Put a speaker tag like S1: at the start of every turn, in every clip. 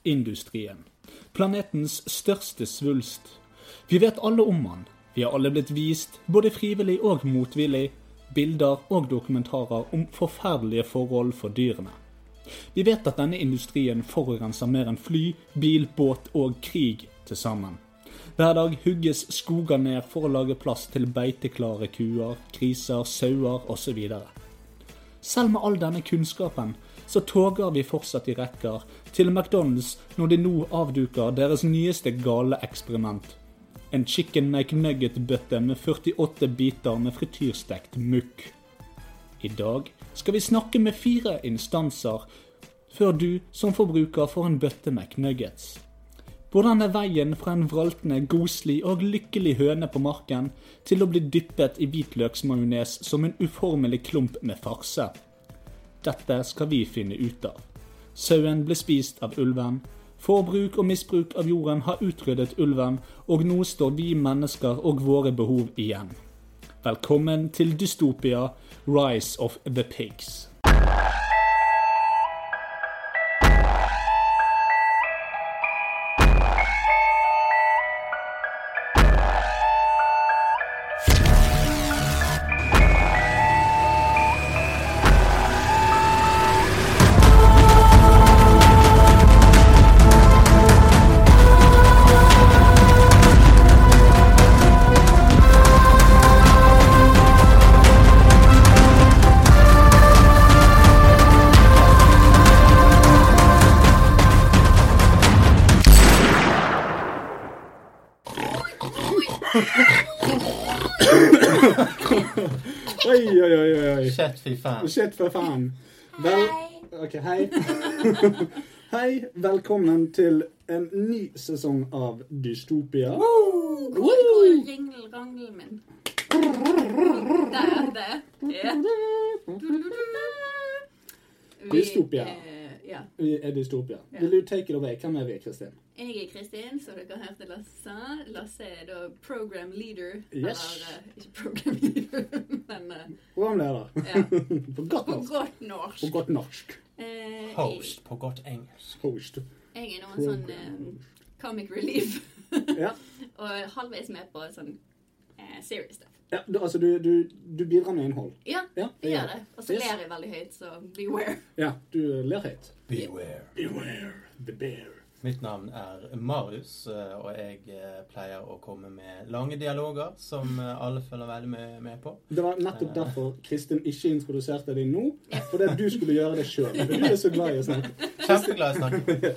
S1: kjøttindustrien. Planetens største svulst. Vi vet alle om han. Vi har alle blitt vist, både frivillig og motvillig, bilder og dokumentarer om forferdelige forhold for dyrene. Vi vet at denne industrien forurenser mer enn fly, bil, båt og krig til sammen. Hver dag hugges skoger ned for å lage plass til beiteklare kuer, griser, sauer osv. Selv med all denne kunnskapen så toger vi fortsatt i rekker til McDonald's når de nå avduker deres nyeste gale eksperiment. En chicken McNugget-bøtte med 48 biter med frityrstekt mukk. I dag skal vi snakke med fire instanser før du som forbruker får en bøtte McNuggets. Hvordan er veien fra en vraltende, godslig og lykkelig høne på marken til å bli dyppet i hvitløksmajones som en uformelig klump med farse? Dette skal vi finne ut av. Sauen ble spist av ulven. Forbruk og misbruk av jorden har utryddet ulven, og nå står vi mennesker og våre behov igjen. Velkommen til Dystopia Rise of the Pigs. Oi, oi, oi, oi, oi.
S2: Shit, fy faen.
S1: Shit, for faen. Vel... Ok, hei. hei, velkommen til en ny sesong av Dystopia.
S3: Hvor går ringelrangelen min? Der, der. Ja. Vi-
S1: Dystopia.
S3: eh, Ja.
S1: Vi er Dystopia.
S3: Ja.
S1: Vil du take it away? Hvem er vi, Kristin?
S3: Jeg er Kristin, som dere hørte Lasse sa. Lasse er da program leader.
S1: Yes.
S3: Eller eh, ikke program leader, men eh,
S1: Programleder.
S3: ja.
S1: På godt
S3: På
S1: norsk.
S3: godt norsk.
S1: På godt norsk.
S3: Eh, jeg-
S2: Host på godt engelsk.
S1: Host.
S3: Jeg er nå en sånn
S1: Program.
S3: eh, comic relief.
S1: Ja.
S3: Og halvveis med på sånn eh, serious stuff.
S1: Ja, du, altså, du, du, du bidrar med innhold.
S3: Ja,
S1: Ja,
S3: jeg
S1: det
S3: gjør
S1: gjør
S3: det. Og så
S1: Yes.
S3: ler jeg veldig høyt, så beware.
S1: Ja, du ler høyt.
S2: Beware.
S1: Beware the bear.
S2: Mitt navn er Marius, eh, og jeg eh, pleier å komme med lange dialoger som eh, alle følger veldig med, med på.
S1: Det var nettopp
S2: Eh.
S1: derfor Kristin ikke introduserte deg nå. Fordi du skulle gjøre det sjøl. Du er så glad i å snakke.
S2: Kjempeglad i å snakke.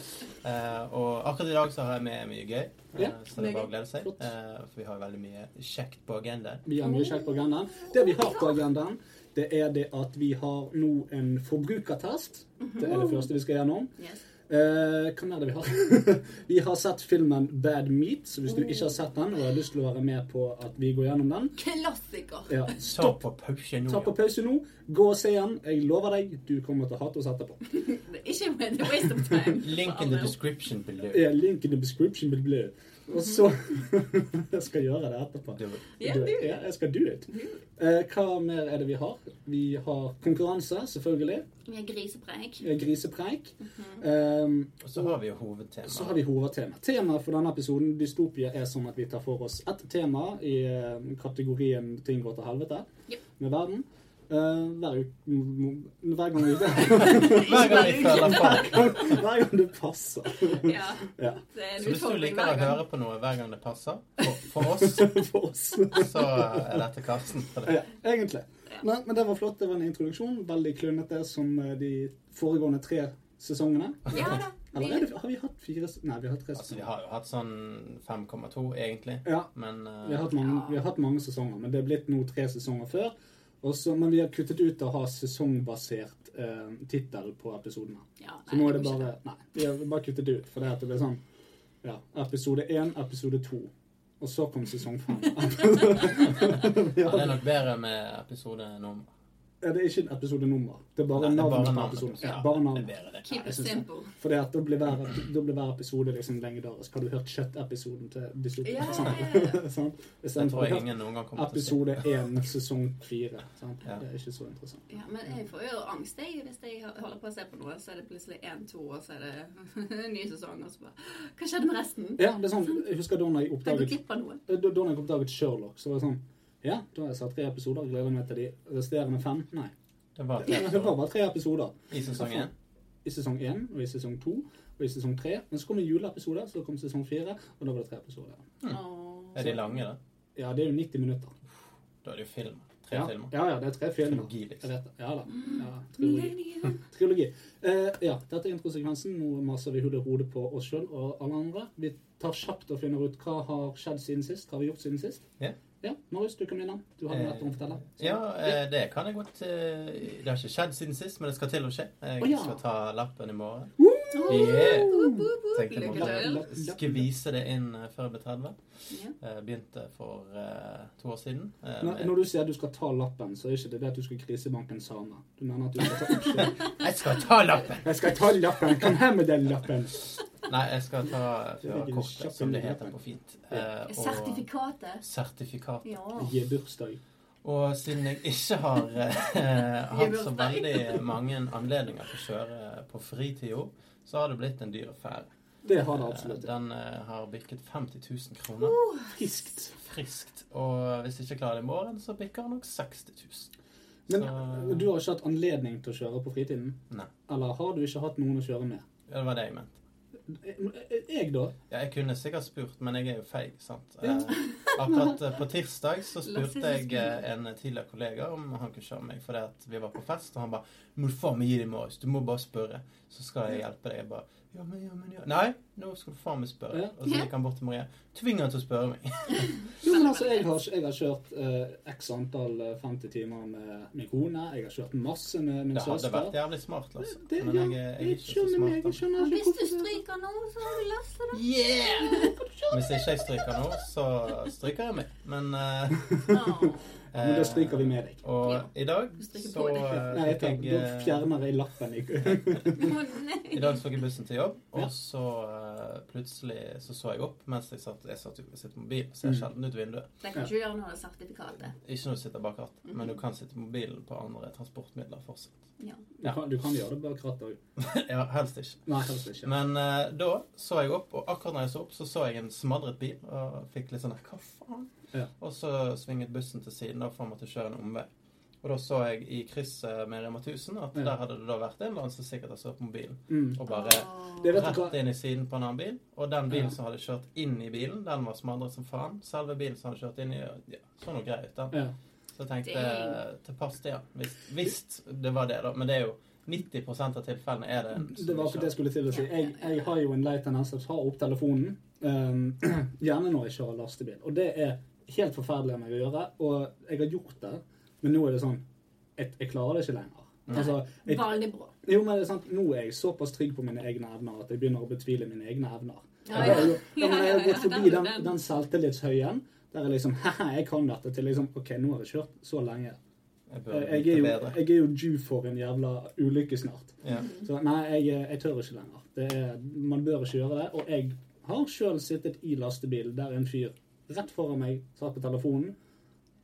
S2: Eh, og akkurat i dag så har jeg med mye gøy, eh,
S1: Ja,
S2: så det er bare å glede seg.
S1: Flott.
S2: Eh, for vi har veldig mye kjekt på agendaen.
S1: Vi har mye kjekt på agendaen. Det vi har på agendaen, det er det at vi har nå en forbrukertest. Det er det første vi skal gjennom.
S3: Yes.
S1: Eh, hva mer er det vi har? vi har sett filmen Bad Meat, så hvis du ikke har sett den og har lyst til å være med på at vi går gjennom den,
S3: Klassiker.
S1: ja,
S2: Ta
S1: stopp.
S2: på pause nå.
S1: Ta på
S2: ja.
S1: pause nå. Gå og se den. Jeg lover deg, du kommer til å hate oss etterpå.
S3: Det er Ikke en waste of time.
S2: Link in the description below.
S1: Ja, link in the description vil bli Og så Jeg skal gjøre det etterpå.
S2: Du-
S3: Ja,
S1: Do
S3: du.
S1: it. Ja, jeg skal do it. Eh, hva mer er det vi har? Vi har konkurranse, selvfølgelig.
S3: Vi er grisepreik.
S1: Eh, Grisepreik.
S3: Mhm.
S1: Ehm,
S2: Og så har vi jo
S1: så har
S2: hovedtema.
S1: vi hovedtema. Temaet for denne episoden, dystopia, er sånn at vi tar for oss ett tema i eh, kategorien 'ting går til helvete'
S3: Yep.
S1: med verden. Eh, hver, uke, m- m- hver, gang vi,
S2: Hver gang vi føler for.
S1: hver gang det passer.
S3: Ja,
S1: Ja,
S3: det er en
S2: Så hvis du
S3: utfordring
S2: liker å
S3: hver gang.
S2: høre på noe hver gang det passer, for, for oss,
S1: for oss.
S2: så er dette kassen for
S1: Ja,
S2: deg.
S1: egentlig.
S3: Ja.
S1: Nei, men det var flott. Det var en introduksjon. Veldig klønete som eh, de foregående tre sesongene.
S3: Ja da. Vi,
S1: Eller er det, har vi hatt fire se- Nei, vi har hatt tre
S2: Altså, vi
S1: sesonger.
S2: har jo hatt sånn 5,2 egentlig,
S1: Ja,
S2: men eh,
S1: vi har, hatt mange, vi har hatt mange sesonger, men det er blitt nå tre sesonger før. Og så- men vi har kuttet ut å ha sesongbasert eh, tittel på episodene.
S3: ja,
S1: Så nå er det bare Nei, vi har bare kuttet det ut. For det at det ble sånn ja, episode én, episode to. Og så kom sesong fem.
S2: ja, det er nok bedre med episodenummer.
S1: Ja, det er ikke en episodenummer. Det er bare
S2: Nei, det er
S1: navnet på
S2: navnet.
S1: episoden.
S2: Ja,
S1: Ja, bare
S2: det er
S1: navnet.
S2: bedre, det.
S3: Keep
S1: jeg
S3: it
S1: synes det.
S3: simple.
S1: Fordi at da blir hver, da blir hver episode liksom legendarisk. Har du hørt kjøttepisoden til episode
S3: Ja,
S1: sant?
S3: ja, ja.
S1: Sant? I
S2: Det
S1: stedet
S2: tror
S1: for
S2: jeg
S1: hørt
S2: ingen noen gang kommer til å si.
S1: episode én, sesong fire. sant?
S2: Ja.
S1: Det er ikke så interessant.
S3: Ja, men jeg får jo angst jeg, hvis jeg holder på å se på noe, så er det plutselig én, to, og så er det ny sesong, og så bare Hva skjedde med resten?
S1: Ja, det er sånn, Jeg husker da når jeg
S3: Har jeg gått
S1: oppdaget
S3: glipp av noe?
S1: Da da jeg oppdaget Sherlock, så var det sånn Ja, da har jeg sett tre episoder. Gleder meg til de resterende fem. Nei.
S2: Det var
S1: Det var
S2: tre
S1: bare tre episoder.
S2: i sesong én.
S1: I sesong én og i sesong to og i sesong tre. Men så kom det juleepisoder, så kom sesong fire, og da var det tre episoder.
S2: Mm.
S3: Åh.
S2: Er de lange, da?
S1: Ja, det er jo 90 minutter.
S2: Da er det jo film. Tre
S1: Ja,
S2: filmer.
S1: ja, ja det er tre filmer.
S2: Trilogi,
S1: Jeg
S2: liksom. Mm.
S1: vet det. Ja da. Ja, trilogi.
S3: Millennium.
S1: trilogi. Eh, ja, dette er introsekvensen. Nå maser vi hodet hodet på oss sjøl og alle andre. Vi tar kjapt og finner ut hva har skjedd siden sist. Hva har vi gjort siden sist?
S2: Ja.
S1: Ja, Marius, du kan begynne. Du har noe etter å fortelle.
S2: Eh, Ja, eh, det kan jeg godt eh, Det har ikke skjedd siden sist, men det skal til å skje.
S1: Å,
S2: Jeg
S1: ja.
S2: skal ta lappen i morgen.
S3: Åh,
S2: Yeah.
S3: woop, woop, woop.
S2: Tenkte jeg
S3: Lykke til.
S1: må-
S2: måtte skvise det inn eh, før jeg ble 30.
S3: Ja.
S2: Eh, Begynte for eh, to år siden. eh,
S1: Når,
S2: med-
S1: når du sier at du skal ta lappen, så er ikke det det at du skal krisebanke en same. Du mener at du skal ta oppkjøp.
S2: Jeg skal ta lappen!
S1: Jeg skal ta lappen! Kom her med den lappen!
S2: Nei, jeg skal ta
S1: Det er ikke
S2: førerkortet,
S1: kjapt
S2: som det
S1: under
S2: heter
S1: lappen.
S2: på fint.
S1: Ja.
S2: eh, Og
S3: Sertifikatet.
S2: sertifikat.
S3: Ja.
S1: Gi bursdag.
S2: Og siden jeg ikke har eh, hatt så
S3: Bursdag.
S2: veldig mange anledninger til å kjøre eh, på fritida, så har det blitt en dyr affære.
S1: Det har det
S2: Eh,
S1: absolutt.
S2: Den eh, har bikket 50 000 kroner.
S1: Friskt.
S2: Friskt. Og hvis jeg ikke klarer det i morgen, så bikker den nok 60 000.
S1: Men
S2: Så-
S1: du har ikke hatt anledning til å kjøre på fritiden?
S2: Nei.
S1: Eller har du ikke hatt noen å kjøre med? Eh,
S2: Ja, Det var det jeg mente.
S1: Jeg, da?
S2: Ja, jeg kunne sikkert spurt, men jeg er jo feig, sant.
S1: Ja.
S2: Eh, akkurat eh, på tirsdag så
S3: La oss si
S2: spurte
S3: det
S2: jeg eh, en tidligere kollega om han kunne kjøre meg, fordi at vi var på fest, og han bare 'Må du faen meg gi deg, Marius. Du må bare spørre, så skal jeg hjelpe deg.' Jeg bare 'Ja, men, ja, men, ja.' Nei, nå skal du faen meg spørre.
S1: Ja.
S2: Og så gikk han bort til Maria. Tving han til å spørre meg.
S1: Jo, men altså, jeg har, jeg har kjørt eh, x antall eh, 50 timer med min kone. Jeg har kjørt masse med min
S2: Det hadde
S1: søster.
S2: vært jævlig smart, Lasse.
S1: Det,
S2: Men
S1: ja,
S2: jeg, er- jeg er ikke så
S1: skjønner,
S2: smart.
S1: jeg
S2: da.
S3: Og
S1: skjønner
S3: hvis
S1: ikke
S3: du
S1: hvorfor
S3: stryker nå, så har du Lasse, da.
S2: Hvis ikke jeg stryker nå, så stryker jeg meg. Men eh,
S3: Åh.
S1: Men da stryker vi med deg.
S2: Og
S3: Ja.
S2: i dag
S3: Du stryker
S2: så
S3: på deg.
S2: eh,
S1: Nei, jeg
S2: fikk
S1: tar, da
S2: jeg eh,
S1: fjerner jeg lappen. i-
S3: Å,
S2: I
S3: nei.
S2: dag tok jeg bussen til jobb,
S1: Ja.
S2: og så eh, plutselig så så jeg opp mens jeg satt, jeg satt jo ved sitt mobil. Ser
S1: Mm.
S2: sjelden ut vinduet.
S3: Det kan ikke du gjøre når det er sertifikatet.
S2: Ikke når du sitter bak rattet,
S1: Mm.
S2: men du kan sitte på mobilen på andre transportmidler fortsatt.
S3: Ja.
S1: Du kan, du kan gjøre det bak rattet òg.
S2: ja, helst ikke.
S1: Nei, helst ikke.
S2: Men eh, da så jeg opp, og akkurat når jeg så opp, så så jeg en smadret bil. Og fikk litt sånn her, Hva faen?
S1: Ja.
S2: Og så svinget bussen til siden, og for meg til å kjøre en omvei. Og da så jeg i krysset med Rema 1000 at
S1: Ja.
S2: der hadde det da vært en eller annen som sikkert har stått på mobilen
S1: Mm.
S2: og bare
S3: Åh.
S1: Det vet du hva?
S2: rett inn i siden på en annen bil. Og den bilen
S1: Ja.
S2: som hadde kjørt inn i bilen, den var smadret som faen. Selve bilen som hadde kjørt inn i ja, sånn Så noe grei ut, den.
S1: Ja.
S2: Så jeg tenkte
S3: Dang.
S2: til pass det, ja. Hvis, hvis det var det, da. Men det er jo 90 av tilfellene er det en som
S1: Det var
S2: kjører.
S1: akkurat det jeg skulle til å si. Jeg, jeg har jo en lei tendens til å ta opp telefonen, ehm, gjerne når jeg kjører lastebil. Og det er helt forferdelig av meg å gjøre, og jeg har gjort det, men nå er det sånn Jeg, jeg klarer det ikke lenger. Altså, jeg,
S3: Veldig bra.
S1: jo, men det er sant, nå er jeg såpass trygg på mine egne evner at jeg begynner å betvile mine egne evner.
S3: Ja,
S1: Jeg, har
S3: ja.
S1: jo- ja, men jeg har gått
S3: Ja, ja, ja,
S1: forbi
S3: den-
S1: den, den selvtillitshøyen der jeg liksom Haha, jeg kan dette, til liksom OK, nå har jeg kjørt så lenge.
S2: Jeg burde
S1: Jeg er
S2: vite
S1: jo,
S2: bedre.
S1: jeg er jo due for en jævla ulykke snart.
S2: Ja.
S1: Så nei, jeg, eh, jeg tør ikke lenger. Det er, man bør ikke gjøre det. Og jeg har sjøl sittet i lastebil der en fyr rett foran meg satt på telefonen,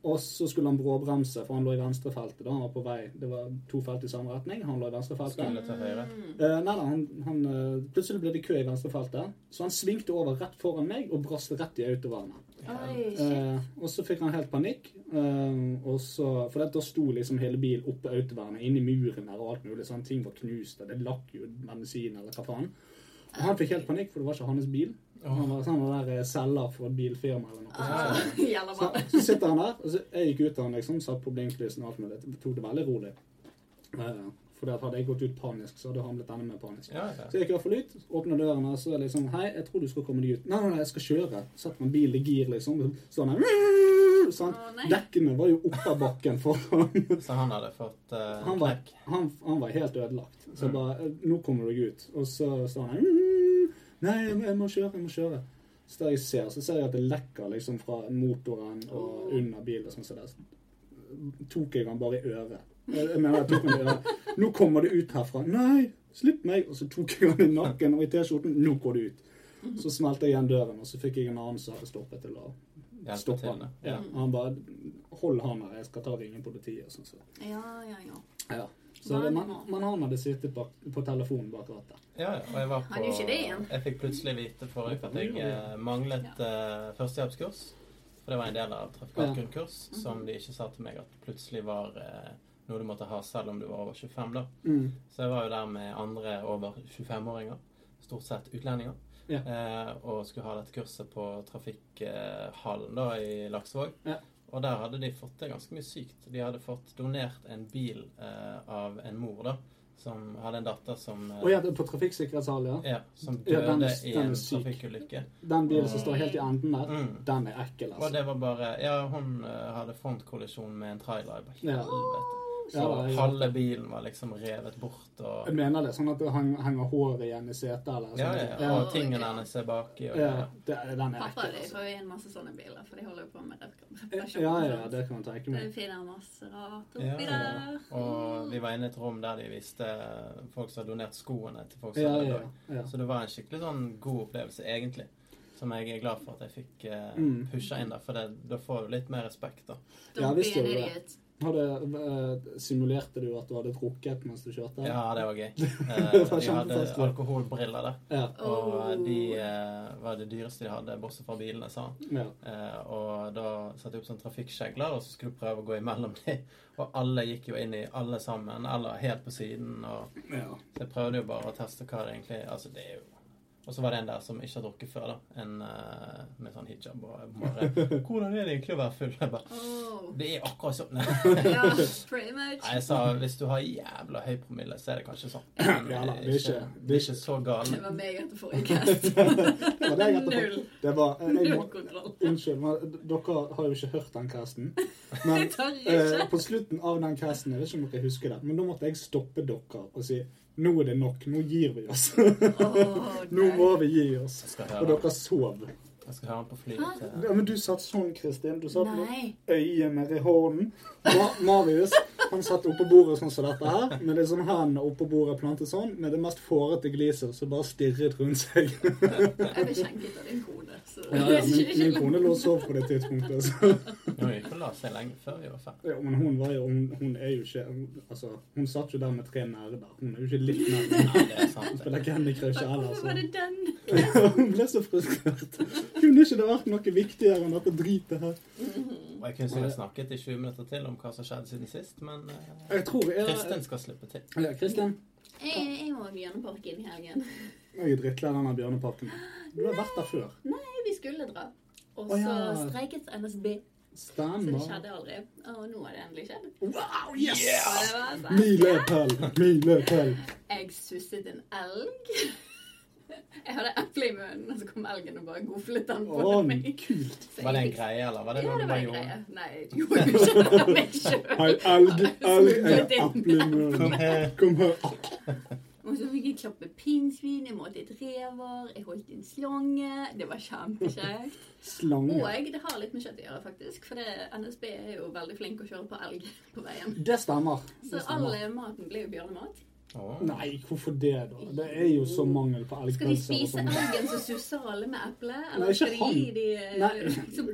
S1: og så skulle han bråbremse, for han lå i venstrefeltet. da han var på vei. Det var to felt i samme retning. Han lå i venstrefeltet.
S2: Skulle til høyre.
S1: Eh, nei, nei, han, han, eh, plutselig ble det kø i venstrefeltet, så han svingte over rett foran meg og brast rett i autovernet.
S3: Oi, shit.
S1: Eh, og så fikk han helt panikk. eh, og så, for det, da sto liksom hele bilen oppe autovernet, inni muren der og alt mulig. sånn, Ting var knust, og det lakk jo medisin eller hva faen. Og han fikk helt panikk, for det var ikke hans bil. Han var sånn der eh, selger for et bilfirma eller noe. sånt.
S3: Ah, Gjelder
S1: Så,
S3: bare.
S1: så sitter han der. og så Jeg gikk ut av han liksom, satt på blinklysen og alt mulig. Jeg Tok det veldig rolig. Uh, for det at hadde jeg gått ut panisk, så hadde han blitt enda mer panisk.
S2: Ja, ja.
S1: Så jeg gikk i hvert fall ut, åpner dørene, og så er det liksom Hei, jeg tror du skal komme deg ut. Nei, nei, nei, jeg skal kjøre. Setter en bil i gir, liksom. og så Sånn her sånn.
S3: Å, nei.
S1: Dekkene var jo oppe av bakken foran.
S2: Så han hadde fått eh,
S1: Han var,
S2: knekk.
S1: han, han var helt ødelagt. Så jeg bare eh, Nå kommer du deg ut. Og så står han her Nei, jeg må- jeg må kjøre, jeg må kjøre. Så der jeg ser, så ser jeg at det lekker liksom fra motoren og under bilen. og Sånn, så der tok jeg han bare i øret. Jeg jeg mener, jeg tok han i øret. Nå kommer det ut herfra. Nei, slipp meg! Og så tok jeg han i nakken og i T-skjorten. Nå går det ut. Så smelte jeg igjen døren, og så fikk jeg en annen som hadde stoppet til å
S2: Hjelpe
S1: stoppe
S2: til.
S1: han.
S2: da.
S1: Ja, og han bare Hold han her, jeg skal ta og ringe politiet. og Sånn, så.
S3: Ja, ja, ja.
S1: Ja. Så det, men, men han hadde sittet bak, på telefonen bak rattet.
S2: Ja, ja, og jeg var på
S3: Han gjør ikke det igjen.
S2: Jeg fikk plutselig vite forrige uke at jeg eh, manglet eh, førstehjelpskurs. For det var en del av trafikantgrunnkurs
S3: Mhm.
S2: som de ikke sa til meg at plutselig var eh, noe du måtte ha selv om du var over 25. da.
S1: Mm.
S2: Så jeg var jo der med andre over 25-åringer, stort sett utlendinger,
S1: Ja.
S2: eh, og skulle ha dette kurset på Trafikkhallen da i Laksevåg.
S1: Ja.
S2: Og der hadde de fått det ganske mye sykt. De hadde fått donert en bil eh, av en mor da, som hadde en datter som eh,
S1: Og ja, på trafikksikkerhetssalen, ja.
S2: ja, som
S1: Ja,
S2: døde
S1: den-
S2: i
S1: den er
S2: en
S1: syk.
S2: trafikkulykke.
S1: Den bilen som står helt i enden der,
S2: Mm.
S1: den er ekkel,
S2: Og
S1: altså.
S2: det var bare Ja, hun eh, hadde frontkollisjon med en trailer. Jeg bare,
S1: Ja.
S2: helvete. Så
S1: Ja, det er jo-
S2: halve bilen var liksom revet bort, og
S1: Jeg mener det, sånn at det hang, henger håret igjen i setet eller
S2: ja, ja,
S1: sånn.
S2: ja, og
S3: Ja.
S2: tingene hennes er baki. Og,
S1: ja. Det, den er
S3: Pappa
S1: ekkel,
S3: de
S1: altså.
S3: får jo inn masse sånne biler, for de holder jo på med reparasjon.
S1: Ja, ja, det kan man tenke
S3: Det
S1: meg.
S3: finner masse rart
S2: Ja, ja.
S3: oppi der.
S2: og vi var inne i et rom der de viste folk som hadde donert skoene til folk som
S1: Ja,
S2: hadde
S1: ja,
S2: dødd.
S1: ja.
S2: Så det var en skikkelig sånn god opplevelse, egentlig. Som jeg er glad for at jeg fikk eh,
S1: Mm.
S2: pusha inn der, for det, da får du litt mer respekt, da.
S3: Da
S1: Ja, visst gjør
S3: begynner
S1: det.
S3: de ut.
S1: Hadde, eh, simulerte du at du hadde drukket mens du kjørte?
S2: Ja, det var gøy. Eh,
S1: Det var
S2: de hadde
S1: kjempefestlig.
S2: alkoholbriller der.
S1: Ja.
S3: Oh.
S2: Og de eh, var det dyreste de hadde, bortsett fra bilene, sa han.
S1: ja.
S2: Eh, og da satte jeg opp sånn trafikkskjegler, og så skulle du prøve å gå imellom dem. Og alle gikk jo inn i alle sammen, eller helt på siden. Og
S1: ja.
S2: så jeg prøvde jo bare å teste hva det egentlig Altså, det er jo Og så var det en der som ikke har drukket før, da. En eh, med sånn hijab og jeg bare 'Hvordan er det egentlig å være full?' Jeg bare
S3: Oh.
S2: Det er akkurat sånn. Nei,
S3: Ja, pretty much.
S2: jeg sa hvis du har jævla høy promille, så er det kanskje sånn.
S1: Ja, da, det er
S2: eh,
S1: ikke-
S2: det er ikke så galt.
S3: Det var meg etter forrige kast.
S1: Det var det jeg etterpå.
S3: Null.
S1: Det var, eh, jeg,
S3: Null
S1: må,
S3: kontroll.
S1: unnskyld, men dere har jo ikke hørt den casten. Men
S3: Jeg tør
S1: eh,
S3: ikke.
S1: på slutten av den casten, jeg vet ikke om dere husker det, men da måtte jeg stoppe dere og si nå er det nok, nå gir vi oss.
S3: Åh,
S1: Eh, Nå
S3: nei.
S1: må vi gi oss.
S2: Jeg skal
S1: Og
S2: høre
S1: dere sov.
S2: Jeg skal høre den på flyet til
S1: Ja, men du satt sånn, Kristin. Du satt med
S3: Nei.
S1: øyet med i hånden. Ma Marius han satt oppå bordet sånn som dette her, med liksom hendene oppå bordet plantet sånn, med det mest fårete gliset som bare stirret rundt seg.
S3: Jeg ble skjenket av din kone, så
S1: Ja, ja, min, min kone lå og sov på det tidspunktet. Så.
S2: Hun gikk og la seg lenge før vi var ferdig.
S1: Ja, men hun var jo Hun, hun er jo ikke hun, Altså, hun satt jo der med tre nerder. Hun er jo ikke litt nerd.
S2: Nei, det er
S1: Hun
S2: sant.
S1: spiller Candy Crush heller,
S3: Hvorfor var det
S1: så
S3: den?
S1: Hun altså. ble så frustrert. Kunne ikke det vært noe viktigere enn dette dritet her?
S2: Og jeg kunne sikkert snakket i 20 minutter til om hva som skjedde siden sist, men eh,
S1: Jeg tror jeg
S2: Kristin skal slippe til.
S1: Ja, Kristin.
S3: Jeg, jeg må i Bjørneparken i helgen.
S1: Jeg er drittlei av denne bjørneparken. Du har vært der før.
S3: Nei, vi skulle dra. Og
S1: Å,
S3: så
S1: ja.
S3: streiket NSB, så det
S1: Stemmer.
S3: skjedde aldri. Og nå har det endelig skjedd.
S1: Wow, yes!
S3: Og det var sånn.
S1: Milepæl! Milepæl!
S3: Jeg susset en elg. Jeg hadde eple i munnen, og så kom elgen og bare goflet den på
S1: Å,
S3: meg.
S1: kult.
S3: Så
S2: Var det en
S3: jeg-
S2: greie, eller var det
S3: Ja,
S2: noe
S3: det
S2: du
S3: var
S2: bare
S3: en
S2: gjorde?
S3: greie. Nei, jeg gjorde jo ikke det av meg
S1: Hei,
S3: sjøl.
S1: elg, elg er eple i munnen. Kom her.
S3: Og så fikk jeg klappe pinnsvin, jeg måtte i et rever, jeg holdt i en slange. Det var kjempekjekt.
S1: Slange.
S3: Og det har litt med kjøtt å gjøre, faktisk. For det, NSB er jo veldig flink å kjøre på elg på veien.
S1: Det stemmer.
S3: Så
S1: Det stemmer.
S3: all maten ble jo bjørnemat.
S2: Åh.
S1: Nei, hvorfor det, da? Det er jo så mangel på elgpølser
S3: Skal de
S1: og
S3: spise
S1: sånn.
S3: elgen som susser alle med eple?
S1: Nei,
S3: Eller
S1: ikke
S3: skal de gi
S1: han.
S3: de eh,
S1: Nei.
S3: som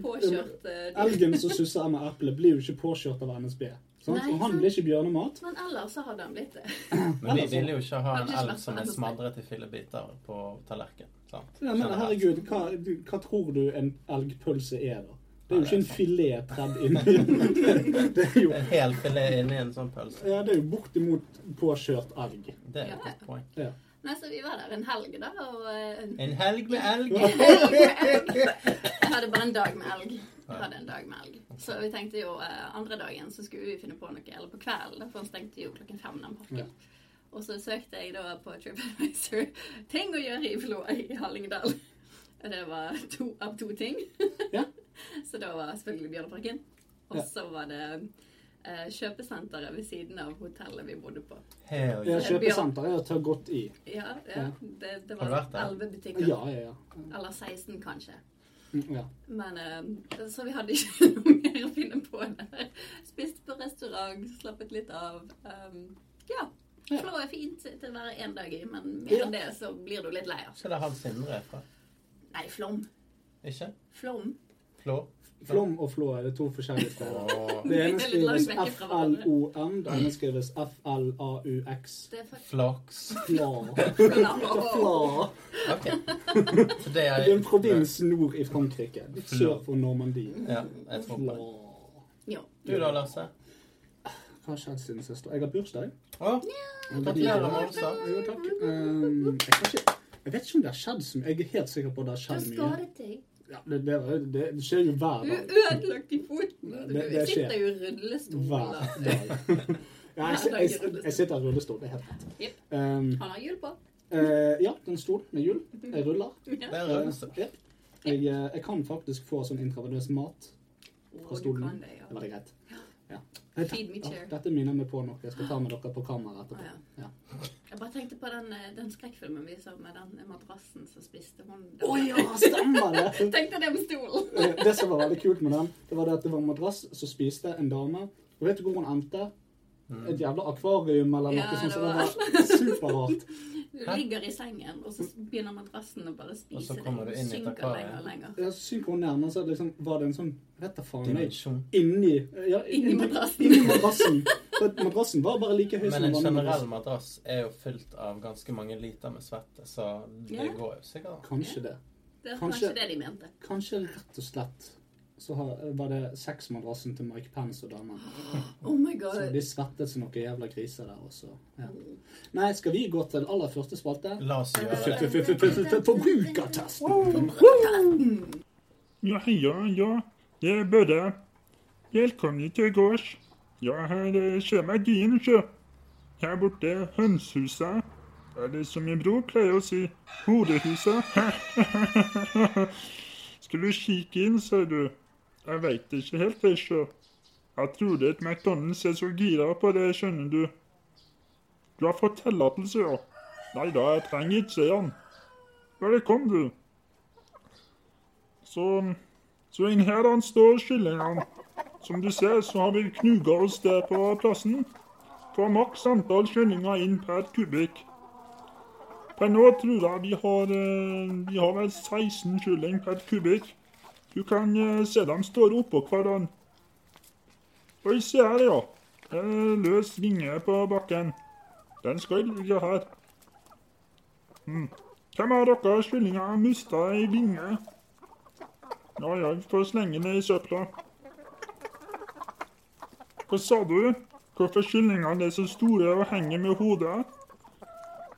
S3: påkjørt eh, de-
S1: Elgen som susser med eple, blir jo ikke påkjørt av NSB. Sant?
S3: Nei,
S1: Og han
S3: sant.
S1: blir ikke bjørnemat.
S3: Men ellers så hadde han blitt det.
S2: Men vi ville jo ikke ha en
S3: Kanskje ikke
S2: elg som er
S3: vært så
S2: smadret i fillebiter på tallerken. Sant?
S1: Ja, men herregud, hva, du, hva tror du en elgpølse er, da? Det er jo ikke en filet tredd inni. Det, det er jo
S2: En hel filet inni en sånn pølse.
S1: ja, det er jo bortimot påkjørt elg.
S2: Det er
S3: Ja.
S2: et godt poeng.
S1: Ja.
S3: Nei, så vi var der en helg, da. Og eh,
S2: En helg med elg!
S3: jeg hadde bare en dag med elg. Jeg hadde en dag med elg. Så vi tenkte jo eh, andre dagen så skulle vi finne på noe, eller på kvelden, da, for han stengte jo klokken fem den
S1: Ja.
S3: parken. Og så søkte jeg da på TripAdvisor ting å gjøre i Flå i Hallingdal. Og det var to av to ting.
S1: Ja.
S3: Så da var selvfølgelig Bjørneparken. Og
S1: Ja.
S3: så var det eh, kjøpesenteret ved siden av hotellet vi bodde på.
S2: Hell
S1: Ja,
S2: yeah.
S1: kjøpesenter er å ta godt i.
S3: Ja, ja.
S1: Ja.
S3: Det, det
S2: Har du
S3: var
S2: vært der?
S3: elleve butikker.
S1: Ja, ja, ja.
S3: Eller 16, kanskje.
S1: Ja.
S3: Men eh, Så vi hadde ikke noe mer å finne på der. Spiste på restaurant, slappet litt av. Um, ja.
S1: Ja.
S3: Flå er fint til å være én dag i, men mer enn det så blir du litt lei av.
S2: Skal det han Sindre er fra?
S3: Nei, Flom.
S2: Ikke?
S3: Flom.
S2: Flå?
S1: Flom og Flå er det to forskjellige steder.
S2: Åh,
S1: Det ene
S3: Det er litt langt
S1: skrives
S3: vekk fra hverandre.
S1: FLOM, det andre skrives FLAUX.
S3: Det er faktisk
S2: Flaks.
S1: Fla.
S3: Flom.
S1: Fla.
S2: Ok. Så det
S1: Det
S2: er
S1: er en provins nord i Frankrike, litt sør for Normandie.
S2: Ja, jeg tror på
S1: Fla.
S2: det.
S3: Jo.
S2: Du da, Lasse?
S1: Hva har skjedd siden sist? Jeg har bursdag.
S2: Å, gratulerer med onsdag.
S1: Jo, takk. Ehm, jeg, kan ikke, jeg vet ikke om det har skjedd så mye. Jeg er helt sikker på at det har
S3: Du har
S1: skjedd mye.
S3: skadet deg.
S1: Ja, det, det, det, det skjer jo hver
S3: Du
S1: dag.
S3: er ødelagt i foten. Du
S1: Det- det skjer.
S3: sitter jo i rullestol.
S1: Hver dag.
S3: da.
S1: Ja, jeg, si- jeg, jeg sitter i rullestol, det er helt rett.
S3: Jep.
S1: Ehm,
S3: Han har hjul på.
S1: eh, ja, det er en stol med hjul. Jeg ruller.
S2: Det er
S1: Eh,
S2: rødeste.
S1: ja. jeg, eh, jeg kan faktisk få sånn intravenøs mat.
S3: Å,
S1: På
S3: du
S1: stolen.
S3: kan det,
S1: Det var
S3: ja.
S1: det greit. Ja. Nei,
S3: Feed me
S1: ja,
S3: chair.
S1: Dette minner meg på noe. Jeg skal ta med dere på kamera
S3: Å,
S1: etterpå.
S3: ja.
S1: Ja.
S3: Jeg bare tenkte på den, eh, den skrekkfilmen vi så med den madrassen som spiste hun.
S1: Å ja, stemmer det!
S3: Tenkte det med stolen.
S1: Eh, Det som var veldig kult med den, det var det at det var en madrass som spiste en dame. Og vet du hvor hun endte?
S2: Mm.
S1: Et jævla akvarium eller noe
S3: Ja,
S1: sånt. Så det
S3: det var-
S1: var superrart.
S3: Du
S2: Hæ?
S3: ligger i sengen, og så begynner madrassen å bare spise
S2: Og så kommer
S3: deg.
S2: du inn i
S3: synker
S2: taket,
S3: lenger og
S2: ja.
S3: lenger.
S1: Jeg synker hun nærmere, så liksom, var det en sånn Vet da faen meg.
S2: Dimensjon.
S1: Inni ja,
S3: Inni madrassen.
S1: Inni madrassen. For at madrassen var bare like høy som
S2: Men en
S1: den vanlige
S2: generell
S1: madrassen.
S2: madrass er jo fylt av ganske mange liter med svette, så det
S3: Ja.
S2: går jo sikkert.
S1: Kanskje det.
S3: Det er
S1: Kanskje-
S3: kanskje det de mente.
S1: Kanskje rett og slett så har- var det sexmadrassen til Mike Pence og damen.
S3: Oh my
S1: Så
S3: god.
S1: de svettet som noen jævla griser der også. Ja. Nei, skal vi gå til aller første spalte?
S2: La oss gjøre det.
S1: Forbrukertesten!
S4: Ja, ja, ja. Jeg er Børre. Velkommen til gårds. Jeg har eh, skjemagien, sjø. Her borte er hønsehuset. Eller som min bror pleier å si, horehuset. Skal du kikke inn, ser du. Jeg veit ikke helt, jeg, sjø. Jeg trodde et McDonald's er så gira på det, skjønner du. Du har fått tillatelse, ja. Nei da, jeg trenger ikke den. Bare kom, du. Så, så inn her han står kyllingene. Som du ser, så har vi knuga oss der på plassen. Fra maks antall kyllinger inn per kubikk. Per nå tror jeg vi har, eh, vi har vel 16 kylling per kubikk. Du kan eh, se dem står oppå hverandre. Oi, se her, ja. Det er løs vinge på bakken. Den skal ligge her. Hm. Hvem av dere kyllinger har mista ei vinge? Ja, jeg får slenge den i søpla. Hva sa du? Hvorfor kyllingene er så store og henger med hodet?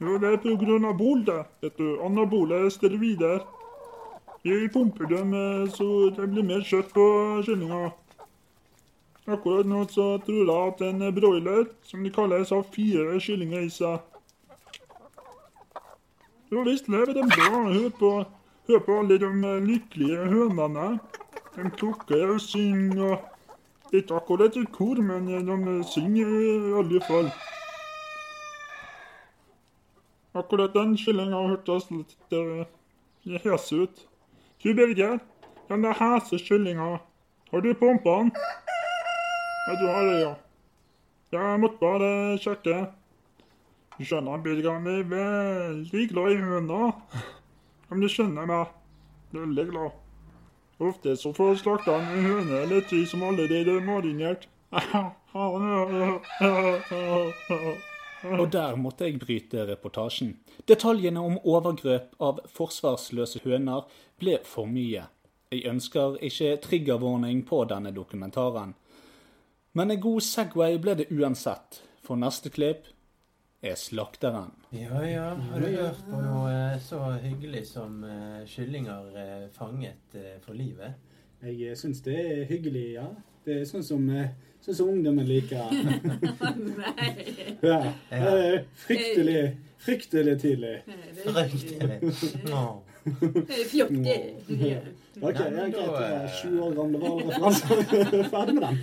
S4: Jo, det er på grunn av bol, det. Vet du, anabole steroider. Vi pumper dem eh, så det blir mer kjøtt på kyllinga. Akkurat nå så tror jeg at en broiler, som de kalles, har fire kyllinger i seg. Jo visst lever det bra. Hør på, hør på alle de eh, lykkelige hønene. De klukker og synger og Ikke akkurat i kor, men eh, de synger i alle fall. Akkurat den kyllinga hørtes litt eh, hes ut. Du, Birger, den der hese kyllinga, har du pumpa den? Ja, du har det, ja. Jeg måtte bare sjekke. Du skjønner, Birger, jeg er veldig glad i høner. Om du skjønner meg. Veldig glad. Ofte så får slakta en høne eller ti som allerede er marinert.
S5: Og der måtte jeg bryte reportasjen. Detaljene om overgrep av forsvarsløse høner ble for mye. Jeg ønsker ikke triggervarning på denne dokumentaren. Men en god Segway ble det uansett, for neste klipp er slakteren.
S2: Ja, ja. Har du hørt på noe eh, så hyggelig som eh, kyllinger eh, fanget eh, for livet?
S1: Jeg eh, syns det er hyggelig, ja. Det er sånn som, eh, sånn som ungdommen liker.
S3: Nei.
S1: Ja.
S2: Ja.
S1: Det er Fryktelig, fryktelig tidlig.
S2: Røykdelen. Åh.
S3: Fjorti.
S1: Ok,
S2: Nei,
S1: ja, greit.
S2: men da,
S1: det er
S2: eh,
S1: 20 år gamle valreferanser. Ferdig med den.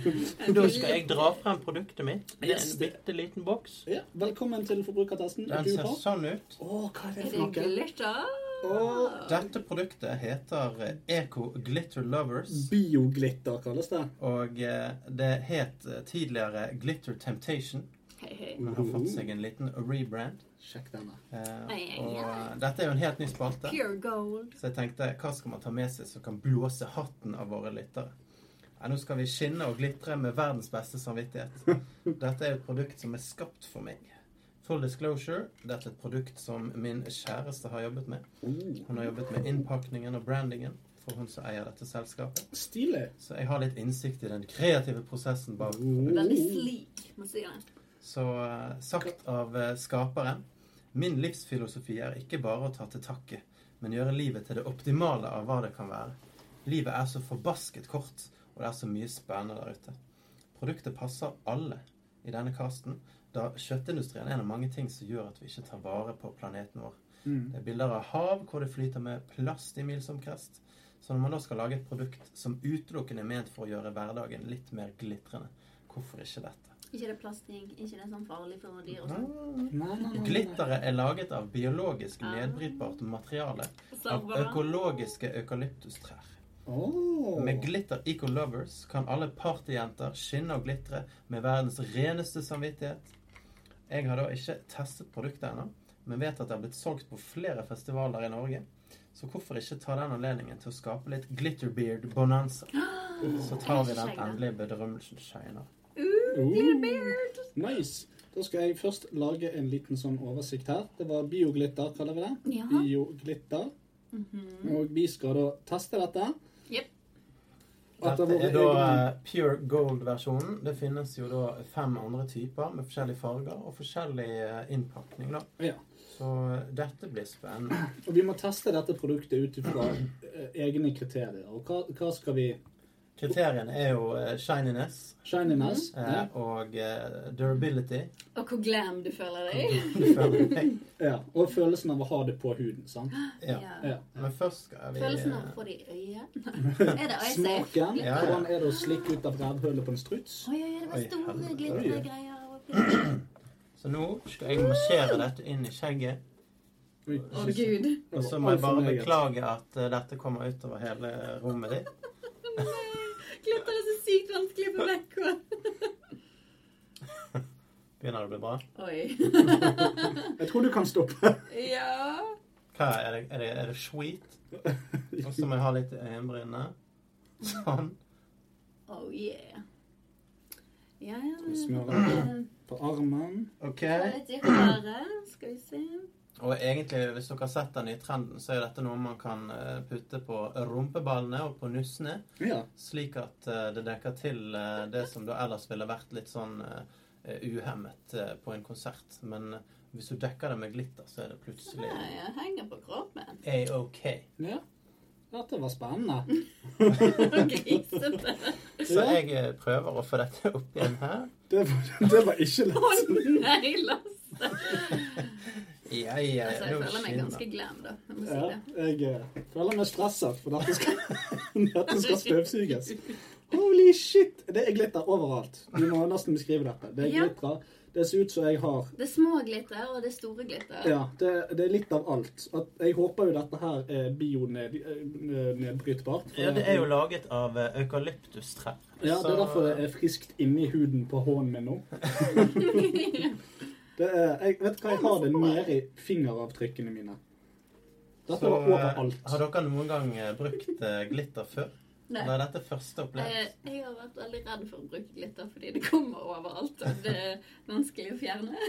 S2: Da skal jeg dra frem produktet mitt. Det er en
S1: Yes.
S2: bitte liten boks.
S1: Ja, velkommen til Forbrukertesten.
S2: Den
S1: Du
S2: ser
S1: har
S2: sånn ut.
S1: Å, hva er det
S3: Er
S1: for
S3: det Ah.
S1: noe?
S3: glitter?
S1: Og
S2: Dette produktet heter eh, Eco Glitter Lovers.
S1: bioglitter kalles det.
S2: Og eh, det het eh, tidligere Glitter Temptation.
S3: Hei, hei.
S2: Men har fått seg en liten rebrand.
S1: Mm. Sjekk denne.
S2: Eh,
S3: Ai, ai,
S2: og
S3: ai.
S2: eh, dette er jo en helt ny spalte.
S3: Pure gold.
S2: Så jeg tenkte, hva skal man ta med seg som kan blåse hatten av våre lyttere? Ja, nå skal vi skinne og glitre med verdens beste samvittighet. Dette er et produkt som er skapt for meg. Full disclosure, dette er et produkt som min kjæreste har jobbet med.
S1: Oh,
S2: Hun har jobbet med innpakningen og brandingen for hun som eier dette selskapet.
S1: Stilig.
S2: Så jeg har litt innsikt i den kreative prosessen bak.
S1: Oh.
S3: Veldig sleek, man sier det.
S2: Så eh, sagt av eh, skaperen Min livsfilosofi er ikke bare å ta til takke, men gjøre livet til det optimale av hva det kan være. Livet er så forbasket kort, og det er så mye spennende der ute. Produktet passer alle i denne kasten, da kjøttindustrien er en av mange ting som gjør at vi ikke tar vare på planeten vår.
S1: Mm.
S2: Det er bilder av hav hvor det flyter med plast i milsomkrest. Så når man da skal lage et produkt som utelukkende er ment for å gjøre hverdagen litt mer glitrende, hvorfor ikke dette?
S3: Ikke det er plastikk, ikke det er sånn farlig for dyr og sånn.
S2: Mm.
S1: Nei, nei, nei, nei.
S2: Glitteret er laget av biologisk nedbrytbart materiale
S3: Så
S2: av
S3: bra.
S2: økologiske eukalyptustrær.
S1: Åh.
S2: Med Glitter Eco Lovers kan alle partyjenter skinne og glitre med verdens reneste samvittighet. Jeg har da ikke testet produktet ennå, men vet at det har blitt solgt på flere festivaler i Norge. Så hvorfor ikke ta den anledningen til å skape litt glitterbeard-bonanza?
S3: Ah,
S2: Så tar vi den endelige bedrømmelsen seinere.
S1: Oh.
S3: Glitterbeard.
S1: Nice. Da skal jeg først lage en liten sånn oversikt her. Det var bioglitter, kaller vi det.
S3: Ja. Mhm.
S1: Bioglitter. Og vi skal da teste dette.
S3: Jep.
S1: Etter
S2: Dette
S1: våre
S2: er da
S1: egne-
S2: eh, pure gold-versjonen. Det finnes jo da fem andre typer med forskjellige farger og forskjellig eh, innpakning. da.
S1: Ja.
S2: Så eh, dette blir spennende.
S1: Og vi må teste dette produktet ut fra eh, egne kriterier. Og hva, hva skal vi
S2: Kriteriene er jo eh, shininess
S1: Shininess.
S3: Mhm.
S2: eh, og eh, durability.
S3: Og hvor glam du føler deg.
S2: Du føler deg-
S1: Ja. Og følelsen av å ha det på huden. sant?
S2: Ja.
S3: Ja.
S1: Ja.
S2: Men først skal vi
S3: Følelsen av å
S2: eh,
S3: få det i øyet. Er det eye safe?
S1: Smaken.
S2: Ja, ja.
S1: Hvordan er det å slikke ut av rævhullet på en struts?
S3: Oi, oi, oi, det var
S2: Oi,
S3: store
S2: helvete.
S3: glittergreier. oppi.
S2: Så nå skal jeg marsjere dette inn i skjegget.
S1: Oi,
S3: Å, gud.
S2: Og så
S1: det
S2: må
S1: var
S2: jeg bare
S1: altfor meget.
S2: beklage at eh, dette kommer utover hele eh, rommet ditt.
S3: Glitter er så sykt vanskelig på vekk.
S2: Begynner det å bli bra?
S3: Oi.
S1: Jeg tror du kan stoppe.
S3: Ja.
S2: Hva er det? Er det, er det sweet? Og så må jeg ha litt i øyenbrynene. Sånn.
S3: Oh yeah. Ja, ja. Eh,
S1: vi smøre På armen.
S2: Ok.
S3: Ta litt i håret. Skal vi se.
S2: Og egentlig, hvis dere har sett den nye trenden, så er dette noe man kan eh, putte på rumpeballene og på nussene,
S1: Ja.
S2: slik at eh, det dekker til eh, det som da ellers ville vært litt sånn eh, uhemmet eh, på en konsert. Men eh, hvis du dekker det med glitter, så er det plutselig
S3: Ja, jeg henger på kroppen.
S2: A-OK.
S1: ja. Dette var spennende.
S3: Grisete.
S2: Så jeg eh, prøver å få dette opp igjen her.
S1: Det var, det var ikke
S3: Å
S1: lett.
S3: nei, Lasse.
S2: Ja, ja, Eh, nå
S3: Altså, jeg føler meg
S2: skinner.
S3: ganske glam, da. Jeg må si
S1: Ja,
S3: det.
S1: jeg eh, føler meg stresset, for dette skal, dette skal støvsuges. Holy shit! Det er glitter overalt. Vi må nesten beskrive dette. Det er
S3: Ja.
S1: glitter. Det ser ut som jeg har
S3: Det er små glitter, og det er store glitter.
S1: Ja, det, det er litt av alt. At jeg håper jo dette her er eh, bionedbrytbart.
S2: Ja, det er jo laget av eh, eukalyptustrær.
S1: Ja, det er
S2: Så-
S1: derfor det er friskt inni huden på hånden min nå. Det er, jeg vet du hva, jeg har det nede i fingeravtrykkene mine. Dette
S2: Så,
S1: var overalt.
S2: eh, Har dere noen gang eh, brukt eh, glitter før?
S3: Nei.
S2: Eller er dette første
S3: Eh,
S2: opplevelse?
S3: Jeg har vært veldig redd for å bruke glitter fordi det kommer overalt, og det er vanskelig å fjerne.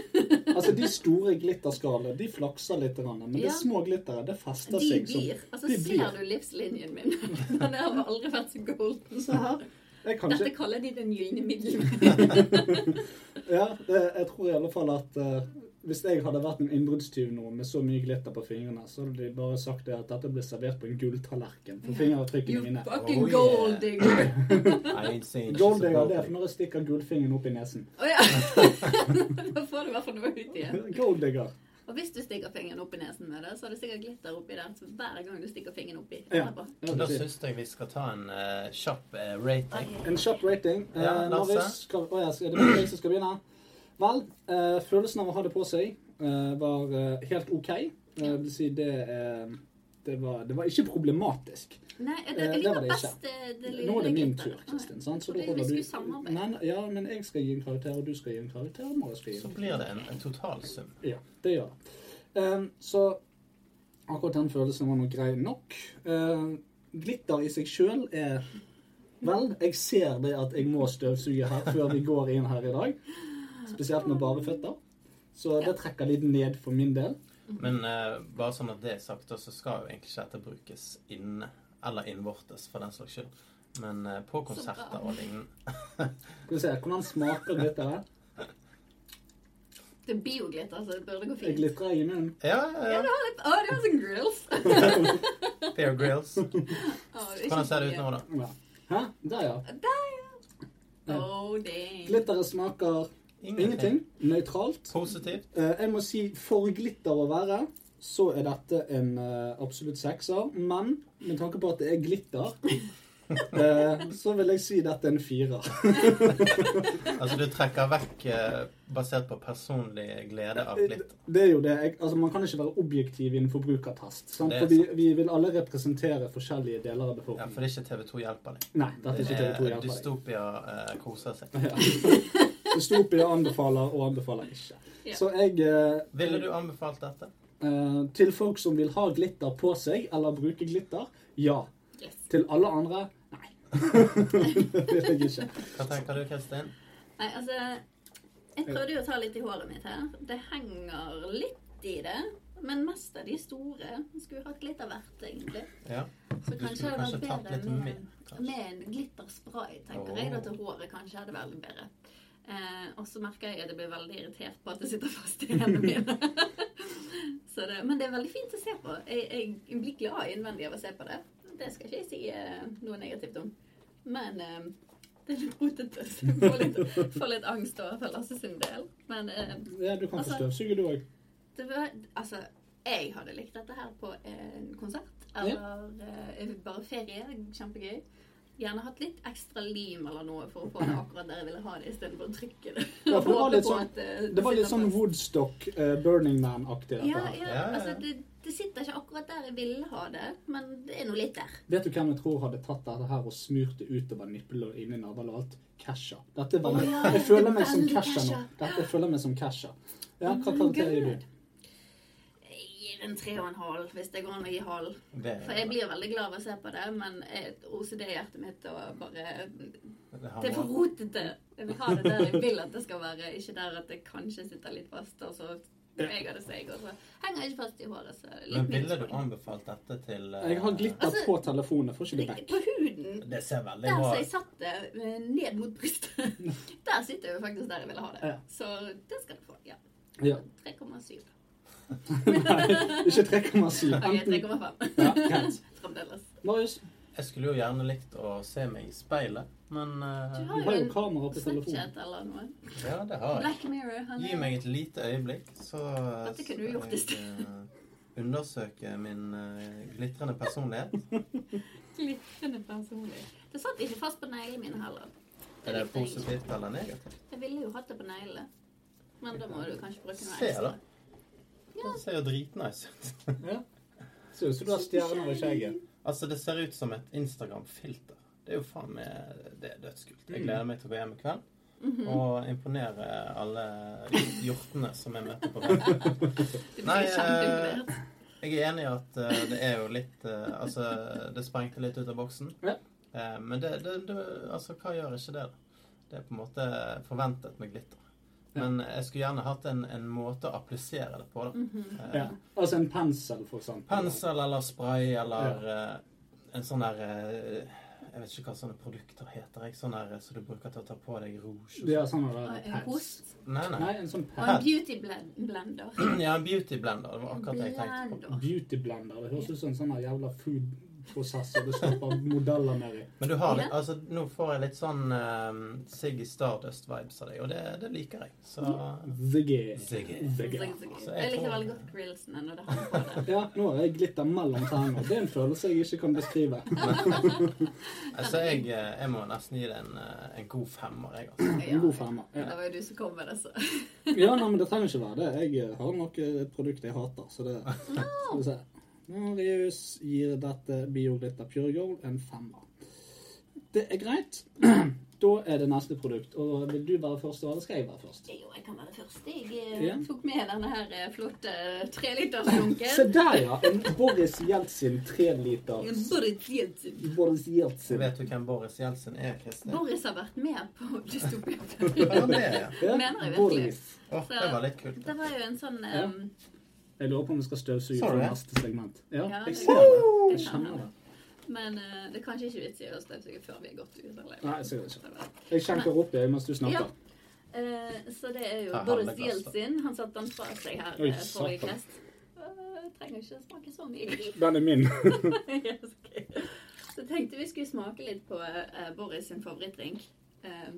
S1: Altså, de store glitterskallene, de flakser litt, grann, men
S3: Ja.
S1: det små glitteret, det fester
S3: De
S1: seg. som-
S3: blir. Altså,
S1: liksom. de blir.
S3: ser du livslinjen min? Den har aldri vært så golden.
S1: Se her. Jeg kan
S3: Dette
S1: ikke
S3: kaller de den gylne middel.
S1: Ja, det, jeg tror i alle fall at eh, hvis jeg hadde vært en innbruddstyv nå med så mye glitter på fingrene, så hadde de bare sagt det at dette ble servert på en gulltallerken. For fingeravtrykkene
S3: You
S1: mine
S2: Oh,
S3: fucking
S2: yeah.
S3: gold digger.
S2: Nei, jeg sier ikke
S1: Gold
S2: så
S1: digger, det
S2: bra.
S1: er for når jeg stikker gullfingeren opp i nesen.
S3: Å ja. da får du i hvert fall noe ut igjen.
S1: Gold digger.
S3: Og hvis du stikker fingeren opp i nesen med det, så er det sikkert glitter oppi der. Så hver gang du stikker fingeren oppi.
S1: Ja.
S3: etterpå.
S1: Ja,
S2: Da
S1: det er fint.
S2: syns jeg vi skal ta en eh, kjapp eh, rating.
S3: Ok.
S1: En kjapp rating. Eh,
S2: Ja, Lasse.
S1: Marius, skal, å, ja, skal, er det bare jeg som skal begynne? Vel, eh, følelsen av å ha det på seg eh, var eh, helt OK. Eh, det vil si, det er Det var, det var ikke problematisk.
S3: Nei, det,
S1: Eh,
S3: jeg
S1: det var
S3: liker
S1: det ikke.
S3: best det, det lille
S1: Nå er det min
S3: klippet.
S1: tur, Kristin. sant? Så
S3: Fordi
S1: da holder
S3: Vi
S1: du
S3: skulle samarbeide.
S1: Nei, nei, Ja, men jeg skal gi en karakter, og du skal gi en karakter, og Marius skal gi en
S2: Så blir det en, en totalsum.
S1: Ja, det gjør det. Ehm, så akkurat den følelsen var nok grei nok. Ehm, glitter i seg sjøl er Vel, jeg ser det at jeg må støvsuge her før vi går inn her i dag. Spesielt med bare føtter. Så det trekker litt ned for min del.
S3: Mhm.
S2: Men eh, bare sånn at det er sagt, da, så skal jo egentlig ikke dette brukes inne. Eller innvortes, for den slags skyld. Men eh, på konserter og lignende.
S1: Skal vi se, Hvordan smaker glitteret?
S3: Det er bioglitter, så det burde gå
S1: Jeg
S3: fint.
S1: glitrer i munnen.
S2: Ja,
S3: Ja,
S2: ja,
S3: det var litt Å, det var sånn grills.
S2: ja. Bear Grills. Hvordan ser det ut nå, da?
S1: Ja. Hæ? Der, ja.
S3: Der, ja.
S1: Ja.
S3: Oh, dang.
S1: Glitteret smaker ingenting. Nøytralt.
S2: Positivt.
S1: Eh, Jeg må si for glitter å være, så er dette en eh, absolutt sekser. Men med tanke på at det er glitter, eh, så vil jeg si dette er en firer.
S2: Altså du trekker vekk eh, basert på personlig glede
S1: Eh,
S2: av glitter.
S1: Det er jo det. Jeg, altså, man kan ikke være objektiv i en forbrukertest. Sant?
S2: Det er
S1: For vi, vi vil alle representere forskjellige deler av
S2: Ja,
S1: befolkningen.
S2: for det er ikke TV2 hjelper deg.
S1: Nei, dette er ikke TV 2
S2: Det er
S1: hjelper deg.
S2: Dystopia eh, koser seg.
S1: Dystopia anbefaler og anbefaler ikke.
S3: Ja.
S1: Så jeg eh,
S2: Ville du anbefalt dette?
S1: eh, Til folk som vil ha glitter på seg, eller bruke glitter, ja.
S3: Yes.
S1: Til alle andre, nei. det vil jeg ikke.
S2: Hva tenker du, Kristin?
S3: Nei, altså Jeg prøvde jo å ta litt i håret mitt her. Det henger litt i det. Men mest av de store. Jeg Skulle hatt litt av hvert, egentlig.
S2: Ja.
S3: Så
S2: Du
S3: kanskje
S2: skulle
S3: det hadde
S2: kanskje
S3: vært
S2: tatt litt
S3: bedre med,
S2: mer. kanskje.
S3: med en glitterspray, tenker jeg. Da til håret kanskje hadde vært litt bedre. Eh, og så merker jeg at jeg blir veldig irritert på at det sitter fast i hendene mine. så det, men det er veldig fint å se på. Jeg, jeg blir glad innvendig av å se på det. Det skal ikke jeg si eh, noe negativt om. Men eh, det er litt rotete. så jeg Får litt, får litt angst over for Lasse sin del. Men eh,
S1: Ja, du kan få støvsuge, du òg.
S3: det var, altså, jeg hadde likt dette her på en konsert, eller eh, bare ferie. Kjempegøy. Gjerne hatt litt ekstra lim eller noe for å få det akkurat der jeg ville ha det, istedenfor å trykke det.
S1: Ja, for det var
S3: Håpe
S1: litt
S3: på
S1: sånn-
S3: at, eh,
S1: Det var litt
S3: sitter
S1: sånn
S3: fast.
S1: Woodstock, eh, Burning Man-aktig. dette
S3: Ja,
S1: her.
S3: ja,
S2: Ja, ja.
S3: altså det, det sitter ikke akkurat der jeg ville ha det, men det er nå litt der.
S1: Vet du hvem jeg tror hadde tatt dette her og smurt det utover nippel og inn i navlen og alt? Kesha. Dette er veldig,
S3: Å ja,
S1: jeg føler meg
S3: veldig
S1: som Kesha nå.
S3: Kesha.
S1: Dette, jeg føler meg som Kesha. Ja, hva
S3: my
S1: karakter gir
S3: God.
S1: du?
S3: Jeg gir en tre og en halv, hvis det går an å gi halv.
S2: Det,
S3: For jeg blir veldig glad av å se på det, men eh, OCD-hjertet mitt og bare
S2: det har
S3: Det er for
S2: noe-
S3: rotete. Jeg vil ha det der jeg vil at det skal være, ikke der at det kanskje sitter litt fast. Og så beveger det seg, og så henger jeg ikke fast i håret. Så litt
S2: Men ville
S3: mindre
S2: du
S3: spennende.
S2: anbefalt dette til eh,
S1: Jeg har glitter
S3: Altså-
S1: på telefonen. Får ikke det
S3: På
S1: vekk.
S3: huden,
S2: Det ser veldig
S3: der
S2: bra
S3: som jeg
S2: ut.
S3: satt det eh, ned mot brystet, der sitter jeg jo faktisk der jeg ville ha det.
S1: Ja.
S3: Så det skal du få. Ja.
S1: Ja.
S3: 3,7.
S1: Nei, ikke 3,7.
S3: Ok,
S1: Enten
S3: 3,5
S1: ja, greit.
S3: fremdeles.
S1: Marius,
S2: Jeg skulle jo gjerne likt å se meg i speilet, men eh,
S3: Du
S1: du
S3: har
S1: har
S3: jo
S1: jo
S3: en
S1: kamera på telefonen.
S3: Snapchat eller noe.
S2: Ja, det har jeg.
S3: Black Mirror. Han
S2: Gi meg et lite øyeblikk, så
S3: Dette kunne du gjort i
S2: skal jeg, eh, undersøke min eh, glitrende personlighet.
S3: glitrende personlig. Det satt ikke fast på neglene mine
S2: Er
S3: heller.
S2: det
S3: likte jeg ikke.
S2: positivt eller negativt?
S3: Jeg ville jo hatt det på neglene. Men da må du kanskje bruke noe
S2: Se, da.
S3: ekstra.
S2: Det ser jo dritnice ut.
S1: Ja. Ser ut som du har stjerner i skjegget.
S2: altså, det ser ut som et Instagram-filter. Det er jo faen meg Det er dødskult. Jeg gleder meg til å gå hjem i kveld
S3: Mhm.
S1: Mm.
S2: og imponere alle hjortene som jeg møter på veien.
S3: Du
S2: Nei, eh,
S3: blir kjempeimponert.
S2: Jeg er enig i at eh, det er jo litt eh, Altså, det sprengte litt ut av boksen.
S1: Ja.
S2: Eh, men det, det, det Altså, hva gjør ikke det, da? Det er på en måte forventet med glitter.
S1: Ja.
S2: Men jeg skulle gjerne hatt en, en måte å applisere det på, da.
S3: Mhm.
S2: Eh,
S1: Ja. Altså en pensel, for eksempel.
S2: Pensel eller spray eller eh, en sånn der eh, Jeg vet ikke hva sånne produkter heter. Ikke? Sånn der eh, som du bruker til å ta på deg rouge. Og
S1: Ja, sånn er
S3: Og
S1: det.
S3: Ah, en host.
S2: sånn. Nei, nei.
S1: Nei, en sånn
S3: Og
S1: pen.
S3: en beauty blend- blender.
S2: Ja, en beauty blender. Det var akkurat det jeg tenkte på.
S3: Blender.
S1: Beauty blender. Det høres ut som en sånn her jævla foodprosessor du stopper modeller ned i.
S2: Men du har
S3: Ja.
S2: litt, altså, nå får jeg litt sånn eh, Siggy Stardust-vibes av deg, og det, det liker jeg. Så
S1: Ziggy.
S2: Ziggy.
S1: Ziggy.
S2: Så
S3: Jeg
S2: jeg
S3: likte
S2: tror-
S3: veldig godt grillsene når det hang på det.
S1: Ja, nå har jeg glitter mellom tærne. Det er en følelse jeg ikke kan beskrive.
S2: altså, jeg, eh, jeg må nesten gi det en, eh, en god femmer, jeg, altså.
S1: En god femmer.
S3: Det
S1: Ja.
S3: var jo du som kom med det, så.
S1: eh,
S2: Ah.
S1: ja, nei, men det trenger ikke være det. Jeg eh, har nok et produkt jeg hater, så det Skal vi se. Marius gir dette BioGlitter Pure Gold en femmer. Det er greit. da er det neste produkt. Og vil du være først, eller skal jeg være først?
S3: Jo, jeg kan være først. Jeg eh,
S1: Ja.
S3: tok med denne her eh, flotte
S1: Se
S3: trelitersdunken.
S1: der, ja! En Boris Jeltsin treliter.
S3: Boris Jeltsin.
S1: Boris
S2: Så
S1: Jeltsin.
S2: vet du hvem Boris Jeltsin er, Kristin?
S3: Boris har vært med på Dystopia.
S2: Ja, han er, ja.
S1: Ja,
S3: Mener jeg virkelig.
S1: Boris.
S2: Åh, det var litt kult.
S3: Det var jo en sånn
S1: Ja.
S3: um,
S1: Jeg lurer på om vi skal støvsuge
S2: Sa du
S1: for
S2: det?
S1: neste segment. Ja,
S3: Ja,
S1: jeg
S3: det
S1: ser
S3: kan
S1: det.
S3: det
S1: Jeg
S3: kan
S1: kjenner det.
S3: Men eh, det er kanskje ikke vits i å støvsuge før vi er gått ut. Eller?
S1: Nei, sikkert Jeg skjenker opp det mens du
S3: Ja.
S1: snakker.
S3: Eh, så det er jo
S2: Her har
S3: Boris
S2: alle glass, da.
S3: Jeltsin. Han satte den fra seg her
S1: Oi,
S3: eh, forrige
S1: satan.
S3: kvest. Eh, trenger ikke smake så mye.
S1: Den er min.
S3: Yes, ok. Så tenkte vi skulle smake litt på eh, Boris sin favorittdrink. Eh,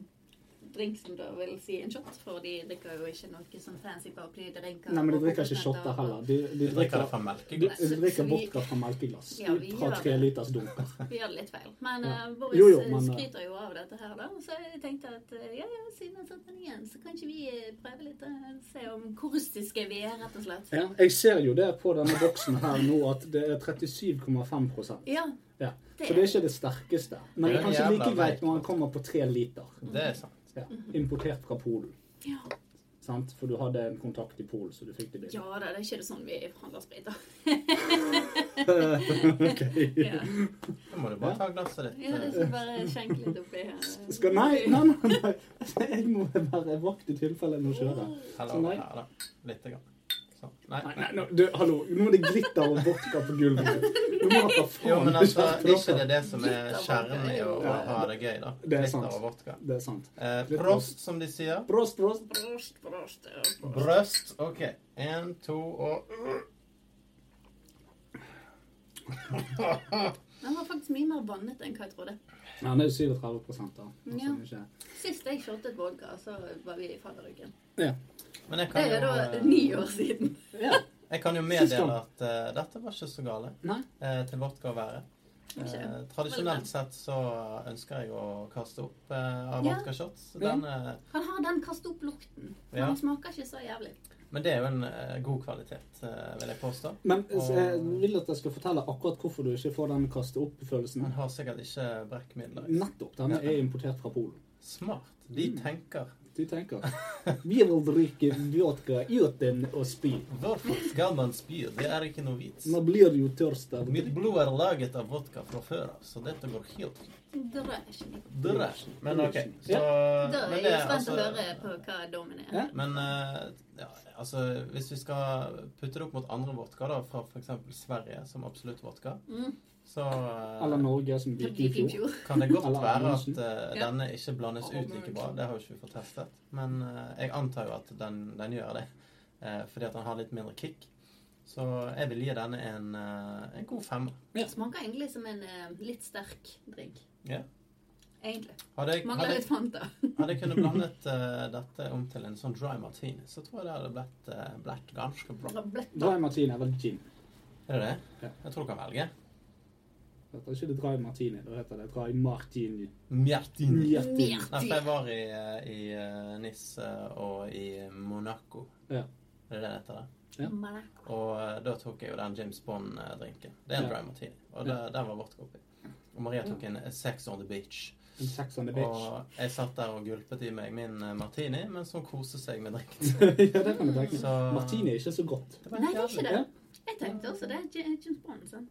S3: drink som da vil si en shot, for de drikker jo ikke noe sånn fancy paraplydrinker.
S1: Nei, men de drikker ikke shotter heller. De, de
S2: Du drikker det
S1: drikker
S2: fra
S1: de,
S2: melkeglass.
S1: de drikker vodka fra melkeglass.
S3: Ja, vi
S1: Fra
S3: gjør
S1: tre
S3: det.
S1: liters dunker.
S3: Vi gjør det litt feil. Men
S1: Ja.
S3: eh, Boris
S1: Jo, jo,
S3: eh,
S1: men, eh,
S3: skryter jo av dette her, da. Så jeg tenkte at eh, ja, ja, siden jeg satt den igjen, så kan ikke vi eh, prøve litt og se om hvor rustiske vi er, rett og slett.
S1: Ja, jeg ser jo det på denne boksen her nå at det er 37,5 prosent.
S3: Ja,
S1: ja.
S3: det
S1: Så det er ikke det sterkeste. Men det er
S2: Det er
S1: kanskje
S2: jævla
S1: like greit
S2: veit.
S1: når han kommer på tre liter.
S2: Det er sant.
S1: Ja.
S3: Mhm.
S1: Importert fra Polen.
S3: Ja.
S1: Sant? For du hadde en kontakt i Polen, så du fikk det billig.
S3: ja da, det er ikke det sånn vi forhandler sprit, da.
S1: Ok.
S3: Ja.
S2: Da må du bare ta glasset ditt.
S3: Ja, jeg skal bare skjenke litt oppi her.
S1: Skal, nei, nei, nei, nei. Jeg må være vakt i tilfelle jeg må kjøre.
S2: Heller over her, da. Litt. Grann. Sånn. Nei.
S1: Nei, nei, nå, du, hallo. Nå er det glitter og vodka på gulvet. Du må ta
S2: Jo,
S1: faen
S2: men altså, ikke
S1: det.
S2: det er det som er kjernen i å å ha det gøy, da.
S1: Det er sant.
S2: Glitter og vodka.
S1: Det er sant.
S2: Eh, prost, som de sier.
S1: Prost, prost.
S3: Brøst, brøst, ja, brøst.
S2: Brøst. OK. Én, to og
S3: Den var faktisk mye mer vannet enn hva jeg trodde.
S1: Ja, det er jo 37 da.
S3: Ja.
S1: Altså, ikke-
S3: Sist jeg shottet vodka, så var vi i fadderuken.
S1: Ja.
S2: Men jeg
S3: Det
S2: kan
S3: er
S2: jo,
S3: da
S2: eh,
S3: ni år siden.
S1: ja.
S2: jeg kan jo
S1: Sist gang.
S2: meddele at eh, dette var ikke så gale
S1: Nei.
S2: eh, til vårt å være. Eh,
S3: Ikke?
S2: tradisjonelt sett så ønsker jeg å kaste opp eh, av
S3: Ja.
S2: vodkashots.
S1: Ja.
S2: Den, eh,
S3: Han har den kast opp lukten.
S2: Ja.
S3: Han smaker ikke så jævlig.
S2: men det er jo en eh, god kvalitet, eh, vil jeg påstå.
S1: Men så jeg vil at jeg skal fortelle akkurat hvorfor du ikke får den kaste opp-følelsen.
S2: Den har sikkert ikke brekkmidler.
S1: Nettopp. Den er importert fra Polen.
S2: Smart. De tenker.
S1: Du tenker Vi vil drikke vodka uten å spy.
S2: Hvorfor skal man spy? Det er ikke noe vits.
S1: Nå blir du jo tørst av å
S2: Mitt
S1: drikke.
S2: blod er laget av vodka fra før av, så dette går helt fint.
S3: Drøy ikke mye.
S2: Dere. Men OK. Så
S3: Da er
S2: men
S3: jeg
S2: det
S3: jo
S2: er
S3: spent å
S2: altså-
S3: høre på hva dommen er.
S1: Ja.
S2: Men eh, ja, altså, hvis vi skal putte det opp mot andre vodka, da, fra f.eks. Sverige, som absolutt vodka,
S3: Mm.
S2: så eh,
S1: Eller Norge, som
S3: Det
S1: gikk i
S3: gikk i
S1: fjor.
S3: fjor.
S2: kan det godt
S1: Eller
S2: være at
S1: Amundsen.
S2: eh,
S3: Ja.
S2: denne ikke blandes ut like
S3: Amundsen.
S2: bra. Det har jo ikke vi fått testet. Men eh, jeg antar jo at den, den gjør det, eh, fordi at den har litt mindre kick. Så jeg vil gi denne en, eh, en god femmer.
S1: Ja.
S3: Det smaker egentlig som en eh, litt sterk drink.
S2: Ja.
S3: Egentlig.
S2: Hadde jeg,
S3: Mangler
S2: hadde,
S3: litt Fanta.
S2: hadde jeg kunnet blandet eh, dette om til en sånn dry martini, så tror jeg det hadde blitt, eh, blitt ganske bra.
S1: Dry martini er vel gin.
S2: Er det det?
S1: Ja.
S2: Jeg tror du kan velge.
S1: Dette er ikke det dry martini, det heter det dry martini.
S2: Mjertini.
S1: Martini.
S2: Nei, for jeg
S3: Mjerti.
S2: var i, eh, i eh, Nis eh, og i Monaco.
S1: Ja.
S2: Er det det det heter? da?
S1: Ja.
S2: Og eh, da tok jeg jo den James Bond-drinken. Det er
S1: Ja.
S2: en dry martini. Og det, der var vodka oppi. Og Maria tok en Sex on the Beach.
S1: En sex on the bitch.
S2: Og jeg satt der og gulpet i meg min eh, martini mens hun koste seg med drinken.
S1: ja, det kan du tenke.
S2: Så
S1: Martini er ikke så godt.
S2: det
S3: Nei, det er ikke
S2: jævlig.
S3: det. Jeg tenkte også det. J- eh, James Bond, sant?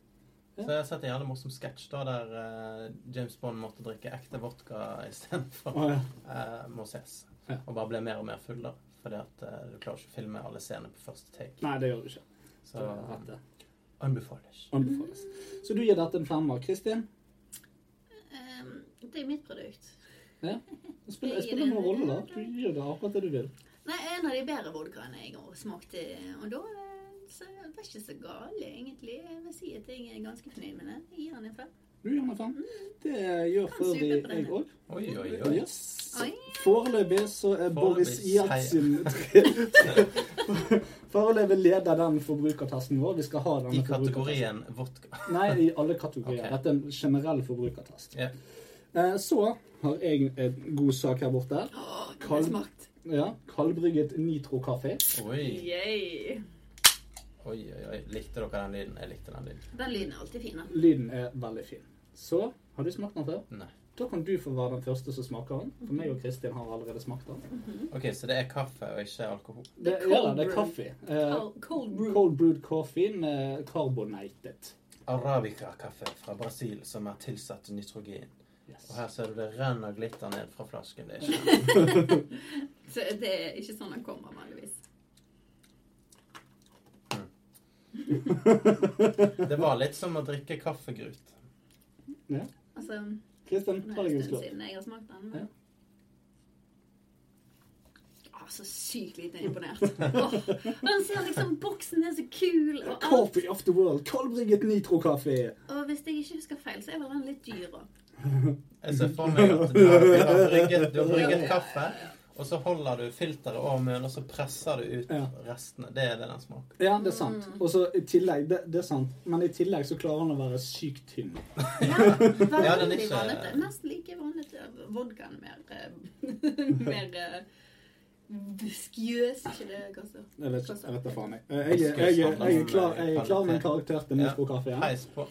S2: Så jeg har sett en jævlig morsom sketsj da der eh, James Bond måtte drikke ekte vodka istedenfor
S1: Å, ja.
S2: eh, må ses.
S1: Ja.
S2: Og bare ble mer og mer full, da. Fordi at eh, du klarer ikke å filme alle scener på første take.
S1: Nei, det gjør du ikke.
S2: Så eh,
S1: Dette
S2: anbefales.
S1: anbefales. Så du gir dette en femmer. Kristin,
S3: Ehm, det er mitt produkt.
S1: det spiller, det spiller noen rolle, da. Du gir det akkurat det du vil.
S3: Nei, en av de bedre vodkaene jeg har smakt. eh, Og da eh, så det var ikke så gale, egentlig. Jeg vil si at jeg er ganske fornøyd med den. Jeg gir den en fem.
S1: Du gir meg fem. Det gjør for øvrig jeg òg.
S2: Oi, oi, oi.
S1: Yes.
S3: Oi.
S1: Foreløpig så er
S2: Foreløpig
S1: Boris
S2: seier.
S1: Jeltsin tre- Foreløpig leder den forbrukertesten vår. Vi skal ha
S2: I
S1: denne forbrukertesten.
S2: kategorien vodka.
S1: Nei, i alle kategorier.
S2: Ok.
S1: Dette er en generell forbrukertest.
S2: Ja.
S1: Eh, Så har jeg en god sak her borte.
S3: Åh, den
S1: Kald-
S3: har smakt.
S1: Ja, Kaldbrygget nitrokaffe.
S2: Oi.
S3: Yay.
S2: Oi, oi, oi. Likte dere den lyden? Jeg likte den lyden.
S3: Den lyden er alltid fin. da.
S1: Lyden er veldig fin. Så har du smakt den før?
S2: Nei.
S1: Da kan du få være den første som smaker den. For meg og Kristin har allerede smakt den.
S2: Ok, så det er kaffe og ikke alkohol.
S1: Det,
S3: Cold
S1: ja, det er
S3: brew.
S1: kaffe. Eh,
S3: Cold, cold brew.
S1: cold brewed coffee med carbonated.
S2: Arabica-kaffe fra Brasil som er tilsatt nitrogen.
S1: Yes.
S2: Og her ser du det renner glitter ned fra flasken. Det er ikke
S3: Så det er ikke sånn den kommer vanligvis.
S2: Det var litt som å drikke kaffegrut.
S3: Altså, det
S1: Kristin,
S3: er
S1: ta
S3: en
S1: deg en
S3: stund
S1: slurk.
S3: siden jeg har smakt den.
S1: Ja.
S3: Men... Å, Ah, så sykt lite imponert. Åh, han ser liksom Boksen er så kul og alt.
S1: Coffee of the world. Kaldbrygget nitrokaffe.
S3: Og hvis jeg ikke husker feil, så er vel den litt dyr òg.
S2: Jeg ser for meg at du har, du har, brygget, du har brygget kaffe, og så holder du filteret over munnen, og så presser du ut
S1: Ja.
S2: restene. Det er det den smaker.
S1: Ja, det er sant.
S3: Mm.
S1: Og så i tillegg, det, det er sant, men i tillegg så klarer han å være sykt tynn.
S3: Ja,
S2: Ja, den er
S3: veldig
S2: ikke-
S3: vanlig. Nesten like vanlig. Vodkaen er mer eh, Mer eh, viskjøs, ikke det, altså. Kasper?
S1: Jeg vet, jeg vet da faen, jeg. Eh, Jeg, er- jeg, er- jeg, er klar- jeg er klar med en karakter til nitrokaffen.
S2: Heis på.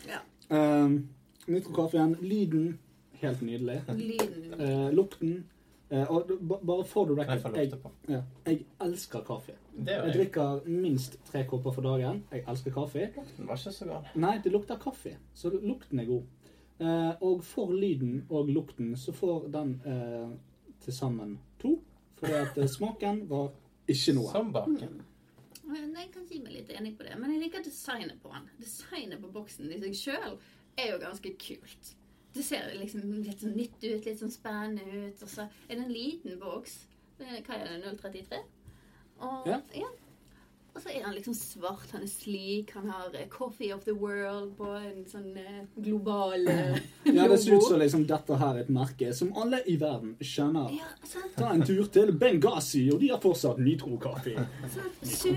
S1: Um, nitrokaffen, lyden, helt nydelig.
S3: Lyden
S1: Eh, lukten. eh, og ba- bare for the
S2: Kan jeg få
S1: record, jeg,
S2: lukte på?
S1: ja, jeg elsker kaffe. Jeg
S2: Det gjør jeg.
S1: drikker minst tre kopper for dagen. Jeg elsker kaffe.
S2: Den var ikke så gal.
S1: Nei, det lukter kaffe, så lukten er god. Eh, og for lyden og lukten så får den eh, til sammen to. Fordi at eh, smaken var ikke noe.
S2: Som baken.
S3: Mm. Men Jeg kan si meg litt enig på det, men jeg liker designet på den. Designet på boksen i seg sjøl er jo ganske kult. Det ser liksom litt sånn nytt ut, litt sånn spennende ut. Og så er det en liten boks. Det er- Hva er det, 033? Og,
S1: Ja.
S3: ja. og så er han liksom svart, han er slik, han har eh, 'Coffee of the World' på en sånn eh, global eh,
S1: Ja, Det ser ut
S3: logo.
S1: som liksom, dette her er et merke som alle i verden skjønner.
S3: Ja, sant?
S1: Ta en tur til Benghazi, og de har fortsatt nitrokaffe.
S3: Sånn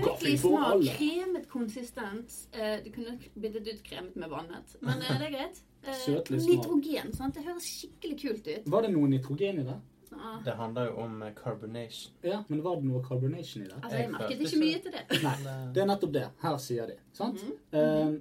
S1: Kaffe
S3: Sykelig
S1: for
S3: smak.
S1: alle.
S3: Kremet konsistens. Eh, Du kunne byttet ut kremet med vannet, men eh, det er greit. Eh,
S1: Søtlig smak.
S3: Nitrogen. sant? Det høres skikkelig kult ut.
S1: Var det noe nitrogen i det?
S3: Ah,
S2: Det handler jo om eh, carbonation.
S1: Ja, men var det noe carbonation i det?
S3: Altså, jeg
S2: Jeg
S3: merket
S2: følte
S3: ikke mye til det.
S1: Nei.
S2: Men, eh,
S1: Det er nettopp det. Her sier de. Sant? Eh,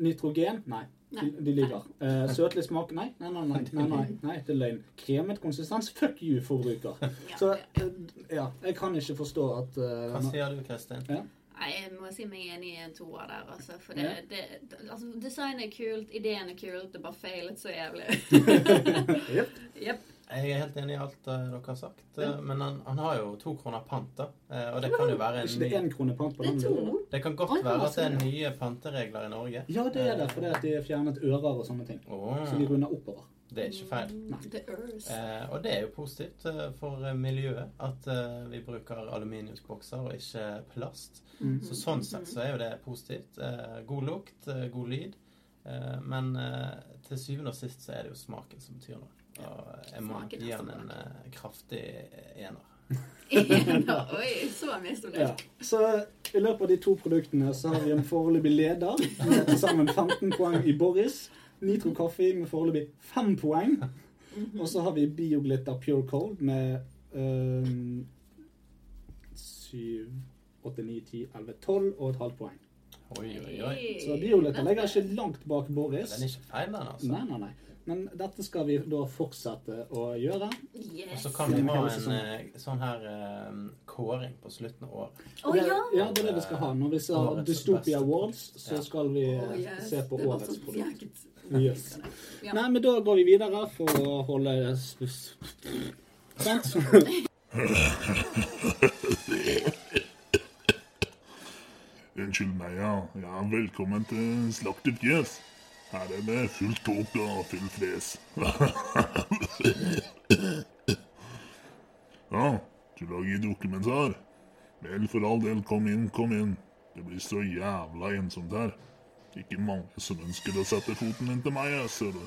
S1: nitrogen? Nei. De,
S3: Mhm. Nei.
S1: de lyver. Eh, søtlig smak? Nei. Nei, nei, nei, nei, nei, nei, det er løgn. Kremet konsistens? Fuck you, forbruker.
S3: Ja,
S1: Så
S3: ja.
S1: eh, ja, jeg kan ikke forstå at eh,
S2: Hva sier du, Kristin?
S3: Nei, jeg må si meg enig i en toer der, altså. For
S1: Ja.
S3: det, det, altså, designet er kult, ideen er kult, det bare feilet så jævlig.
S1: Jep.
S3: Jepp.
S2: Jeg er helt enig i alt eh, dere har sagt, eh,
S1: Ja.
S2: men han, han har jo to kroner pant, da. Eh, Og det kan jo være
S1: Ikke
S2: en
S1: det
S2: ny
S1: én krone pant på
S3: Det
S1: den?
S3: er
S1: lyden?
S3: to.
S2: Det kan
S3: Oi,
S2: godt
S3: det var
S2: være at det er
S3: sånn,
S2: nye panteregler i Norge.
S1: Ja, det er det, fordi at de har fjernet ører og sånne ting.
S2: Åh,
S1: Så de runder oppover.
S2: det er ikke feil.
S3: Mm, The Earth.
S2: Eh, og det er jo positivt eh, for eh, miljøet at eh, vi bruker aluminiumsbokser og ikke plast.
S3: Mm.
S2: Så sånn sett så er jo det positivt. Eh, god lukt, eh, god lyd. Eh, men eh, til syvende og sist så er det jo smaken som betyr noe. Og jeg må
S3: Smaken er
S2: gi han
S3: så
S2: en eh, kraftig ener.
S3: Ja, Oi, så misfornøyd.
S1: Ja. Så i løpet av de to produktene så har vi en foreløpig leder med til sammen 15 poeng i Boris. Nitro Kaffe med foreløpig 5 poeng.
S3: Mhm.
S1: Og så har vi Bioglitter Pure Cold med øhm, 7, 8, 9, 10, 11, 12 og et halvt poeng.
S2: Oi, oi, oi.
S1: Så Bioglitter ligger ikke langt bak Boris.
S2: Den er ikke feil, den, altså.
S1: Nei, nei, nei. Men dette skal vi da fortsette å gjøre.
S2: Og
S3: Yes.
S2: så kan vi ha
S1: Hele
S2: en
S1: sesongen.
S2: eh, sånn her eh, kåring på slutten av året.
S3: Å ja!
S1: ja, det er det vi skal ha. Når vi ser
S2: Årets
S1: Dystopia
S2: beste
S1: Awards,
S2: Ja.
S1: så skal vi
S3: Å, yes.
S1: se på
S3: Det altså var
S1: årets
S3: så
S1: produkt.
S3: fjernt.
S1: Yes.
S3: Ja.
S1: Nei, men da går vi videre for å holde Sant?
S4: Unnskyld meg, ja. ja. Velkommen til Slaktet fjøs. Her er det fullt tåk og full fres. ja, du lager dokumentar? Vel, for all del, kom inn, kom inn. Det blir så jævla ensomt her. Ikke mange som ønsker å sette foten inn til meg, jeg ser du.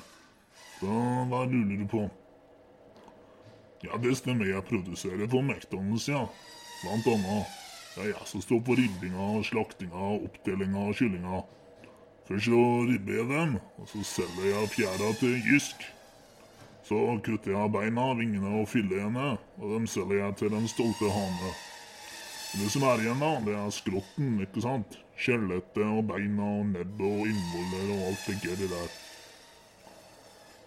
S4: Så hva lurer du på? Ja, det stemmer, jeg produserer for McDonald's, ja. Blant annet. Det er jeg som står for ribbinga, slaktinga, oppdelinga og kyllinga. Først så ribber jeg dem, og så selger jeg fjæra til Jysk. Så kutter jeg beina, vingene og filetene, og dem selger jeg til den stolte hane. Det som er igjen, da, det er skrotten, ikke sant? Skjelettet og beina og nebb og innvoller og alt det gøy der.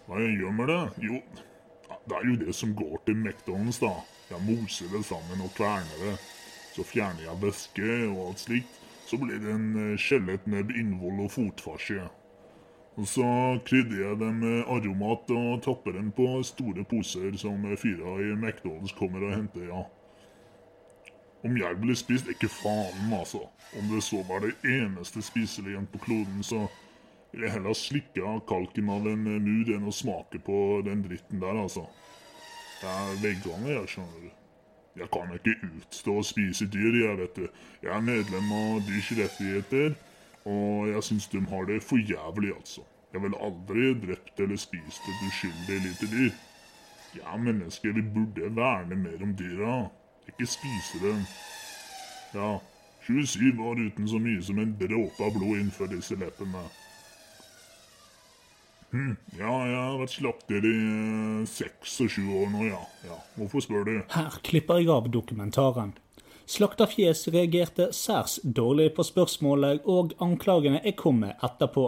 S4: Hva gjør med det? Jo, ja, det er jo det som går til McDonald's, da. Jeg moser det sammen og kverner det. Så fjerner jeg væske og alt slikt. Så blir det en eh, skjelettnebb, innvoll og fotfarse. Og så krydder jeg dem med aromat og tapper dem på store poser som fyra i McDonald's kommer og henter, ja. Om jeg ble spist, ikke faen, altså. Om det så var det eneste spiselige igjen på kloden, så ville jeg heller slikke av kalken av en eh, mur enn å smake på den dritten der, altså. Jeg er veganer, jeg, skjønner du. Jeg kan ikke utstå å spise dyr, jeg, vet du. Jeg er medlem av dyrs rettigheter, og jeg syns de har det for jævlig, altså. Jeg ville aldri drept eller spist et uskyldig lite dyr. Vi er mennesker, vi burde verne mer om dyra. Ikke spise dem. Ja, 27 var uten så mye som en dråpe av blod innenfor disse leppene. Hm, ja, jeg har vært slakter i eh, seks og sju år nå, ja. ja. Hvorfor spør du?
S5: Her klipper jeg av dokumentaren. Slakterfjes reagerte særs dårlig på spørsmålet og anklagene jeg kom med etterpå.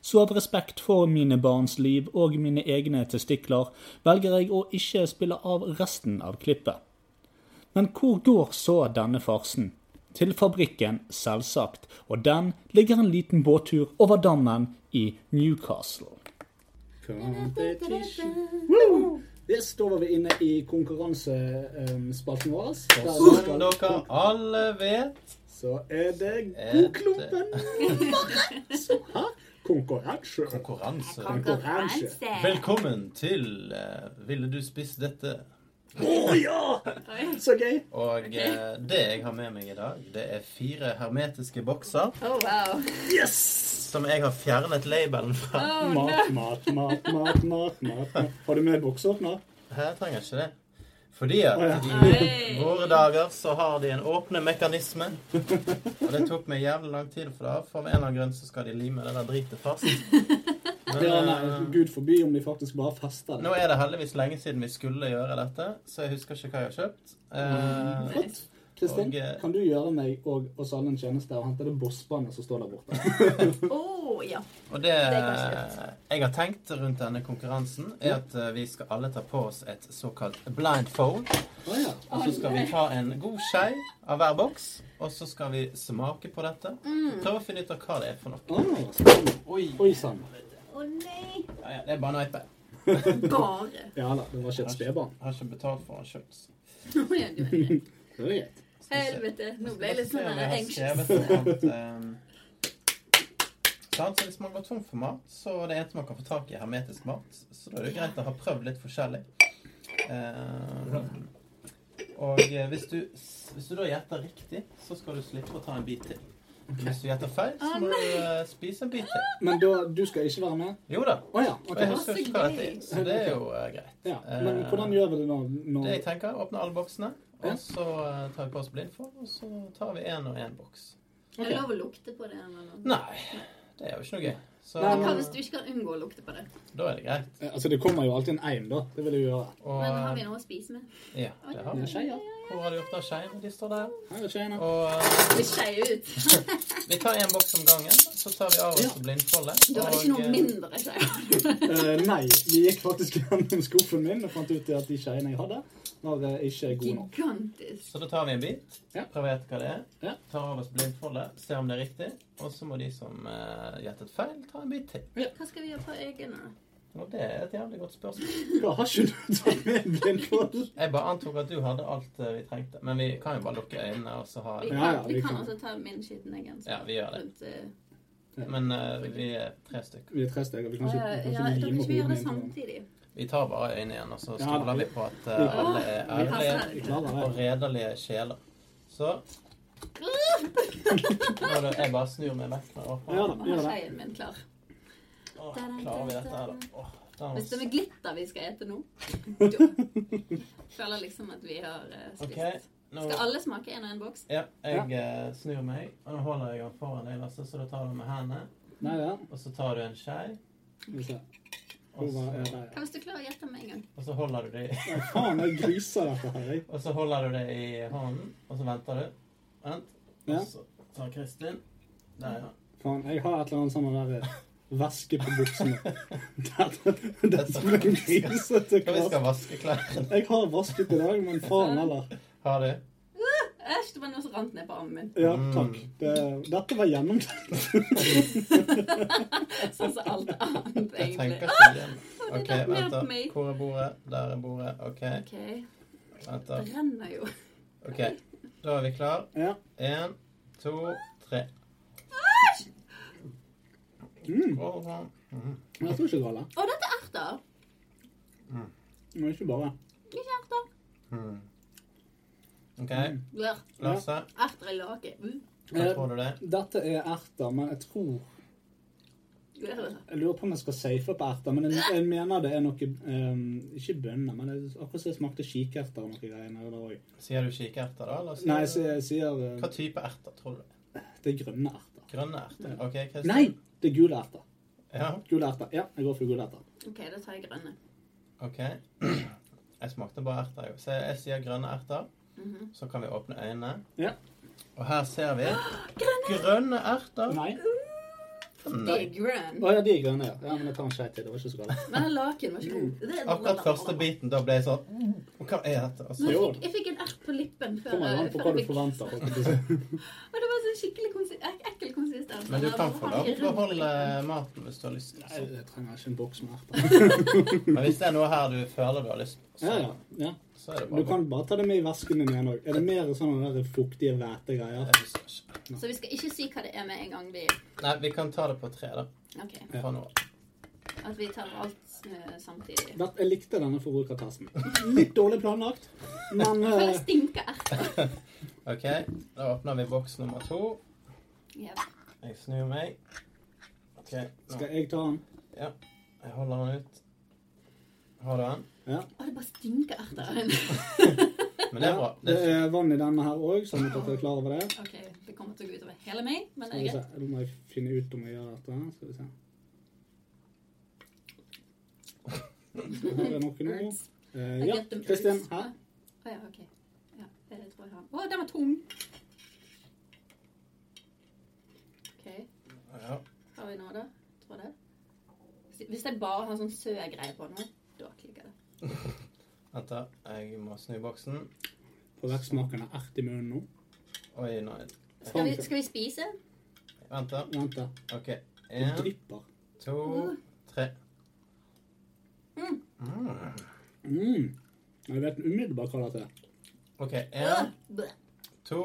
S5: Så av respekt for mine barns liv og mine egne testikler, velger jeg å ikke spille av resten av klippet. Men hvor går så denne farsen? Til fabrikken, selvsagt, og den ligger en liten båttur over dammen i Newcastle.
S1: Competition. Woo! Mm. Yes, da var vi inne i konkurransespalten vår. Der vi
S2: Og som
S1: skal-
S2: dere alle vet
S1: Så er det
S2: er det
S1: Godklumpen. Så her konkurranse.
S2: konkurranse.
S3: Konkurranse!
S2: Velkommen til eh, Ville du spist dette?
S1: Å ja!
S3: Oi.
S1: Så gøy.
S2: Og eh, det jeg har med meg i dag, det er fire hermetiske bokser
S3: Oh, wow.
S1: Yes!
S2: som jeg har fjernet labelen fra.
S1: Ah.
S3: Oh, no.
S1: Mat, mat, mat, mat, mat. mat. mat. Har du med bokseåpner?
S2: Her trenger jeg ikke det. Fordi at
S1: Å, ja.
S2: i
S3: Oi.
S2: våre dager så har de en åpne mekanisme. Og det tok meg jævlig lang tid, for da for en eller annen grunn så skal de lime det der dritet fast. Men,
S1: Ja,
S2: eh,
S1: nei, Gud forby om de faktisk bare fester
S2: Nå
S1: det.
S2: er det heldigvis lenge siden vi skulle gjøre dette, så jeg husker ikke hva jeg har kjøpt. Eh,
S1: Flott. Kristin,
S2: Og, eh,
S1: kan du gjøre meg og oss alle en tjeneste og hente det bossbandet som står der borte?
S3: oh, ja.
S2: og det
S3: Det kan jeg ikke
S2: eh, jeg har tenkt rundt denne konkurransen, er at eh, vi skal alle ta på oss et såkalt blindfold.
S1: Å ja.
S2: Og så skal vi ta en god skei av hver boks, og så skal vi smake på dette.
S3: Mm.
S2: Prøve å finne ut av hva det er for noe.
S1: Å, spennende.
S2: Oi,
S1: Oi sann.
S3: Å nei.
S2: ja, ja, Det er bare en iPad.
S3: Bare.
S1: Ja da, det var ikke et spedbarn.
S2: Jeg har ikke betalt for den sjøl.
S3: Nå er du enig.
S1: Det er greit.
S3: Helvete. Nå ble jeg litt sånn
S2: Jeg har
S3: anxious.
S2: skrevet noe annet, ehm, sant? Så hvis man går tom for mat, så er det eneste man kan få tak i, er hermetisk mat. Så da er det jo greit å ha prøvd litt forskjellig. Ehm, og eh, hvis du, hvis du da gjetter riktig, så skal du slippe å ta en bit til. Hvis du gjetter feil,
S3: Ah,
S2: så må du eh, spise en bit til.
S1: Men da, du skal ikke være med?
S2: Jo da.
S1: Å ja.
S2: Og jeg
S1: ok.
S2: husker ikke hva dette er, så det er jo eh, greit.
S1: Ja, men hvordan gjør vi det nå?
S2: Det jeg
S1: når
S2: tenker, Åpne alle boksene,
S1: Ja.
S2: og så eh, tar vi på oss blindfold, og så tar vi én og én boks.
S3: Er det lov å lukte på det? eller noe?
S2: Nei, det er jo ikke noe gøy. Så
S1: Nei,
S3: Hva
S1: men-
S3: hvis du ikke kan unngå å lukte på det?
S2: da er det greit.
S1: Eh, Altså, det kommer jo alltid en eim, da. Det vil jeg gjøre.
S2: Og
S3: Men har vi noe å spise med?
S2: ja, det har
S1: Det er
S2: vi.
S1: skeier.
S2: Hvor har de gjort av skeiene? De står der.
S1: Her er skeiene.
S2: Og eh,
S3: Vi skeier ut.
S2: vi tar én boks om gangen, så tar vi av oss
S1: Ja.
S2: blindfoldet.
S3: Da er det ikke
S2: og,
S3: noe
S2: eh,
S3: mindre skeier.
S1: Eh, nei, vi gikk faktisk gjennom skuffen min og fant ut at de skeiene jeg hadde, var eh, ikke gode nok.
S3: Gigantisk.
S2: Så da tar vi en bit,
S1: Ja.
S2: prøver å gjette hva det
S1: Ja.
S2: er, tar av oss blindfoldet, ser om det er riktig, og så må de som eh, gjettet feil, ta en bit til.
S3: Hva skal vi gjøre på øynene, da?
S2: Og det er et jævlig godt spørsmål.
S1: Hva har ikke du tatt med blindfold?
S2: Jeg bare antok at du hadde alt eh, vi trengte, men vi kan jo bare lukke øynene og så ha
S3: Vi
S1: Ja, ja,
S3: kan, vi
S1: vi
S3: kan
S1: kan.
S3: også ta min skitne genser.
S2: Ja, vi gjør det.
S3: Rundt, eh,
S2: Men eh, vi er tre stykker.
S1: Vi er tre stykker. Vi kan
S3: ja,
S1: ikke, vi
S3: Eh, ja,
S1: kan
S3: da
S1: ikke
S3: kan
S1: lime
S3: ikke vi gjøre
S1: hodene
S3: det
S1: inn på hverandre.
S3: samtidig.
S2: Vi tar bare øynene igjen, og så
S1: Ja,
S2: stoler
S1: vi-
S2: vi på at eh, alle er
S3: vi-
S2: ærlige.
S3: vi-
S1: Vi klarer
S2: og
S1: det.
S2: redelige sjeler. Så nå er det, Jeg bare snur meg vekk når jeg åpner.
S1: Ja da, vi
S3: Og ha
S1: gjør det.
S3: skeien min klar.
S2: Åh, klarer vi dette her, da? Åh, den var
S3: Hvis det
S2: s-
S3: er glitter vi skal ete nå, da føler jeg liksom at vi har eh, spist.
S2: OK, nå
S3: Skal alle smake en og en boks?
S2: ja, jeg eh, snur meg, og nå holder jeg den foran deg, Lasse, så da tar du med hendene.
S1: Nei, ja.
S2: Og så tar du en skje,
S1: Skal vi se.
S2: og,
S1: Hvor var er
S2: så-
S1: det?
S3: Hva hvis du klarer å gjette med en gang?
S2: og så holder du det i-
S1: Nei, faen, jeg griser dette her, jeg.
S2: Og så holder du det i hånden, og så venter du. Vent.
S1: Ja.
S2: Og så tar Kristin. Der, ja.
S1: Faen, jeg har et eller annet sånn der eh, væske på buksene. Dette dette ble en grisete
S2: Ja, vi skal
S1: kvast.
S2: vaske klærne.
S1: Jeg har vasket i dag, men faen heller.
S2: Har du?
S3: Æsj, det var noe som rant ned på armen min.
S1: Ja,
S2: Mm.
S1: takk. Det, dette var gjennomtenkt.
S3: Sånn som alt annet,
S2: Jeg tenker
S3: egentlig.
S2: ikke igjen.
S3: det
S2: OK,
S3: datt ned
S2: vent, da.
S3: på meg.
S2: Hvor er bordet? Der er bordet. OK,
S3: OK. Det
S2: vent, da.
S3: renner jo.
S2: OK. Da er vi klar.
S1: Ja.
S2: Én, to, tre.
S1: Mm.
S2: Skål, sånn. Mhm.
S1: Men jeg tror ikke det var det.
S3: Å, dette er erter.
S1: Men ikke bare.
S3: Ikke erter.
S2: Mhm. OK,
S1: Mm.
S3: Blør.
S2: Lasse.
S3: Erter i lake. Mm.
S2: Hva tror du det?
S1: Eh, Dette er erter, men jeg tror
S3: Blør.
S1: Jeg lurer på om jeg skal safe på erter, men jeg, jeg mener det er noe eh, Ikke bønner, men det, akkurat som det smakte kikerter og noe greier nede der òg.
S2: Sier du kikerter, da? Eller
S1: Nei,
S2: sier
S1: så
S2: du-
S1: jeg sier eh,
S2: Hva type erter tror du?
S1: det er grønne erter.
S2: Grønne erter? OK, Kristin.
S1: Nei! Det er gule erter.
S2: Ja,
S1: Gule erter. Ja, jeg går for gule erter.
S3: OK, da tar jeg grønne.
S2: OK. Jeg smakte bare erter, jo. Så jeg sier grønne erter.
S3: Mhm.
S2: Så kan vi åpne øynene.
S1: Ja.
S2: Og her ser vi grønne erter.
S1: Nei.
S3: Det er grønn.
S1: Å ja, de er grønne, ja. ja men jeg tar en skei til. Det var ikke så galt.
S3: Men den laken var ikke god. Det-
S2: Akkurat første biten, da ble jeg sånn «Mm, Hva er dette? Og
S3: Men
S2: så,
S3: jeg
S1: Jo.
S3: fikk, jeg fikk en ert på lippen før,
S1: Kommer jo an på
S3: før
S1: hva du
S3: jeg fikk
S1: forventer. holdt jeg på å si.
S3: Og det var sånn skikkelig konsi ek ekkel konsistens.
S2: men du
S3: Den
S2: kan
S3: var
S2: få lov til å
S3: rundt på
S2: beholde eh,
S3: lippen.
S2: maten hvis du har lyst.
S1: Nei,
S2: Så.
S1: jeg trenger ikke en boks med erter.
S2: Men hvis det er noe her du føler du har lyst på,
S1: Ja,
S2: så,
S1: ja, ja.
S2: så er det
S1: Du
S2: bare
S1: kan bare ta det med i vesken din igjen òg. Er det mer sånne der fuktige hvetegreier?
S2: Jeg husker ikke.
S3: Så vi skal ikke si hva det er med en gang vi
S2: Nei, vi kan ta det på tre, da.
S3: Ok,
S1: Ja.
S2: Fra nå av.
S3: At vi tar alt eh, samtidig.
S1: Dette- Jeg likte denne forbrukertesten. Litt dårlig planlagt, men
S3: For det
S1: eh,
S3: stinker erter.
S2: OK, da åpner vi boks nummer to.
S3: Ja.
S2: Jeg snur meg. OK, nå.
S1: skal jeg ta den?
S2: Jeg holder den ut. Har du den?
S3: Å, det bare stinker erter.
S2: Men det er bra.
S1: Det
S2: Det er
S1: er vann i denne her òg, sånn at dere er klar over det.
S3: Ok, det kommer til å gå utover hele meg, men
S1: Skal
S3: det
S1: vi
S3: er
S1: se.
S3: greit.
S1: Nå må jeg finne ut om jeg gjør dette. Skal vi se. Her er noe nå.
S3: Erts.
S1: Eh,
S3: I
S1: ja,
S3: get them
S1: Kristin.
S3: erts.
S1: Her.
S3: Å ja, ok. Ja, det tror jeg har. Å, den var tung. Ok,
S2: ja.
S3: har vi nå da? Tror det. Hvis jeg bare har sånn sø-greie på nå, da klikker det.
S2: Vent, da. Jeg må snu boksen.
S1: På vekk smaken av ert i munnen nå.
S2: Oi, nei.
S3: Skal vi, skal vi spise?
S2: Vent, da.
S1: Vent, da.
S2: OK.
S1: Det
S2: Én,
S1: drypper.
S2: to, tre. Mm.
S1: Mm. Jeg vet umiddelbart hva dette er.
S2: OK. Én,
S3: Bøh.
S2: to,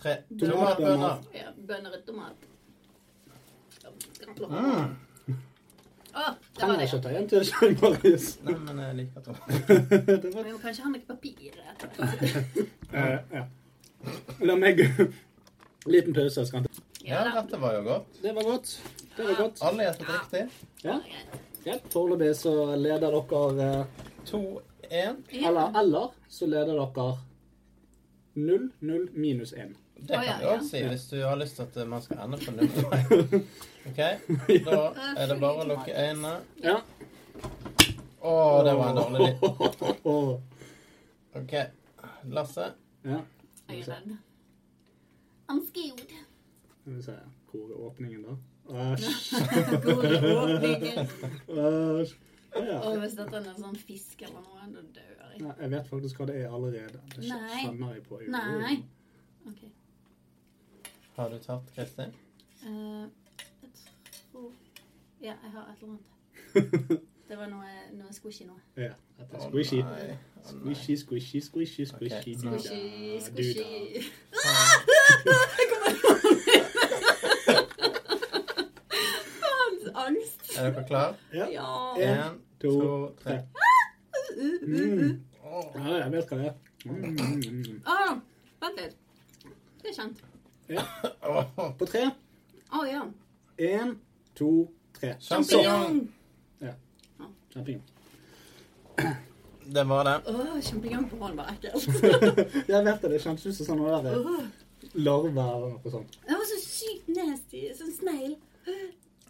S2: tre.
S1: Tomatbønner.
S2: Tomatbønner.
S3: Ja, bønner og tomat. Å,
S2: Mm.
S3: det var
S1: Trenger
S3: det.
S1: ikke ta en til, Svein Marius.
S2: Nei, men jeg liker tomat.
S1: Det var-
S3: Vi må kanskje ha noe papir etter hvert.
S1: Eh, ja. La meg Liten pause. jeg Skal.
S2: Ja, dette var jo godt.
S1: Det var godt. Det var godt.
S2: Alle gjettet riktig.
S1: Ja. Ja, Foreløpig så leder dere eh,
S2: To, én.
S3: Ja.
S1: Eller, eller så leder dere 0, 0, minus 1.
S2: Det
S3: Å,
S2: kan
S3: ja,
S2: du
S3: ja.
S2: også si hvis du har lyst til at man skal ende på null poeng. OK, da er det bare å lukke øynene.
S1: Ja.
S2: Å, det var en dårlig lyd.
S1: Åh.
S2: OK. Lasse.
S1: Ja.
S3: Jeg er redd. I'm scared.
S1: Skal vi se Hvor er åpningen, da? Æsj.
S3: God åpning.
S1: Æsj. Ja.
S3: Og hvis dette er en sånn fisk eller noe, da dør jeg.
S1: Nei, Jeg vet faktisk hva det er allerede. Det skj-
S3: Nei.
S1: kjenner jeg på.
S3: Nei. Ok.
S2: Har du tatt, Kristin?
S3: Eh, jeg tror Ja, jeg har et eller annet. Det var noe, noe squishy nå.
S1: Ja. Dette
S2: Å,
S1: er squishy.
S2: nei. Å, nei.
S1: Squishy, squishy, squishy, squishy.
S2: eh, Ok.
S1: duda,
S3: Squishy,
S1: duda.
S3: squishy. Faens angst.
S2: Er dere klare?
S1: Ja.
S3: Ja. Uh,
S2: Én,
S1: To,
S2: to, tre.
S1: Mm.
S2: Å,
S1: Ja, jeg vet hva det er. Mm, mm, mm.
S3: Å, Ah, vent litt. Det er kjent.
S2: å.
S1: På tre.
S3: Å ja.
S1: Én, to, tre.
S2: Sjampinjong.
S1: Kjempefint.
S2: Det var det.
S3: Å, Sjampinjong på hånden var ekkelt.
S1: Jeg vet det. Det kjentes ut som sånn noe der
S3: Åh,
S1: larve eller noe sånt.
S3: Det var så sykt nasty. Sånn snegl.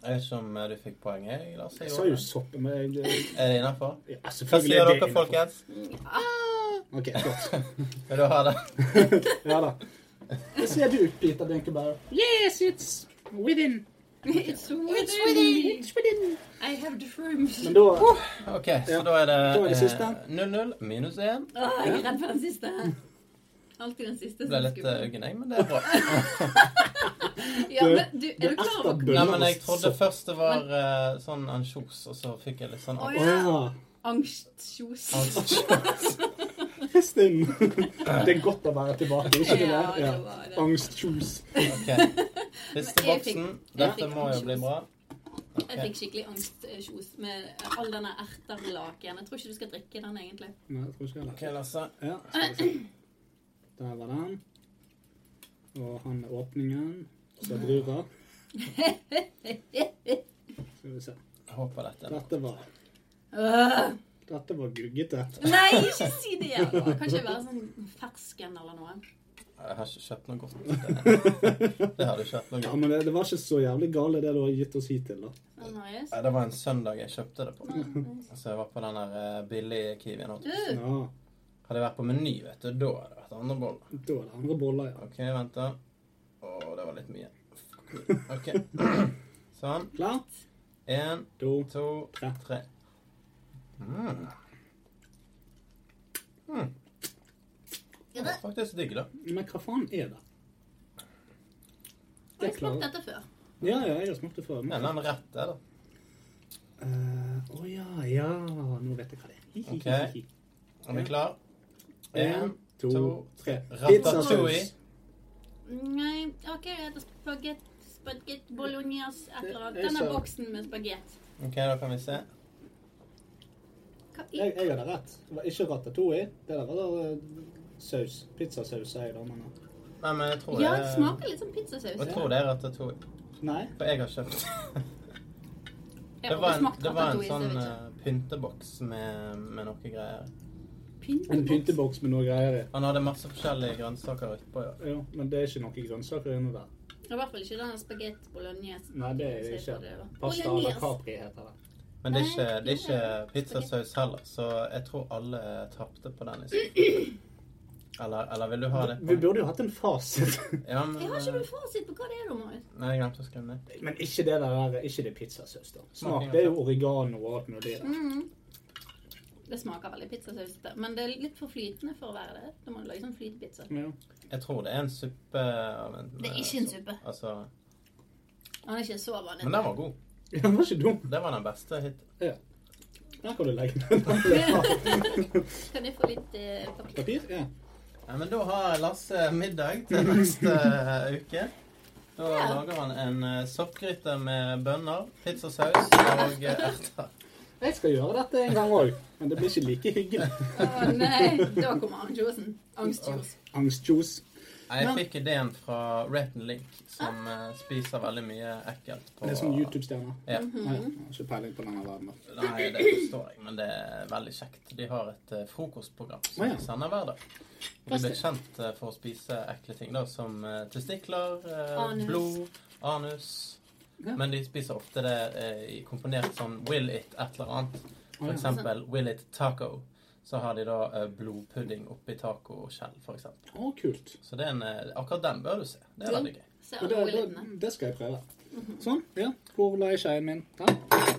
S2: Jeg vet ikke om du fikk poeng, jeg, Lars.
S1: Jeg sa jo sopp, men jeg, det-
S2: Er det innafor?
S1: ja,
S2: Hva
S1: selvfølgelig
S2: sier
S1: er det
S2: dere,
S1: Mm, innenfor.
S2: folkens?
S3: Ah,
S1: Ok, flott.
S2: Vil du ha det?
S1: Ja da. Hva sier du, Peter Dinkelberg? Yes, it's within.
S3: It's
S1: It's
S3: within.
S1: within. It's within. Oh.
S3: I have the shrooms.
S1: Men da
S2: OK, så da er
S1: Da er det
S2: det
S1: siste.
S2: eh, 0-0 minus 1.
S3: Åh, jeg er redd for den siste. Alltid den siste
S2: Ble
S3: som
S2: litt eh,
S3: skulle
S2: uggen, jeg, men det er bra.
S3: Ja, men
S1: Det
S3: du,
S1: er
S3: er du klar
S1: etter
S3: over
S1: bønn.
S2: Nei, men jeg trodde først det var eh, sånn ansjos, og så fikk jeg litt sånn
S3: Oi.
S1: Å ja.
S3: angstkjos?
S2: angst.
S1: Kristin. Det er godt å være tilbake, ikke det?
S3: Ja,
S1: der?
S3: det
S1: Ja.
S3: var det.
S1: Angstkjos.
S2: OK. Siste
S3: Men jeg fikk-
S2: boksen.
S3: jeg
S2: Dette
S3: fikk
S2: må jo
S3: ansjos.
S2: bli bra.
S3: Jeg
S2: OK.
S3: fikk skikkelig angstkjos med all denne erterlaken. Jeg tror ikke du skal drikke den, egentlig.
S1: Nei, jeg tror ikke heller.
S2: OK, Lasse.
S1: Ja, skal vi se. Der var den. Og han er åpningen. Så druer. Skal vi se.
S2: Jeg håper dette.
S1: Dette var,
S3: Øh!
S1: dette var guggete.
S3: Nei, ikke si det igjen! nå. Kan ikke være sånn fersken eller noe.
S2: Jeg har ikke kjøpt noe godt. Det, det har du kjøpt noe
S1: Ja,
S2: godt.
S1: men det, det var ikke så jævlig gale det du har gitt oss hittil, da.
S3: Sånn, Marius.
S2: Nei, Det var en søndag jeg kjøpte det på.
S1: Mm.
S2: Så jeg var på den der eh, billige Kiwien. holdt jeg på å si.
S3: Du,
S1: Sånn, Ja,
S2: Hadde jeg vært på Meny, vet du, da hadde det vært andre boller.
S1: da er det andre boller, ja.
S2: OK, vent, da. Å, det var litt mye. OK. Sånn.
S1: Klar?
S2: Én,
S1: Da
S2: to,
S1: Tre.
S2: tre. Mm. Mm. Det var faktisk digg, da.
S1: Men hva faen er det?
S3: har jeg smakt dette før?
S1: Ja, ja, jeg har smakt det før.
S2: En
S1: Men,
S2: eller annen rett der, da.
S1: Eh, Å ja, ja. Nå vet jeg hva det er. Hi, hi, hi, hi, hi.
S2: Er vi klar?
S1: En,
S2: Én,
S1: to,
S2: to,
S1: tre.
S2: Ratatouille.
S3: Nei, OK, jeg heter spagetti. Spagetti bolognese, et eller annet.
S1: Jeg
S3: Denne
S1: sa-
S3: boksen med spagetti.
S2: OK, da kan vi se.
S3: Hva i
S1: Jeg, jeg hadde rett. Det var ikke ratatouille. Det der var eh, saus. Pizzasaus, sier jeg da. Men eh,
S2: Nei, men jeg tror
S3: Ja,
S2: det
S3: det smaker litt som pizzasaus.
S2: Jeg tror det er ratatouille.
S1: nei.
S2: For jeg har kjøpt
S3: Jeg
S2: Det
S3: har
S2: var
S3: aldri
S2: en,
S3: smakt
S2: det var en
S3: ratatouille, så jeg
S2: sånn
S3: vet ikke.
S2: eh, pynteboks med, med noe greier.
S1: En
S3: Pynteboks.
S1: pynteboks med noe greier i.
S2: Han hadde masse forskjellige grønnsaker utpå. Ja.
S1: Jo, men det er ikke noe grønnsaker inni der.
S3: Det er I hvert fall ikke den spagetti bolognese.
S1: Nei, det er det ikke. Pasta à la
S3: Bolognese.
S1: capri heter det.
S2: Men det er ikke,
S3: Nei,
S2: det er ikke
S3: det er-
S2: pizzasaus heller, så jeg tror alle tapte på den. Liksom. Eller, eller vil du ha det?
S1: Vi burde jo hatt en fasit.
S2: Ja, men
S3: Jeg har
S2: eh,
S3: ikke noe fasit på hva det er, da, Marius.
S2: Nei, jeg glemte å skrive ned.
S1: Men ikke det der, eh, ikke det pizzasaus, da. Smak,
S2: Smaking,
S1: det er jo oregano og alt mulig. da.
S3: Mhm. Det smaker veldig pizzasaus, det. men det er litt for flytende for å være det. Da må du lage sånn flytepizza.
S1: Ja.
S2: Jeg tror det er en suppe av en
S3: Det er ikke en suppe.
S2: Altså,
S3: Han er ikke så vanlig.
S2: men den var god.
S1: Ja, Den var ikke dum.
S2: Det var den beste hittil.
S1: Der kan du legge den.
S3: Kan jeg få litt eh, papir?
S1: Papir? Ja.
S2: Nei, men da har Lasse middag til neste eh, uke. Da
S3: Ja.
S2: lager han en eh, soppgryte med bønner, pizzasaus og eh, erter.
S1: Jeg skal gjøre dette en gang òg, men det blir ikke like hyggelig.
S3: Å nei, da kommer angstjosen. Angstjos.
S1: Angstjuice.
S2: Nei, Jeg
S1: Men-
S2: fikk ideen fra Raton Link, som
S3: Ah.
S2: eh, spiser veldig mye ekkelt på
S1: Det er som YouTube-stjerner.
S2: Ja.
S3: Mhm.
S1: Ja, ja.
S3: Mm.
S1: Jeg har Ikke peiling på denne verden. altså. da.
S2: Nei, det forstår jeg, men det er veldig kjekt. De har et eh, frokostprogram som
S1: Å, ja.
S2: de sender hver dag. De blir kjent eh, for å spise ekle ting, da, som eh, testikler, eh,
S3: Anus.
S2: blod, anus
S1: Ja.
S2: Men de spiser ofte det eh, i komponert sånn Will it et eller annet.
S1: Å,
S2: For
S1: ja.
S2: eksempel Will it taco. Så har de da eh, blodpudding oppi tacoskjell, for eksempel.
S1: Å, kult.
S2: Så det er en, eh, akkurat den bør du se. Det er
S1: Ja.
S2: veldig gøy.
S3: Ser
S1: Og
S3: alle
S1: det, det,
S3: ordene.
S1: det skal jeg prøve.
S3: Mhm.
S1: Sånn. ja. Hvor la jeg skjeen min? Der.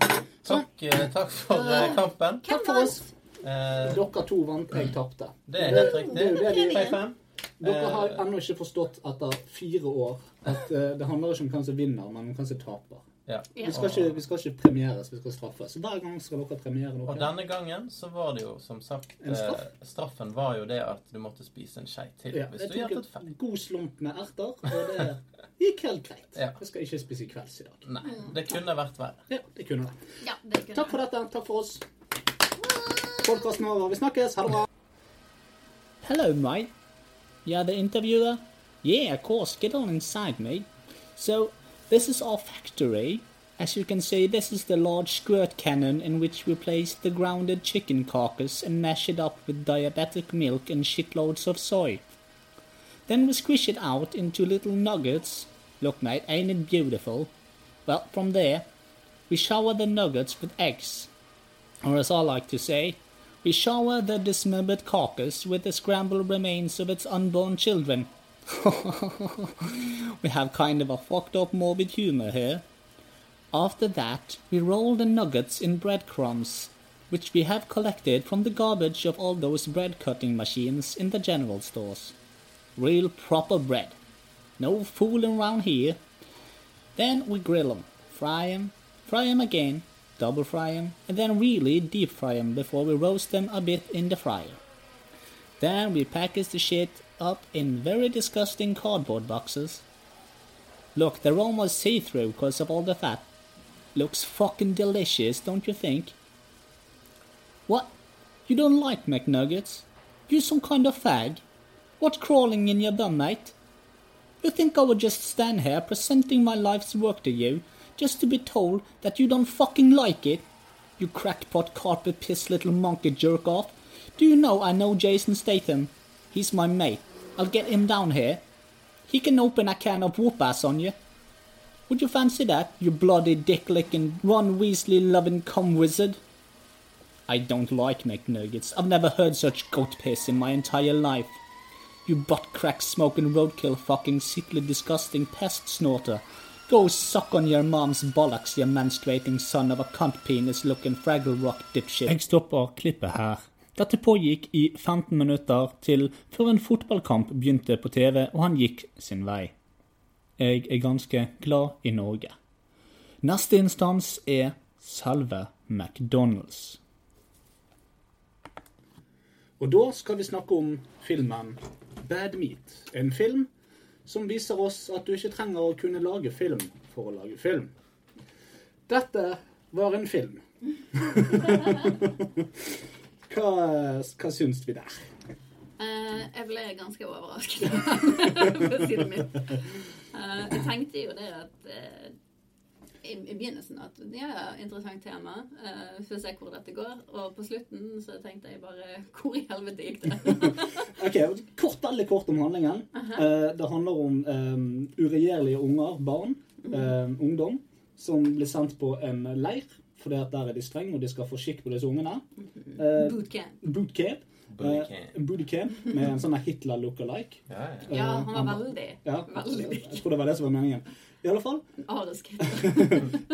S2: Takk, eh, takk for eh, kampen.
S3: Hvem
S1: Takk for
S3: vant?
S1: oss.
S2: Eh,
S1: Dere to vant, jeg tapte.
S2: det er helt riktig.
S1: Det er jo det de
S2: High five.
S1: Dere har
S2: Eh,
S1: ennå ikke forstått etter fire år at eh, det handler ikke om hvem som vinner, men om hvem som taper.
S2: Ja.
S3: Ja.
S1: Vi skal, ikke, vi skal ikke premieres, vi skal straffes. Hver gang skal dere premiere
S2: Og
S1: noe.
S2: denne gangen så var det jo som sagt
S1: En straff?
S2: eh, Straffen var jo det at du måtte spise en skei til
S1: Ja,
S2: hvis
S1: jeg
S2: du
S1: tok
S2: gjettet
S1: en
S2: feil.
S1: god slump med erter, og det gikk helt greit.
S2: Ja.
S1: Jeg skal ikke spise kvelds i dag.
S3: Mm.
S2: Nei, det kunne vært verre.
S1: Ja, det kunne det.
S3: Ja, det kunne
S1: Takk for dette. Takk for oss. Podkasten over. Vi snakkes. Ha det bra.
S5: Hello, mate. Yeah, the interviewer? Yeah, of course, get on inside, mate. So, this is our factory. As you can see, this is the large squirt cannon in which we place the grounded chicken carcass and mash it up with diabetic milk and shitloads of soy. Then we squish it out into little nuggets. Look, mate, ain't it beautiful? Well, from there, we shower the nuggets with eggs or as I like to say, we shower the dismembered carcass with the scrambled remains of its unborn children. we have kind of a fucked up morbid humor here. After that, we roll the nuggets in breadcrumbs, which we have collected from the garbage of all those bread cutting machines in the general stores. Real proper bread. No fooling around here. Then we grill 'em, fry 'em, fry 'em again, double fry 'em, and then really deep fry 'em before we roast them a bit in the fryer. Then we package the shit up in very disgusting cardboard boxes. Look, they're almost see through because of all the fat. Looks fucking delicious, don't you think? What? You don't like McNuggets? You some kind of fag? What crawling in your bum, mate? You think I would just stand here presenting my life's work to you just to be told that you don't fucking like it? You crackpot carpet piss little monkey jerk off. Do you know I know Jason Statham? He's my mate. I'll get him down here. He can open a can of whoop ass on you. Would you fancy that, you bloody dick licking, Ron Weasley loving cum wizard? I don't like McNuggets. I've never heard such goat piss in my entire life. You butt crack smoking roadkill fucking sickly disgusting pest snorter. Go suck on your mom's bollocks, you menstruating son of a cunt penis looking Fraggle Rock dipshit. Jeg stopper klippet her. Dette pågikk i 15 minutter til før en fotballkamp begynte på TV og han gikk sin vei. Jeg er ganske glad i Norge. Neste instans er selve McDonald's.
S1: Og da skal vi snakke om filmen Bad Meat. En film som viser oss at du ikke trenger å kunne lage film for å lage film. Dette var en film. hva, hva syns vi der?
S3: Eh, jeg ble ganske overrasket, for å si det mildt. Eh, jeg tenkte jo det at eh, i, i begynnelsen at ja, ja, interessant tema. Uh, Får se hvor dette går. Og på slutten så tenkte jeg bare Hvor i helvete gikk det?
S1: Ok, kort, Veldig kort om handlingen. Eh, det handler om eh, uregjerlige unger, barn, eh, ungdom, som blir sendt på en leir. Fordi at der er de strenge, og de skal få skikk på disse ungene. Eh,
S3: Bootcamp.
S1: bootcamp.
S2: Booty
S1: eh,
S2: can.
S1: bootcamp med en sånn her Hitler look-alike.
S2: Ja, ja.
S3: Ja,
S1: eh,
S3: han var veldig,
S1: Ja,
S3: veldig
S1: jeg tror det var det som var meningen. I alle fall,
S3: arisk.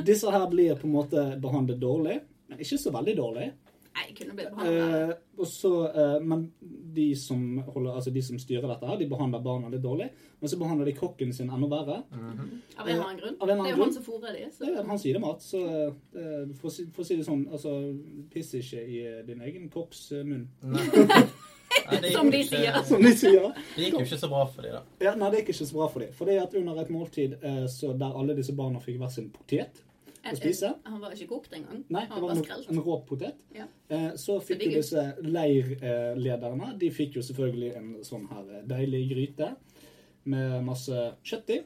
S1: disse her blir på en måte behandlet dårlig. Men ikke så veldig dårlig.
S3: Nei, kunne blitt behandlet.
S1: Eh, og så, eh, men de som, holder, altså de som styrer dette, her, de behandler barna litt dårlig. Men så behandler de kokken sin enda verre.
S3: Av en eller annen grunn.
S1: eh, av en eller annen
S3: Det er jo
S1: grunn.
S3: han som fôrer de,
S1: Det er
S3: så
S1: jo han sier det, mat, så eh, for, å si, for å si det sånn, altså, piss ikke i eh, din egen kokks eh, munn,
S2: Nei. Nei, det gikk
S3: Som de
S2: jo ikke-
S3: sier.
S1: som de sier.
S2: Det gikk jo ikke så bra for de da.
S1: Ja, nei, det er ikke så bra for dem. For det er at under et måltid eh, så der alle disse barna fikk hver sin potet å spise
S3: Han var ikke kokt engang.
S1: Nei, det
S3: han
S1: var
S3: var
S1: en,
S3: skrelt.
S1: en rå potet.
S3: Ja.
S1: Eh, så
S3: Så
S1: fikk
S3: digg
S1: jo
S3: ut.
S1: disse leirlederne De fikk jo selvfølgelig en sånn her eh, deilig gryte med masse kjøtt i.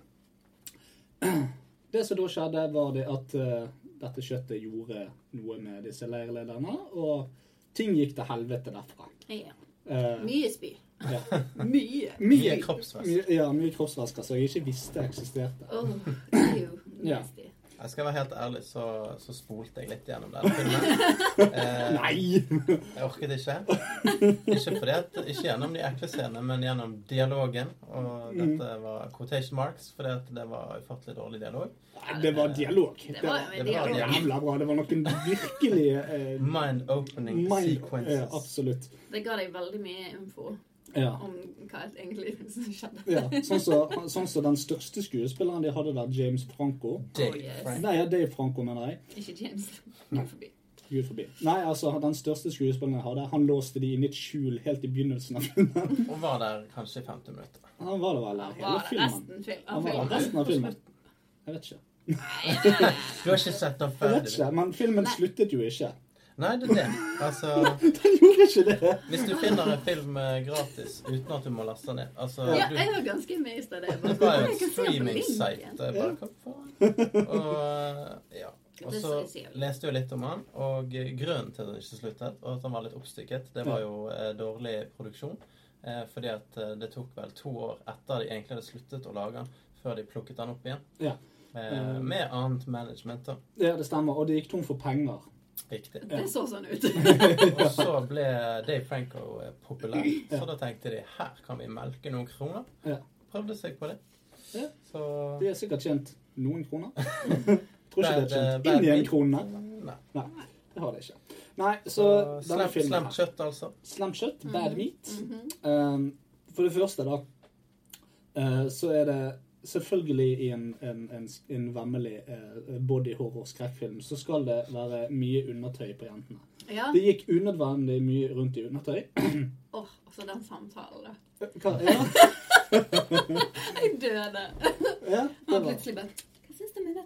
S1: Det som da skjedde, var det at eh, dette kjøttet gjorde noe med disse leirlederne, og ting gikk til helvete derfra.
S3: Ja.
S1: Eh,
S3: Mye spy.
S1: ja.
S3: Mye.
S2: Mye kroppsvest.
S1: mye- ja, mye kroppsvæsker som jeg ikke visste eksisterte.
S3: Åh, det er jo
S1: Ja.
S3: nasty.
S2: Jeg skal være helt ærlig, så, så spolte jeg litt gjennom den filmen. Eh,
S1: Nei!
S2: jeg orket ikke. Ikke, fordi at, ikke gjennom de ekle scenene, men gjennom dialogen. Og
S1: Mm.
S2: dette var quotation marks, fordi at det var ufattelig dårlig dialog.
S1: Det var dialog.
S3: Det var jo
S2: det
S3: en
S2: var
S3: dialog.
S2: det.
S1: jævla bra. Det var noen virkelig eh,
S2: Mind-opening
S1: mind, eh,
S2: sequences.
S1: Absolutt.
S3: Det ga deg veldig mye info
S1: Ja.
S3: om hva egentlig som skjedde.
S1: Ja, sånn som sånn som den største skuespilleren de hadde der, James Franco.
S3: Oh,
S2: Dave
S3: yes.
S2: Frank.
S1: Nei, ja, Dave Franco, mener jeg.
S3: Ikke James. Gikk forbi.
S1: Gud forbi. Nei, altså, den største skuespilleren jeg hadde, han låste de inn i et skjul helt i begynnelsen av filmen.
S2: Og var der kanskje i 50 minutter.
S1: Han var det vel der hele
S3: Var det
S1: filmen.
S3: resten fil-
S1: Han
S3: av
S1: var der
S3: filmen?
S1: resten av filmen. Jeg vet ikke.
S2: Du har ikke sett den
S1: Jeg vet
S2: ferdig?
S1: ikke, Men filmen sluttet jo ikke.
S2: Nei, det er det. Altså,
S1: Den gjorde ikke det!
S2: hvis du finner en film eh, gratis uten at du må laste den ned altså,
S3: Ja,
S2: du,
S3: jeg var ganske amazed av det. Jeg
S2: Det
S3: bare,
S2: var jo
S3: jeg
S2: et
S3: kan se på
S2: streaming-site.
S3: linken.
S2: jeg bare kom på. Og ja. Og
S3: Det
S2: så
S3: synes jeg.
S2: leste jeg litt om han, og grunnen til at han ikke sluttet, og at han var litt oppstykket, det var jo eh, dårlig produksjon. Eh, fordi at eh, det tok vel to år etter de egentlig hadde sluttet å lage han, før de plukket han opp igjen.
S1: Ja.
S2: Eh,
S1: Um.
S2: med annet management, da.
S1: Ja, det stemmer. Og det gikk tom for penger.
S2: Riktig.
S3: Det så sånn ut.
S2: Og så ble Dave Franco eh, populær, så da tenkte de her kan vi melke noen kroner.
S1: Ja.
S2: prøvde seg på det.
S1: Ja.
S2: Så
S1: De har sikkert tjent noen kroner. Tror ikke det
S2: Hver-
S1: er tjent
S2: hver
S1: inn i en
S2: bit.
S1: krone.
S2: eh, Nei.
S1: Nei, det har det ikke. Nei, så
S2: Så
S1: denne
S2: slemt-
S1: filmen
S2: slemt
S1: her.
S2: kjøtt, altså.
S1: Slemt kjøtt. Bad meat. Um, for det første, da, eh, så er det selvfølgelig i en, en, en, en vemmelig eh, body horror-skrekkfilm så skal det være mye undertøy på jentene.
S3: Ja.
S1: Det gikk unødvendig mye rundt i undertøy. Eh,
S3: Åh, og så den samtalen, da.
S1: Hva, ja,
S3: Jeg døde.
S1: ja, det
S3: Og
S1: var,
S3: plutselig bare Hva syns du om det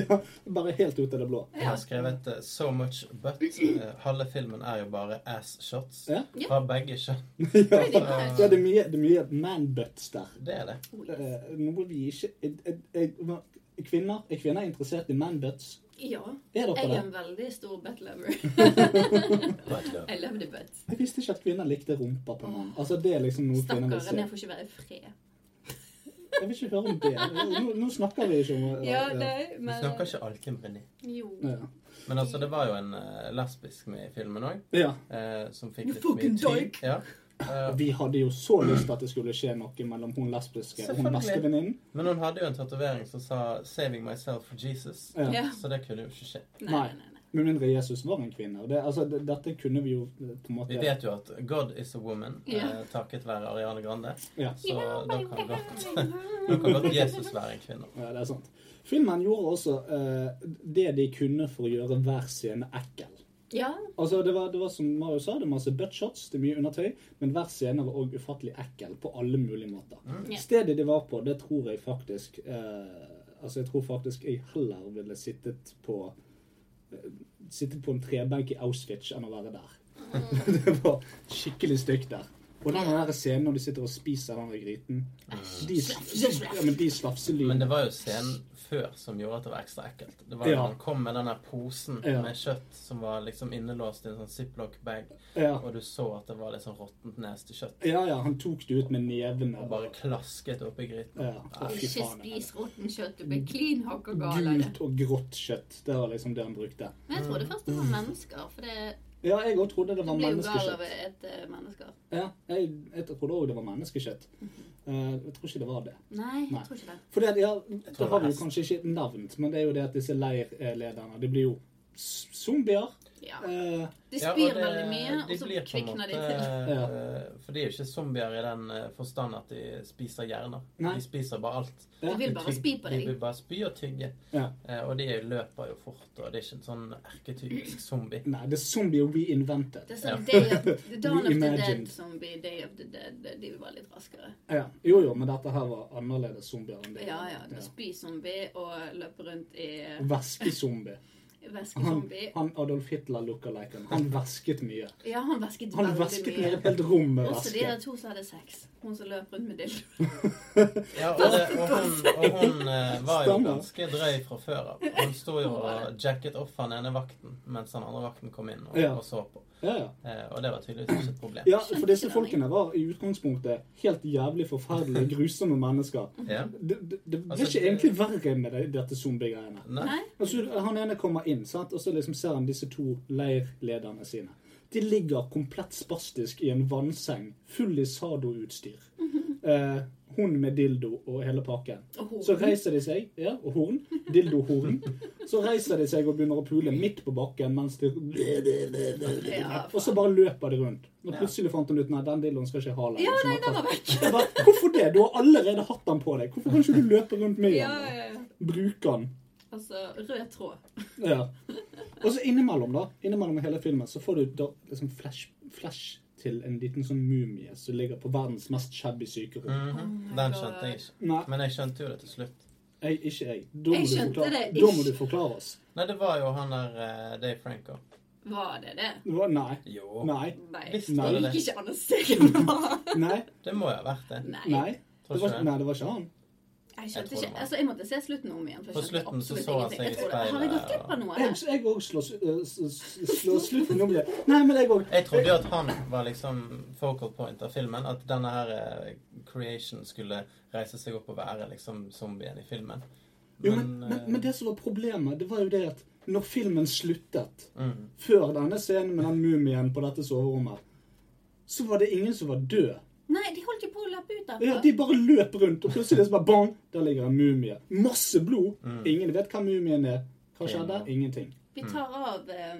S1: ja, bare helt ut av det blå.
S2: Jeg har skrevet eh, 'so much but'. Eh, halve filmen er jo bare ass shots.
S1: Ja.
S3: Ja.
S2: Har begge kjønn.
S1: Ja,
S3: Pretty much.
S1: ja det er mye, det er mye man-butts der.
S2: Det er det.
S3: Oh, yes.
S1: Eh, Noe vi ikke jeg- jeg- jeg- Kvinner er kvinner er interessert i man-butts.
S3: Ja.
S1: Er
S3: Jeg
S1: dere
S3: er
S1: det?
S3: en veldig stor butt lover. I love the butt.
S1: Jeg visste ikke at kvinner likte rumpa på mann. Altså, det er liksom noe kvinner vil
S3: Stakkaren,
S1: se.
S3: jeg får ikke være i fred.
S1: Jeg vil ikke høre om det. Nå, nå snakker vi ikke om eh,
S3: Ja,
S1: eh,
S3: nei,
S2: Vi
S3: men
S2: snakker ikke alltid om Brené.
S3: Jo.
S1: ja.
S2: Men altså, det var jo en eh, lesbisk med i filmen òg,
S1: ja.
S2: eh, som
S3: You
S2: fikk litt mye
S3: fucking
S2: tid. Ja. Eh,
S1: Vi hadde jo så lyst til at det skulle skje noe mellom hun lesbiske og hun
S2: Selvfølgelig.
S1: vaskevenninnen.
S2: men hun hadde jo en tatovering som sa 'Saving myself for Jesus',
S1: Ja.
S3: Ja.
S2: så det kunne jo ikke skje.
S3: Nei, nei, nei. nei.
S1: Med mindre Jesus var en kvinne. Og Det, altså, det, dette kunne vi jo eh, på en måte
S2: Vi vet jo at 'God is a woman',
S3: Ja.
S2: eh, takket være Ariane Grande.
S1: Ja.
S2: Så da kan godt, da kan godt Jesus være en kvinne.
S1: Ja, det er sant. Filmen gjorde også eh, det de kunne for å gjøre hver scene ekkel.
S3: Ja.
S1: Altså, det var, det var som Mario sa, det er masse buttshots, det er mye undertøy, men hver scene var òg ufattelig ekkel på alle mulige måter.
S2: Mm.
S3: Ja.
S1: Stedet de var på, det tror jeg faktisk eh, Altså, jeg tror faktisk jeg heller ville sittet på eh, Sittet på en trebenk i Auschwitz enn å være der.
S3: Mm.
S1: det var skikkelig stygt der. Og den der scenen når de sitter og spiser den der gryten De, ja, men de
S2: Mm. Men det
S1: slafselydene
S2: var jo scenen før som gjorde at det var ekstra ekkelt. Det var jo
S1: Ja.
S2: Han kom med den der posen
S1: Ja.
S2: med kjøtt som var liksom innelåst i en sånn ziplock-bag,
S1: ja.
S2: og du så at det var litt sånn råttent neste kjøtt.
S1: Ja, ja, han tok det ut med nevene.
S2: Og bare klasket oppi gryten.
S1: Ja. Å, fy
S3: Ikke
S1: faen, altså.
S3: spis råttent kjøtt, du blir klin hakka gal av det.
S1: Gult og grått kjøtt. Det var liksom det han brukte.
S3: Men jeg trodde først det var mennesker, for det
S1: Mm. Ja, jeg òg trodde det
S3: du
S1: var
S3: blir jo gal av
S1: menneskekjøtt.
S3: et eh, mennesker.
S1: Ja, jeg, jeg trodde òg det var menneskekjøtt.
S3: Mhm.
S1: Eh, jeg tror ikke det var det.
S3: Nei,
S1: Nei.
S3: jeg tror ikke det.
S1: For det, ja,
S2: tror
S1: det
S2: det
S1: har
S2: var
S1: vi jo
S2: hest.
S1: kanskje ikke navnet, men det er jo det at disse leirlederne De blir jo s- zombier.
S3: Ja.
S1: Eh,
S3: De
S2: Ja, og
S3: spyr
S2: det-
S3: veldig mye, og så
S2: blir på en
S3: kvikner de
S2: måte,
S3: til.
S2: eh, For de er jo ikke zombier i den eh, forstand at de spiser hjerner.
S1: Nei.
S2: De spiser bare alt.
S1: Ja.
S3: De vil bare
S2: tygg-
S3: spy på
S2: De
S3: deg.
S2: vil bare spy og tygge.
S1: Ja.
S2: Eh, Og de løper jo fort, og det er ikke en sånn erketypisk zombie.
S1: nei, det er zombier reinvented.
S3: Det er sånn Day of, Dawn of the
S1: Reimagined.
S3: Dead som blir Day of the Dead. De var litt raskere.
S1: Ja. Jo, jo, men dette her var annerledes zombier enn det.
S3: Ja, ja. Det var spyzombie og løpe rundt i
S1: Væskezombie. Han,
S3: væskezombie.
S1: han Adolf Hitler look-aliken. Han vasket mye.
S3: Ja, han vasket
S1: Han
S3: veldig
S1: vasket ned
S3: mye.
S1: et helt rom med
S3: Også de
S1: vaske.
S3: der to som hadde sex. Hun som løp rundt med dildo.
S2: Ja, og, det, og hun, og hun eh, var jo
S1: Stemmer.
S2: ganske drøy fra før av. Hun sto jo
S3: Hun var
S2: og jacket off han ene vakten mens den andre vakten kom inn og,
S1: Ja.
S2: og så på.
S1: Ja, ja.
S2: Eh, og det var tydeligvis ikke et problem.
S1: Ja, for disse folkene var i utgangspunktet helt jævlig forferdelige, grusomme mennesker.
S2: Ja.
S1: Det, det, det ble
S2: Altså,
S1: ikke
S2: det-
S1: egentlig verre med det, dette zombie-greiene.
S2: Nei.
S3: Nei?
S1: Altså, han ene kommer inn, sant? og så liksom ser han disse to leirlederne sine. De ligger komplett spastisk i en vannseng, full i sadoutstyr. Eh, hun med dildo og hele pakken.
S3: Og
S1: Så
S3: hun.
S1: reiser de seg, ja, og horn, dildo-horn. Så reiser de seg og begynner å pule midt på bakken mens de
S3: Ja,
S1: Og så
S3: faen.
S1: bare løper de rundt. Og plutselig fant hun ut nei, den dildoen skal ikke jeg ha lenger.
S3: Ja,
S1: Så
S3: nei,
S1: bare-
S3: den var vekk.
S1: Jeg bare, Hvorfor det? Du har allerede hatt den på deg. Hvorfor kan ikke du løpe rundt med
S3: Ja,
S1: den?
S3: ja, ja.
S1: Bruke den.
S3: Altså rød tråd.
S1: Ja. Og så innimellom, da, innimellom hele filmen, så får du da liksom flash, flash til en liten sånn mumie som ligger på verdens mest shabby
S3: Mm.
S1: sykerom.
S2: Mhm.
S3: Oh my
S2: Den
S3: God.
S2: skjønte jeg ikke.
S1: Nei,
S2: Men jeg skjønte jo det til slutt.
S1: jeg, ikke jeg. Da må,
S3: Jeg
S1: du
S3: skjønte
S1: forklare,
S3: det
S1: da må
S3: ikke.
S1: du forklare oss.
S2: Nei, det var jo han der eh, Dave Franco.
S3: Var det det?
S1: Det var- Nei.
S2: Jo.
S1: Nei.
S3: Nei.
S2: Visst
S1: Nei.
S2: var
S3: Jeg
S2: det
S3: gikk
S2: det.
S3: ikke an å se henne.
S1: Nei.
S2: Det må jo ha vært det.
S3: Nei.
S1: Nei.
S2: Tror
S1: Det
S2: ikke
S1: var,
S2: det.
S1: nei, det var ikke han.
S3: Jeg
S2: Jeg tror
S3: skjønte
S2: det
S3: ikke.
S2: var-
S3: Altså, jeg måtte se slutten om igjen. for jeg
S2: På
S3: skjønte
S2: slutten så
S3: absolutt
S2: så han
S3: ingenting.
S2: seg i
S3: Jeg trodde, Har jeg gått
S2: speilet,
S3: glipp av noe?
S1: Jeg
S3: her?
S1: jeg òg slår eh, slutten om igjen. Nei, men jeg òg.
S2: Jeg trodde jo at han var liksom focal point av filmen. At denne her eh, creation skulle reise seg opp og være liksom zombien i filmen.
S1: Jo, men, men,
S2: eh,
S1: men det som var problemet, det var jo det at når filmen sluttet,
S2: mm.
S1: før denne scenen med den mumien på dette soverommet, så var det ingen som var død.
S3: Nei, de holdt jo på å løpe løp ut
S1: Ja,
S3: derfra.
S1: de bare løp rundt, og plutselig så bare bang, der ligger en mumie. Masse blod. Ingen vet hva mumien er. Hva skjedde? Ingenting.
S3: Vi tar av, eh,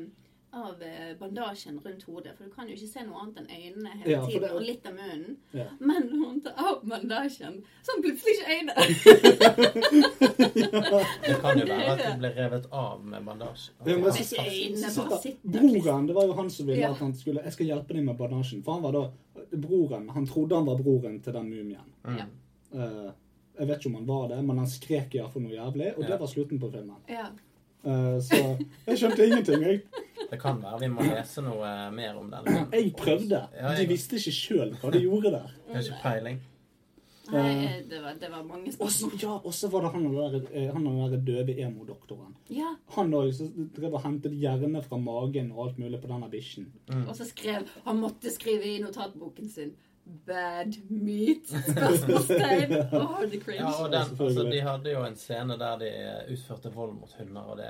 S3: av eh, bandasjen rundt hodet, for du kan jo ikke se noe annet enn øynene hele
S1: Ja, for
S3: tiden,
S1: det-
S3: og litt av munnen.
S1: Ja.
S3: Men når hun tar av bandasjen, så har hun plutselig ikke øyne.
S2: Det kan jo være at de ble revet av med bandasje. At
S1: Det
S2: de
S1: var
S2: har
S1: så-
S3: Ikke øynene,
S1: så
S3: bare
S1: sitter-
S3: sitter,
S1: Broren, det var jo han som ville
S3: Ja.
S1: at han skulle Jeg skal hjelpe deg med bandasjen. For han var da broren Han trodde han var broren til den mumien.
S2: Mm.
S3: Ja.
S1: Eh, jeg vet ikke om han var det, men han skrek iallfall noe jævlig, og det
S2: Ja.
S1: var slutten på filmen.
S3: Ja.
S1: Eh, så jeg skjønte ingenting. Jeg,
S2: Det kan være vi må lese noe eh, mer om den.
S1: jeg prøvde.
S2: Ja,
S1: De
S2: jeg-
S1: visste ikke sjøl hva de gjorde der.
S2: Jeg har ikke peiling.
S3: Nei, eh, det var, det var mange
S1: Og så
S3: spørsmål.
S1: ja, og så var det han og den der- eh, han og den der døve emo-doktoren.
S3: Ja,
S1: Han òg drev og hentet hjerne fra magen og alt mulig på denne bikkjen.
S3: og så skrev Han måtte skrive i notatboken sin 'Bad meat?' Spørsmålstegn. Åh, det er
S2: Ja,
S3: cringe.
S2: og den, altså,
S1: selvfølgelig.
S2: De hadde jo en scene der de eh, utførte vold mot hunder, og det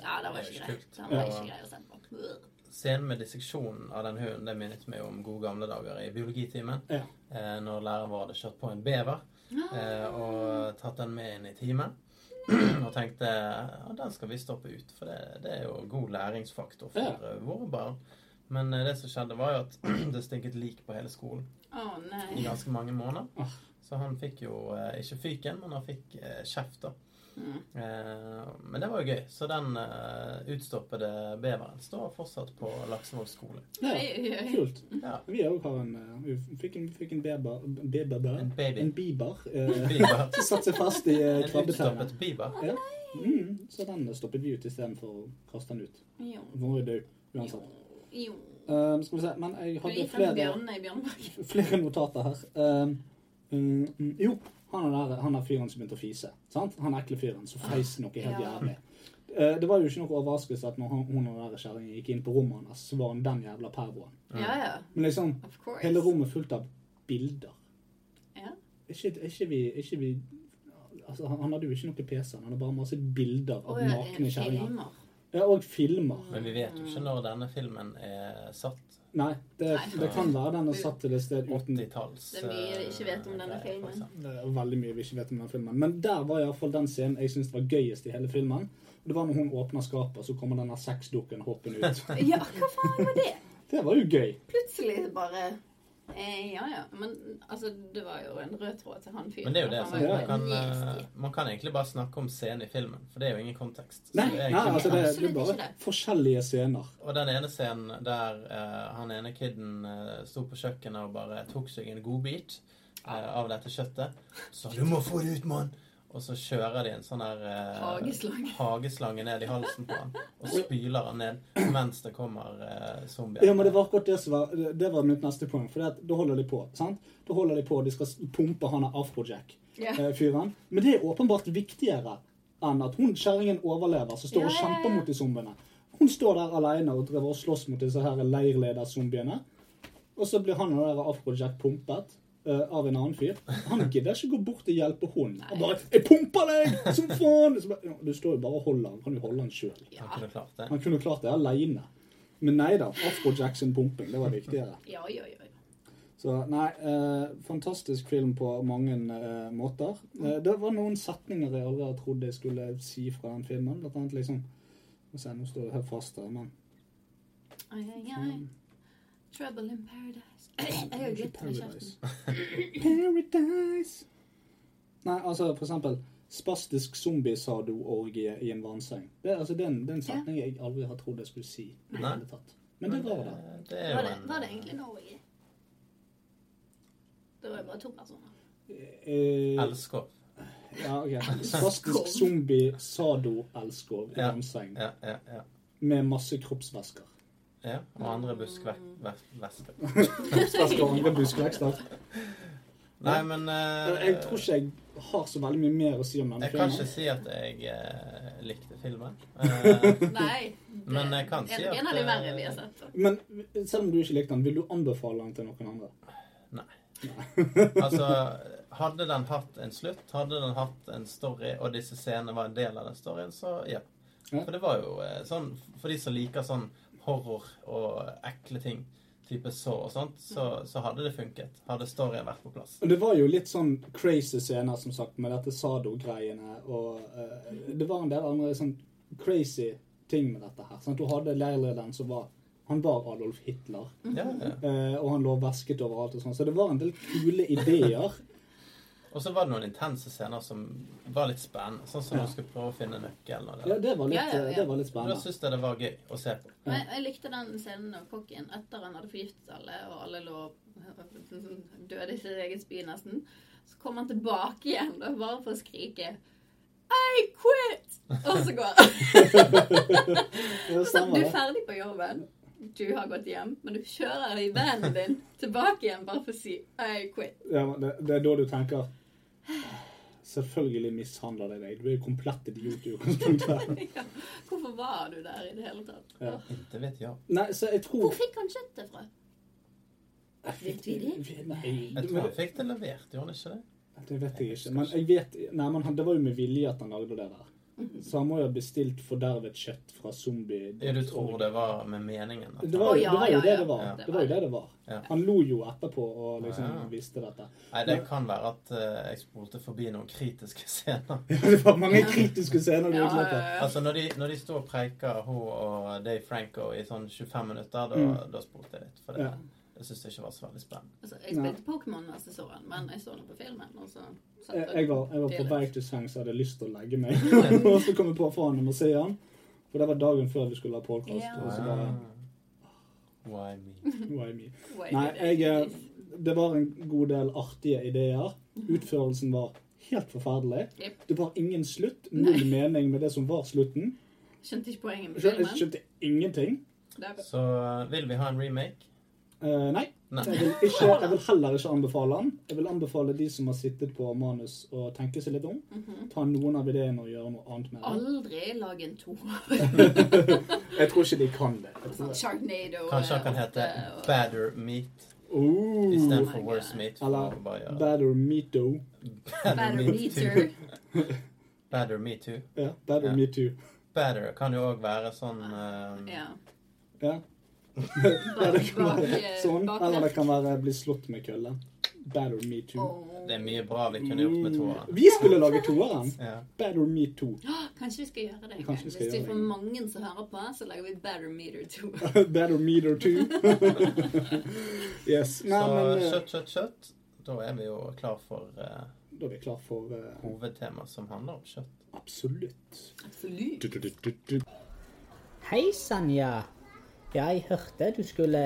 S3: Ja, det var
S2: er
S3: ikke greit.
S2: kult.
S3: Den var ikke
S2: Og
S3: grei å se på.
S2: Scenen med disseksjonen av den hunden det minnet meg om gode gamle dager i biologitimen.
S1: Ja.
S2: Eh, når læreren vår hadde kjørt på en bever eh, og tatt den med inn i timen. Og tenkte ja, den skal vi stoppe ut, for det, det er jo god læringsfaktor for
S1: Ja.
S2: eh, våre barn. Men eh, det som skjedde, var jo at det stinket lik på hele skolen
S3: Å
S2: i
S3: nei.
S2: ganske mange måneder. Så han fikk jo eh, ikke fyken, men han fikk eh, kjeft, da.
S1: Mm.
S2: Eh, men det var jo gøy. Så den eh, utstoppede beveren står fortsatt på Laksevåg skole.
S3: Oi, oi, oi.
S1: Kult.
S2: Ja.
S1: Vi òg har en eh, Vi fikk en, fikk en beber, beber der.
S2: En baby.
S1: En biber. Eh,
S2: Biber.
S1: som satte seg fast i eh,
S2: En
S1: krabbeternet.
S2: utstoppet biber.
S1: Ja. Mm, så den stoppet vi ut istedenfor å kaste den ut.
S3: Jo,
S1: Den var jo død uansett.
S3: jo.
S1: Eh, skal vi se Men jeg
S3: Du
S1: hadde
S3: gikk den
S1: flere,
S3: bjørnene i Bjørnbakken.
S1: flere notater her. Eh, mm, mm, jo, han er, der, han er fyren som begynte å fise. Sant? Han ekle fyren som feis noe helt
S3: Ja.
S1: jævlig. Eh, det var jo ikke noe overraskelse at når han- hun og den der kjerringen gikk inn på rommet hans, så var han den jævla pervoen.
S3: Ja, ja.
S1: Men liksom,
S3: Of course.
S1: hele rommet fullt av bilder.
S3: Ja.
S1: Er ikke, er ikke vi, er ikke vi altså, Han han hadde jo ikke noe PC, han hadde bare masse bilder av
S3: Og eh,
S1: nakne kjerringer.
S3: filmer.
S1: Ja, og filmer.
S2: Men vi vet jo ikke
S1: Mm.
S2: når denne filmen er satt.
S1: Nei, det, det kan være den er satt til et sted uten
S2: 80-talls.
S3: Det er mye vi ikke vet om denne
S2: eh, greier, for
S3: filmen.
S2: eksempel.
S1: Det er veldig mye vi ikke vet om den filmen. Men der var iallfall den scenen jeg syns var gøyest i hele filmen. Og det var når hun åpner skapet, så kommer denne sexdukken hoppende ut.
S3: Ja, hva faen var det?
S1: Det var jo gøy.
S3: Plutselig bare eh, Ja ja. Men altså, det var jo en rød tråd til han fyren.
S2: Men det er jo det.
S3: Han var
S2: Sant? Man,
S3: jo
S2: kan,
S3: nasty.
S2: eh, man kan egentlig bare snakke om scenen i filmen, for det er jo ingen kontekst. Så
S1: Nei,
S2: det er
S1: nei
S2: egentlig
S1: altså det, det er
S3: Absolutt ikke
S1: bare
S3: det.
S1: forskjellige scener.
S2: Og den ene scenen der eh, han ene kiden eh, sto på kjøkkenet og bare tok seg en godbit eh, av dette kjøttet. Så du må få det ut, mann! Og så kjører de en sånn der eh,
S3: Hageslange.
S2: hageslange ned i halsen på han og spyler han ned mens det kommer eh, zombier.
S1: Ja, men det var akkurat det som var Det var mitt neste poeng. For det at, da holder de på. sant? Da holder de på, de skal s- pumpe han der
S3: Ja.
S1: afrojack-fyren. eh, Men det er åpenbart viktigere enn at hun kjerringen overlever, som står
S3: Ja,
S1: og
S3: ja, ja.
S1: kjemper mot de zombiene. Hun står der alene og driver og slåss mot disse her leirlederzombiene. Og så blir han og den der afrojack pumpet. eh, av en annen fyr. Han gidder ikke gå bort og hjelpe hun. Han bare 'Jeg pumper deg! Som faen!' Så bare, ja, du står jo bare og holder han. Kan jo holde han sjøl.
S2: Han kunne klart det.
S1: Han kunne klart det aleine. Men nei da. Afrojack sin pumping, det var viktigere.
S3: Ja, ja, ja.
S1: Så nei, eh, fantastisk film på mange eh, måter. Eh, det var noen setninger jeg aldri hadde trodd jeg skulle si fra den filmen. Blant annet liksom Nå ser jeg, nå står det helt fast her, men
S3: Ai, ai, ai. Trouble in paradise. Jeg har jo glitter i kjeften.
S1: Paradise. Paradise. Nei, altså for eksempel Spastisk zombie-sado-orgie i en vannseng. Det, er- altså, det, er en- det er en setning jeg aldri har trodd jeg skulle si. i det
S2: Nei.
S1: hele tatt. Men det var det.
S2: Eh, Det er
S3: Var
S2: jo
S3: det,
S2: en
S3: var det egentlig Norge? Det var jo bare to personer.
S1: Eh,
S2: elskov.
S1: Ja, ok. Spastisk zombie sado-elskov i
S2: Ja.
S1: vannseng.
S2: Ja, ja, ja.
S1: Med masse kroppsvæsker.
S2: ja. Og andre buskvesker.
S1: Kroppsvæsker og andre buskvekster.
S2: Nei, men eh,
S1: Jeg tror ikke jeg har så veldig mye mer å si om denne
S2: Jeg kan ikke
S1: filmen.
S2: si at jeg eh, likte filmen. Eh,
S3: Nei. Det
S2: Men jeg kan si
S3: er nok
S2: at,
S3: en av de verre
S2: eh,
S3: vi har sett. da.
S1: Men selv om du ikke likte den, vil du anbefale den til noen andre?
S2: altså, hadde den hatt en slutt, hadde den hatt en story, og disse scenene var en del av den storyen, så ja. For det var jo eh, sånn For de som liker sånn horror og ekle ting, type så og sånt, så, så hadde det funket. Hadde storyen vært på plass.
S1: Og Det var jo litt sånn crazy scener, som sagt, med dette Sado-greiene. Og eh, det var en del andre sånn crazy ting med dette her. Sant? Du hadde leirlederen som var Han var Adolf Hitler,
S2: Ja, ja.
S1: eh, og han lå vasket overalt og sånn. Så det var en del kule ideer.
S2: Og så var det noen intense scener som var litt spennende. Sånn som
S1: Ja.
S2: når du skulle prøve å finne nøkkelen. og
S1: Ja,
S2: det der.
S1: det var litt,
S3: Ja, ja, ja.
S1: Det var litt
S2: Da
S1: spennende.
S2: syntes jeg det var gøy å se på.
S3: Men jeg- jeg likte den scenen da kokken etter han hadde forgiftet alle, og alle lå døde i sin egen spy nesten. Så kom han tilbake igjen da, bare for å skrike I quit! Og så går han.
S1: Ja, det
S3: Sånn, Du
S1: stemmer
S3: er
S1: det.
S3: ferdig på jobben. Du har gått hjem, men du kjører i vennen din tilbake igjen bare for å si I quit.
S1: Ja, men det. Det er da du tenker Selvfølgelig mishandler de deg. Du er jo komplett idiot i utgangspunktet.
S3: Ja. Hvorfor var du der i det hele tatt?
S1: Ja.
S2: Ikke vet jeg.
S1: Nei, så jeg tror
S3: Hvor fikk han kjøttet fra? Vet vi det?
S1: Nei,
S2: Jeg tror
S1: men-
S2: han fikk det levert, gjorde han ikke det?
S1: Det vet jeg ikke. Men jeg vet, nei, men han, det var jo med vilje at han lagde det der.
S3: Mhm.
S1: Så han må jo ha bestilt fordervet kjøtt fra zombie...
S2: Ja, du tror det var med meningen? At
S1: Det var,
S3: Å,
S1: jo-
S3: ja,
S1: det var jo
S3: ja,
S1: det
S3: ja.
S1: det var.
S2: Ja.
S1: Det var jo det det var.
S2: Ja.
S1: Han lo jo etterpå og liksom
S2: Ja.
S1: visste dette.
S2: Nei, det kan være at eh, jeg spolte forbi noen kritiske scener.
S1: det var mange kritiske scener du
S3: Ja,
S1: ikke lette.
S3: ja, ja.
S2: Altså, når de, når de står og preiker, hun og Dave Franco, i sånn 25 minutter, da, da spolte jeg litt. For det,
S1: Mm. Ja.
S2: jeg syns det ikke var så veldig spennende.
S3: Altså, jeg spilte Pokémon denne sesongen, men jeg så den på filmen. Og så satt
S1: Jeg, jeg, var, jeg var på
S3: og-
S1: vei til sengs og hadde lyst til å legge meg. og så kom jeg på faen, jeg må se han. For det var dagen før vi skulle ha podcast.
S3: Ja.
S1: Og så bare,
S2: Ah. Why me?
S1: why me?
S3: Wait,
S1: Nei, jeg,
S3: wait, wait.
S1: eh, det var en god del artige ideer. Utførelsen var helt forferdelig.
S3: Mhm. Jep.
S1: Det var ingen slutt. Null mening med det som var slutten.
S3: Skjønte ikke poenget med
S1: Jeg
S3: filmen.
S1: skjønte ingenting.
S3: Det-
S2: Så eh, vil vi ha en remake?
S1: Eh, nei.
S2: Nei.
S1: Jeg vil, ikke, jeg vil heller ikke anbefale den. Jeg vil anbefale de som har sittet på manus og tenke seg litt om.
S3: Mhm.
S1: Ta noen av ideene og gjøre noe annet med det.
S3: Aldri lag en to.
S1: Jeg tror ikke de kan det. Jeg tror
S3: Sånn
S1: det.
S3: Sharknado.
S2: Kanskje han
S3: eh,
S2: kan hete
S3: åtte, og-
S2: Badder Meat
S1: Oh,
S2: istedenfor Worse Meat. for
S1: Eller
S2: å bare gjøre det.
S1: Better Me Too.
S3: Bad
S2: Badder Meat Too.
S3: Meter.
S2: Badder Me Too.
S1: Ja, Better
S2: Ja.
S1: Me Too.
S2: Badder kan jo òg være sånn eh,
S3: Ja.
S1: Ja.
S3: Bak,
S1: Det kan
S3: bak,
S1: være
S3: eh,
S1: sånn,
S3: bak
S1: eller det
S3: left.
S1: kan være bli slått med kølle. Better Me Too.
S3: Åh.
S2: Det er mye bra vi kunne
S1: Mm.
S2: gjort med toeren.
S1: Vi skulle lage toeren.
S2: Ja.
S1: Better Me Too.
S3: Kanskje vi skal gjøre det en gang.
S1: Kanskje vi skal
S3: Hvis vi
S1: gjøre det
S3: får
S1: en
S3: mange som hører på, så lager vi Better Meter 2.
S1: Better Meter Too. Yes. Nei,
S2: Så
S1: men eh,
S2: kjøtt, kjøtt, kjøtt. Da er vi jo klar for eh,
S1: da er vi klar for eh,
S2: hovedtema som handler om kjøtt.
S1: Absolutt.
S3: Absolutt.
S6: Hei sann, ja. Ja, jeg hørte du skulle,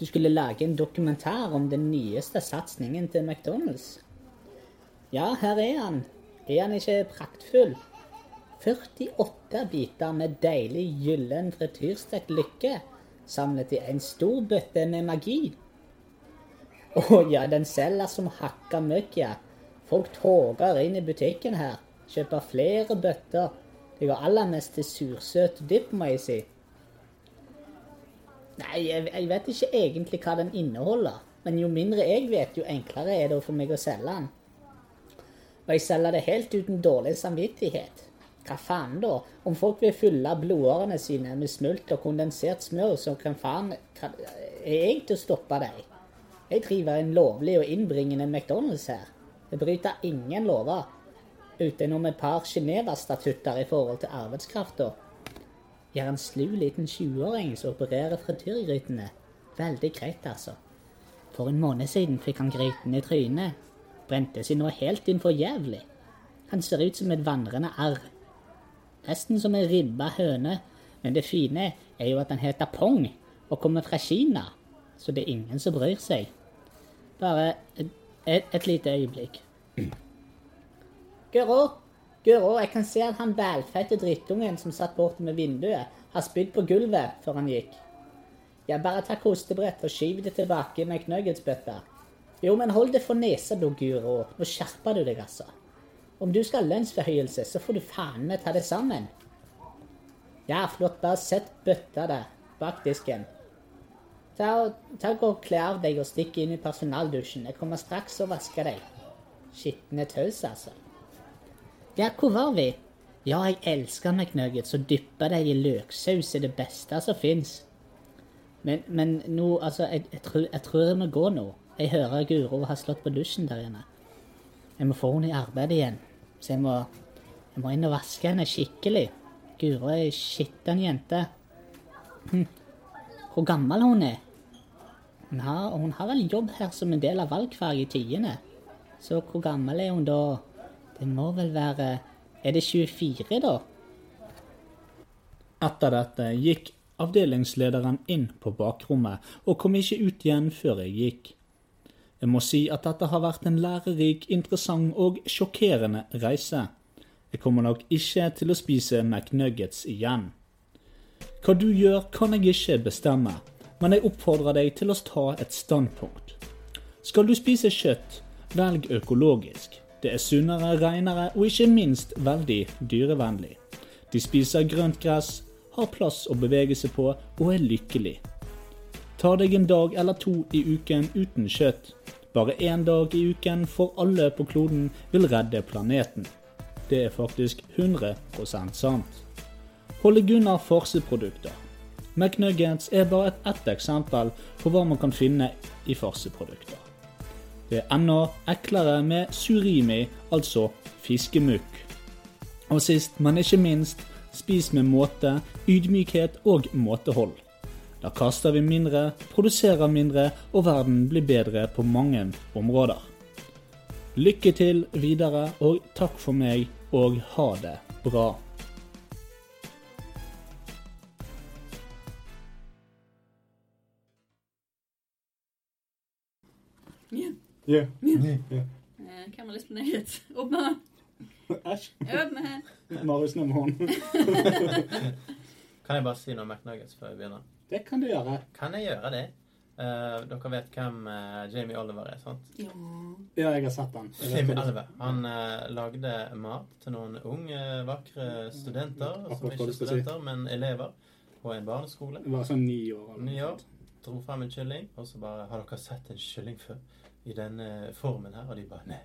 S6: du skulle lage en dokumentar om den nyeste satsingen til McDonald's. Ja, her er han. Er han ikke praktfull? 48 biter med deilig gyllen frityrstekt lykke samlet i en stor bøtte med magi. Å ja, den selger som hakka møkk, ja. Folk tåger inn i butikken her. Kjøper flere bøtter. Det går aller mest til sursøt dipp, må jeg si. Nei, jeg, jeg vet ikke egentlig hva den inneholder. Men jo mindre jeg vet, jo enklere er det for meg å selge den. Og jeg selger det helt uten dårlig samvittighet. Hva faen da? Om folk vil fylle blodårene sine med smult og kondensert smør, så kan faen kan, Er jeg til å stoppe dem? Jeg driver en lovlig og innbringende McDonald's her. Jeg bryter ingen lover. Utenom et par Geneva-statutter i forhold til arbeidskrafta. Jeg er en slu liten 20-åring som opererer frityrgrytene. Veldig greit, altså. For en måned siden fikk han gryten i trynet. Brente seg nå helt inn for jævlig. Han ser ut som et vandrende arr. Nesten som en ribba høne, men det fine er jo at han heter Pong og kommer fra Kina, så det er ingen som bryr seg. Bare et, et, et lite øyeblikk. Guro, Guro, jeg kan se at han velfette drittungen som satt borte med vinduet, har spydd på gulvet før han gikk. Jeg bare tar kostebrett og skyver det tilbake med knuggetsbøtta. Jo, men hold det for nesa, du, Guro. Nå skjerper du deg, altså. Om du skal ha lønnsforhøyelse, så får du faen meg ta det sammen. Ja, flott. Bare sett bøtta der, bak disken. Ta, og- ta og gå og Kle av deg og stikk inn i personaldusjen. Jeg kommer straks og vasker deg. Skitne taus, altså. Ja, hvor var vi? Ja, jeg elsker McNuggets og dypper deg i løksaus er det beste som fins. Men, men nå, altså, jeg, jeg, tror, jeg tror jeg må gå nå. Jeg hører Guro har slått på dusjen der inne. Jeg må få henne i arbeid igjen, så jeg må, jeg må inn og vaske henne skikkelig. Guro er ei skitten jente. Hm. Hvor gammel hun er? Hun har, hun har vel jobb her som en del av valgfag i tiende. Så hvor gammel er hun da? Det må vel være Er det 24, da?
S5: Etter dette gikk avdelingslederen inn på bakrommet, og kom ikke ut igjen før jeg gikk. Jeg må si at dette har vært en lærerik, interessant og sjokkerende reise. Jeg kommer nok ikke til å spise McNuggets igjen. Hva du gjør, kan jeg ikke bestemme, men jeg oppfordrer deg til å ta et standpunkt. Skal du spise kjøtt, velg økologisk. Det er sunnere, renere og ikke minst veldig dyrevennlig. De spiser grønt gress, har plass å bevege seg på og er lykkelig. Ta deg en dag eller to i uken uten kjøtt. Bare én dag i uken for alle på kloden vil redde planeten. Det er faktisk 100 sant. Hold deg unna farseprodukter. McNuggets er bare ett ett eksempel på hva man kan finne i farseprodukter. Det er enda eklere med surimi, altså fiskemukk. Og sist, men ikke minst, spis med måte, ydmykhet og måtehold. Da kaster vi mindre, produserer mindre, og verden blir bedre på mange områder. Lykke til videre, og takk for meg, og ha det bra.
S3: Ja.
S1: Yeah.
S3: Eh, Hvem har lyst på nuggets? Opp med hånden!
S1: Æsj.
S3: Opp med hånden!
S1: Marius nå med hånden.
S2: Kan jeg bare si noe om McNuggets før vi begynner?
S1: Det kan du gjøre.
S2: Kan jeg gjøre det? Eh, dere vet hvem eh, Jamie Oliver er, sant?
S3: Ja.
S1: Ja, jeg har sett den. Jeg vet
S2: Jamie
S1: hva du-
S2: Oliver. Han eh, lagde mat til noen unge, vakre studenter.
S1: Akkurat hva
S2: Som ikke
S1: du
S2: er
S1: skal si.
S2: studenter, men elever på en barneskole.
S1: Jeg var sånn ni år. eller noe
S2: Ni år.
S1: sånt.
S2: Dro frem en kylling, og så bare Har dere sett en kylling før? I denne eh, formen her? Og de bare Nei.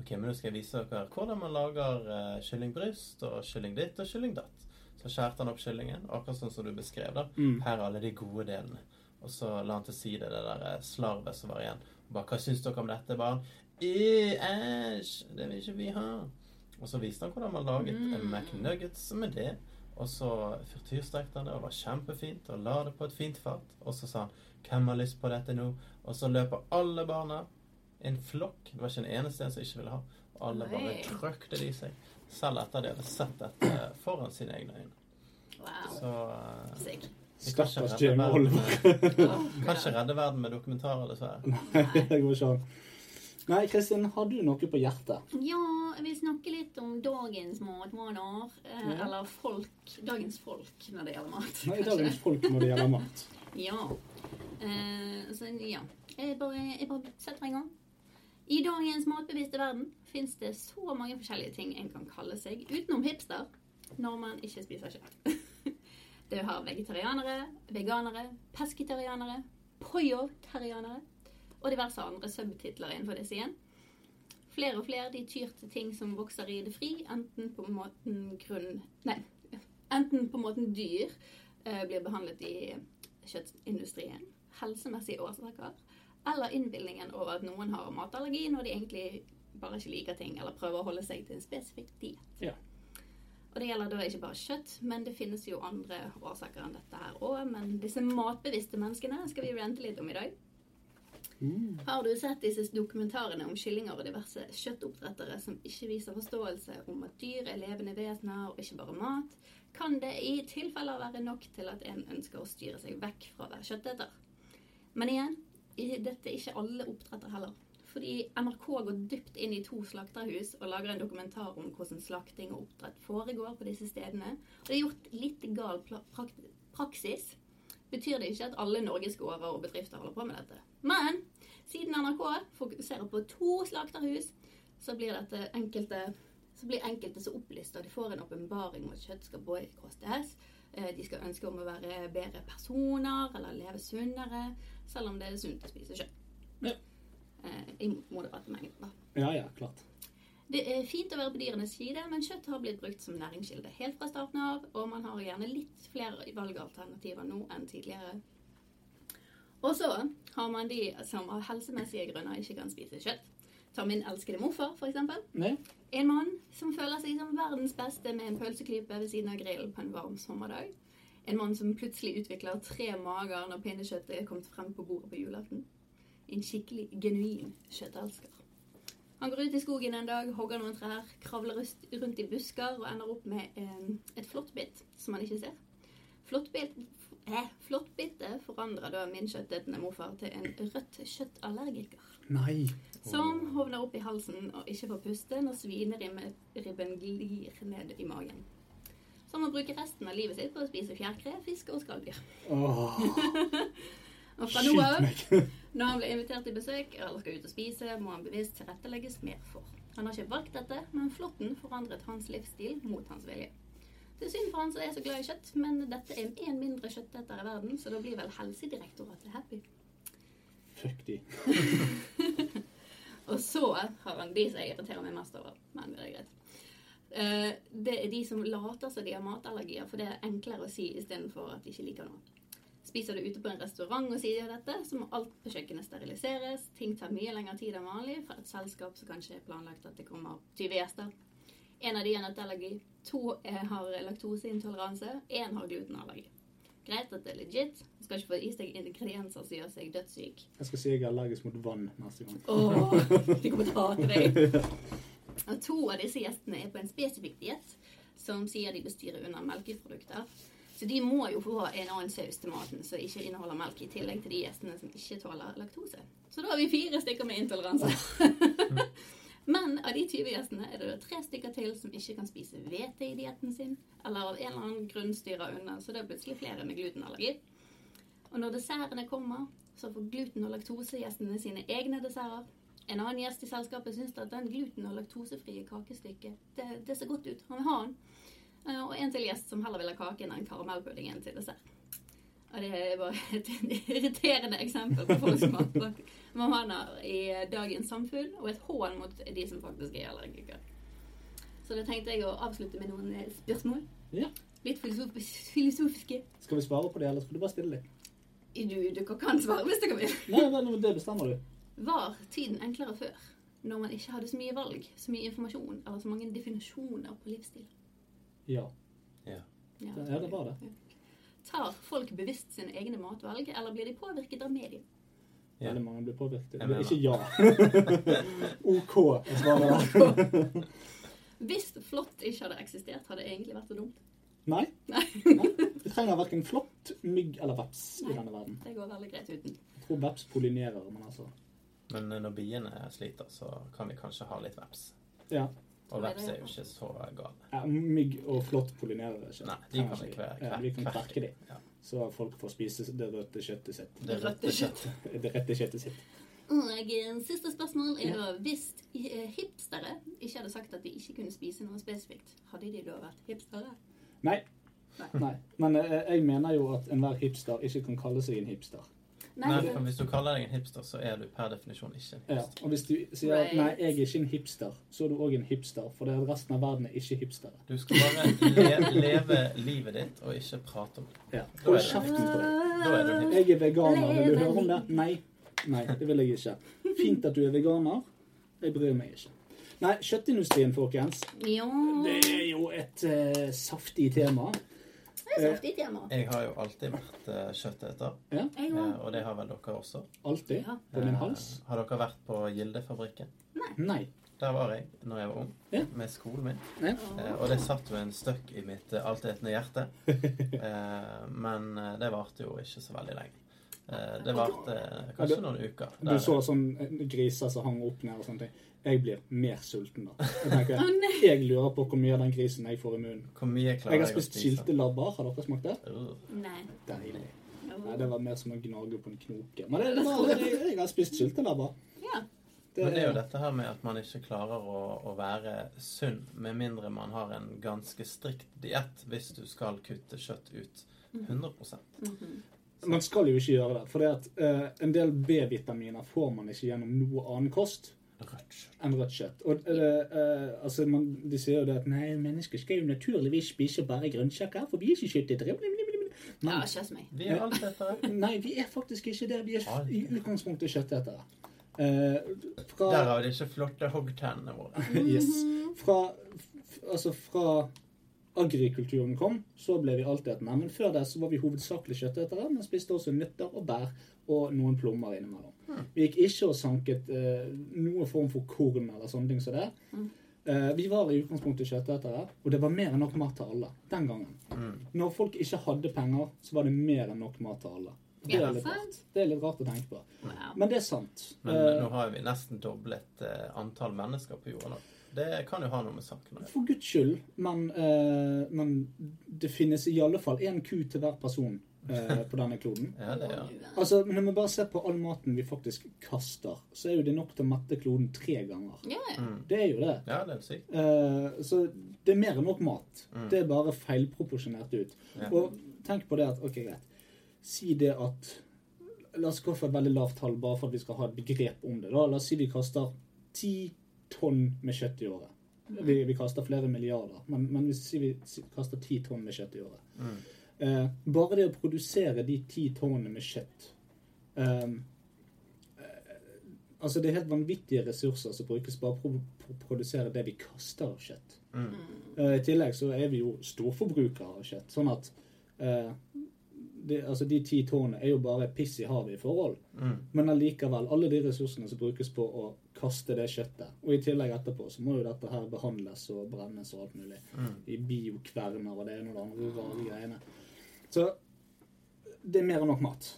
S2: Ok, men nå skal jeg vise dere hvordan man lager eh, kyllingbryst og kylling ditt og kylling datt. Så skjærte han opp kyllingen, akkurat sånn som du beskrev, da.
S1: Mm.
S2: Her er alle de gode delene. Og så la han til side det der eh, slarvet som var igjen. Og bare, Hva syns dere om dette? Bare «Øh, Æsj! Det vil ikke vi ha. Og så viste han hvordan man laget en McNuggets med det. Og så frityrstekte han det, og det var kjempefint, og la det på et fint fat. Og så sa han 'Hvem har lyst på dette nå?' Og så løper alle barna, en flokk Det var ikke en eneste en som ikke ville ha. Og alle bare
S3: Oi.
S2: trøkte det i seg. Selv etter de hadde sett dette foran sine egne øyne.
S3: Wow.
S2: Så eh, vi
S3: Sick.
S2: kan ikke
S1: Stakkars
S2: redde
S1: Jamie
S2: verden
S1: Oliver.
S2: med-
S3: Åh,
S2: Kan ikke redde verden med dokumentarer, dessverre.
S1: Det går ikke an. Nei, Kristin, har du noe på hjertet?
S3: Ja, jeg vil snakke litt om dagens matvaner. Eh,
S1: Ja.
S3: eller folk. Dagens folk når det gjelder mat.
S1: Nei, i
S3: kanskje.
S1: dagens folk når det gjelder mat.
S3: Ja. Eh, så ja. Jeg bare, jeg bare setter i gang. I dagens matbevisste verden fins det så mange forskjellige ting en kan kalle seg utenom hipster når man ikke spiser kjøtt. Du har vegetarianere, veganere, pesketarianere, poiotarianere og diverse andre subtitler innenfor disse igjen. Flere og flere de tyr til ting som vokser i det fri, enten på måten grunn... Nei, enten på måten dyr eh, blir behandlet i kjøttindustrien, helsemessige årsaker, eller innbillingen over at noen har matallergi når de egentlig bare ikke liker ting, eller prøver å holde seg til en spesifikk diett.
S1: Ja.
S3: Og det gjelder da ikke bare kjøtt, men det finnes jo andre årsaker enn dette her òg. Men disse matbevisste menneskene skal vi rente litt om i dag. Har du sett disse dokumentarene om kyllinger og diverse kjøttoppdrettere som ikke viser forståelse om at dyr er levende vesener og ikke bare mat, kan det i tilfeller være nok til at en ønsker å styre seg vekk fra å være kjøtteter. Men igjen, i- dette er ikke alle oppdrettere heller. Fordi NRK går dypt inn i to slakterhus og lager en dokumentar om hvordan slakting og oppdrett foregår på disse stedene. Og det er gjort litt gal pla- prakt- praksis. Betyr det ikke at alle Norges gårder og bedrifter holder på med dette. Men siden NRK fokuserer på to slakterhus, så blir dette enkelte så blir enkelte så opplyste, og de får en åpenbaring om at kjøtt skal boikottes. Eh, De skal ønske om å være bedre personer eller leve sunnere, selv om det er sunt å spise kjøtt.
S1: Ja.
S3: Eh, I moderate mengder. da.
S1: Ja, ja, klart.
S3: Det er fint å være på dyrenes side, men kjøtt har blitt brukt som næringskilde helt fra starten av, og man har gjerne litt flere valgalternativer nå enn tidligere. Og så har man de som av helsemessige grunner ikke kan spise kjøtt. Ta min elskede morfar, for eksempel.
S1: Nei?
S3: En mann som føler seg som verdens beste med en pølseklype ved siden av grillen på en varm sommerdag. En mann som plutselig utvikler tre mager når pinnekjøttet er kommet frem på bordet på julaften. En skikkelig genuin kjøttelsker. Han går ut i skogen en dag, hogger noen trær, kravler rust- rundt i busker og ender opp med eh, et flåttbitt som han ikke ser. Flåttbitt- eh, Flåttbittet forandrer da min kjøttetende morfar til en rødt kjøttallergiker
S1: Nei.
S3: som hovner opp i halsen og ikke får puste når svineribben glir ned i magen. Så han må bruke resten av livet sitt på å spise fjærkre, fisk og skalldyr.
S1: Åh,
S3: Og fra nå
S1: skyt
S3: av,
S1: meg.
S3: når han blir invitert til besøk eller skal ut og spise, må han bevisst tilrettelegges mer for. Han har ikke valgt dette, men flåtten forandret hans livsstil mot hans vilje. Det er synd for han som er så glad i kjøtt, men dette er en mindre kjøtteter i verden, så da blir vel Helsedirektoratet happy.
S1: Fuck de.
S3: Og så har han de som jeg irriterer meg mest over. Men det er greit. Eh, Det er de som later som de har matallergier, for det er enklere å si istedenfor at de ikke liker noe. Spiser du ute på en restaurant og sier dette, så må alt på kjøkkenet steriliseres. Ting tar mye lengre tid enn vanlig for et selskap som kanskje er planlagt at det kommer 20 gjester. En av de har nøtteallergi, to eh, har laktoseintoleranse, én har glutenallergi. Greit at det er legit, man skal ikke få i seg ingredienser som gjør seg dødssyk.
S1: Jeg skal si jeg er allergisk mot vann neste gang.
S3: Åh, de kommer til å hate deg. Og to av disse gjestene er på en spesifikk diett som sier de bestyrer under melkeprodukter. Så de må jo få en annen saus til maten som ikke inneholder melk, i tillegg til de gjestene som ikke tåler laktose. Så da har vi fire stykker med intoleranse. Men av de 20 gjestene er det da tre stykker til som ikke kan spise hvete i dietten sin, eller av en eller annen grunn styrer unna, så det er plutselig flere med glutenallergi. Og når dessertene kommer, så får gluten- og laktosegjestene sine egne desserter. En annen gjest i selskapet syns at den gluten- og laktosefrie kakestykket, det, det ser godt ut. Han vil ha den. Eh, Og en til gjest som heller vil ha kaken enn karamellpuddingen til dessert. Og det er bare et irriterende eksempel på folks matvaner i dagens samfunn, og et hån mot de som faktisk er allergikere. Så da tenkte jeg å avslutte med noen eh, spørsmål.
S1: Ja.
S3: Litt filosofis- filosofiske.
S1: Skal vi svare på det, eller skal du bare stille det?
S3: Du, dere kan svare hvis dere vil.
S1: Nei, vel, det bestemmer du.
S3: Var tiden enklere før, når man ikke hadde så mye valg, så mye informasjon eller så mange definisjoner på livsstil?
S1: Ja.
S3: Ja,
S1: Ja, det var det.
S3: Tar folk bevisst sine egne matvalg, eller blir de påvirket av medier?
S2: Ja.
S1: Veldig mange blir påvirket.
S2: Jeg
S1: Det er
S2: mener.
S1: ikke ja. OK. Jeg svarer ja.
S3: Hvis flått ikke hadde eksistert, hadde det egentlig vært så dumt.
S1: Nei.
S3: Nei,
S1: Vi trenger verken flått, mygg eller veps i denne verden.
S3: det går veldig greit uten.
S1: Jeg tror veps pollinerer, men altså
S2: Men eh, når biene sliter, så kan vi kanskje ha litt veps.
S1: Ja.
S2: Og veps er jo ikke så gale.
S1: ja mygg og flått pollinerer ikke.
S2: Nei, de kan
S1: Trenger
S2: vi
S1: ikke.
S2: kver-
S1: Ja, vi kan
S2: kver-
S1: kverke dem,
S2: Ja.
S1: så folk får spise det røde kjøttet sitt.
S2: Det rødte kjøttet.
S1: Det rette kjøttet sitt.
S3: Og eh, siste spørsmål er da hvis eh, hipstere ikke hadde sagt at de ikke kunne spise noe spesifikt, hadde de da vært hipstere?
S1: Nei.
S3: Nei.
S1: Nei. Men eh, jeg mener jo at enhver hipster ikke kan kalle seg en hipster.
S3: Nei,
S2: Nei,
S3: det-
S2: for hvis du kaller deg en hipster, så er du per definisjon ikke en
S1: Ja.
S2: hipster.
S1: Og hvis du sier
S3: Right.
S1: nei, jeg er ikke en hipster, så er du òg en hipster, for det er resten av verden er ikke hipstere.
S2: Du skal bare le leve livet ditt og ikke prate om det.
S1: Ja.
S2: Da er
S1: Hold
S2: det-
S1: kjeften på deg.
S2: Da er du en hipster.
S1: Jeg er veganer. Vil du høre om det? Nei. Nei, det vil jeg ikke. Fint at du er veganer. Jeg bryr meg ikke. Nei, kjøttindustrien, folkens.
S3: Jo,
S1: Det er jo et eh, saftig tema.
S3: det er saftig tema.
S2: Jeg har jo alltid vært eh, kjøtteter,
S3: Jeg
S2: eh,
S3: òg.
S2: og det har vel dere også.
S1: Alltid.
S3: Ja.
S1: På min
S2: Eh,
S1: hals.
S2: Har dere vært på Gildefabrikken?
S1: Nei.
S2: Der var jeg når jeg var ung,
S1: Ja.
S2: med skolen min.
S1: Nei.
S2: Eh, og det satt jo en støkk i mitt eh, altetende hjerte. Eh, men eh, det varte jo ikke så veldig lenge. Eh, det varte eh,
S1: Ja, du-
S2: kanskje noen uker.
S1: Du så sånn eh, griser som hang opp ned og sånne ting. Jeg blir mer sulten da. Jeg,
S3: Å,
S1: tenker,
S3: nei.
S1: jeg lurer på hvor mye av den grisen jeg får i munnen.
S2: Hvor mye
S1: Jeg
S2: klarer
S1: har spist
S2: liksom.
S1: skilte labber. Har dere smakt det?
S2: Uh,
S3: Nei.
S1: Deilig.
S3: Jo.
S1: Nei, det var mer som å gnage på en knoke. Men det, det var, jeg, jeg har spist syltelabber.
S3: Ja.
S2: Men det er jo dette her med at man ikke klarer å, å være sunn med mindre man har en ganske strikt diett hvis du skal kutte kjøtt ut 100
S3: Mhm.
S1: Man skal jo ikke gjøre det. For det at, eh, en del B-vitaminer får man ikke gjennom noe annen kost
S2: Rødt kjøtt.
S1: enn rødt kjøtt. Og eh, eh, altså, man, De sier jo det at nei, mennesker skal jo naturligvis spise bare grønnsaker, for vi er ikke kjøttetere.
S3: Ja,
S1: Men
S3: kjøss meg.
S2: Vi er alt etter.
S1: nei, vi er faktisk ikke det. Vi er f- i utgangspunktet kjøttetere. Eh, fra,
S2: Derav de ikke flotte hoggtennene våre.
S1: yes,
S2: Mhm.
S1: fra, f- altså fra agrikulturen kom, så ble vi altetende. Men før det så var vi hovedsakelig kjøttetere, men spiste også nøtter og bær og noen plommer innimellom.
S2: Hm.
S1: Vi gikk ikke og sanket eh, noen form for korn eller sånne ting som det.
S2: Hm.
S1: Eh, vi var i utgangspunktet kjøttetere, og det var mer enn nok mat til alle den gangen.
S2: Hm.
S1: Når folk ikke hadde penger, så var det mer enn nok mat til alle. Det
S3: Ja,
S1: er litt rart,
S3: sant?
S1: det er litt rart å tenke på.
S3: Wow.
S1: Men det er sant.
S2: Men
S1: Eh,
S2: nå har vi nesten doblet eh, antall mennesker på jorda nå. Det kan jo ha noe med saken å gjøre.
S1: For guds skyld, men, eh, men det finnes i alle fall én ku til hver person eh, på denne kloden.
S2: Ja, det gjør det.
S1: Altså, Når vi bare ser på all maten vi faktisk kaster, så er jo det nok til å mette kloden tre ganger.
S3: Ja, ja.
S2: Mm.
S1: Det er jo det.
S2: Ja, det er sykt.
S1: Eh, så det er mer enn nok mat. Det er bare feilproporsjonert ut.
S2: Ja.
S1: Og tenk på det at OK, greit. Si det at La oss gå for et veldig lavt tall, bare for at vi skal ha et begrep om det. da. La oss si vi kaster ti tonn med kjøtt i året. Vi, vi kaster flere milliarder, men, men hvis vi sier vi si- kaster ti tonn med kjøtt i året eh, Bare det å produsere de ti tonnene med kjøtt eh, Altså, det er helt vanvittige ressurser som brukes bare på å pro- produsere det vi kaster av kjøtt. Eh, I tillegg så er vi jo storforbrukere av kjøtt, sånn at eh, det, altså de ti tårnene er jo bare piss i havet i forhold.
S2: Mm.
S1: Men allikevel, alle de ressursene som brukes på å kaste det kjøttet, og i tillegg etterpå, så må jo dette her behandles og brennes og alt mulig.
S2: Mm.
S1: I biokverner og det ene og det andre rare greiene. Så det er mer enn nok mat,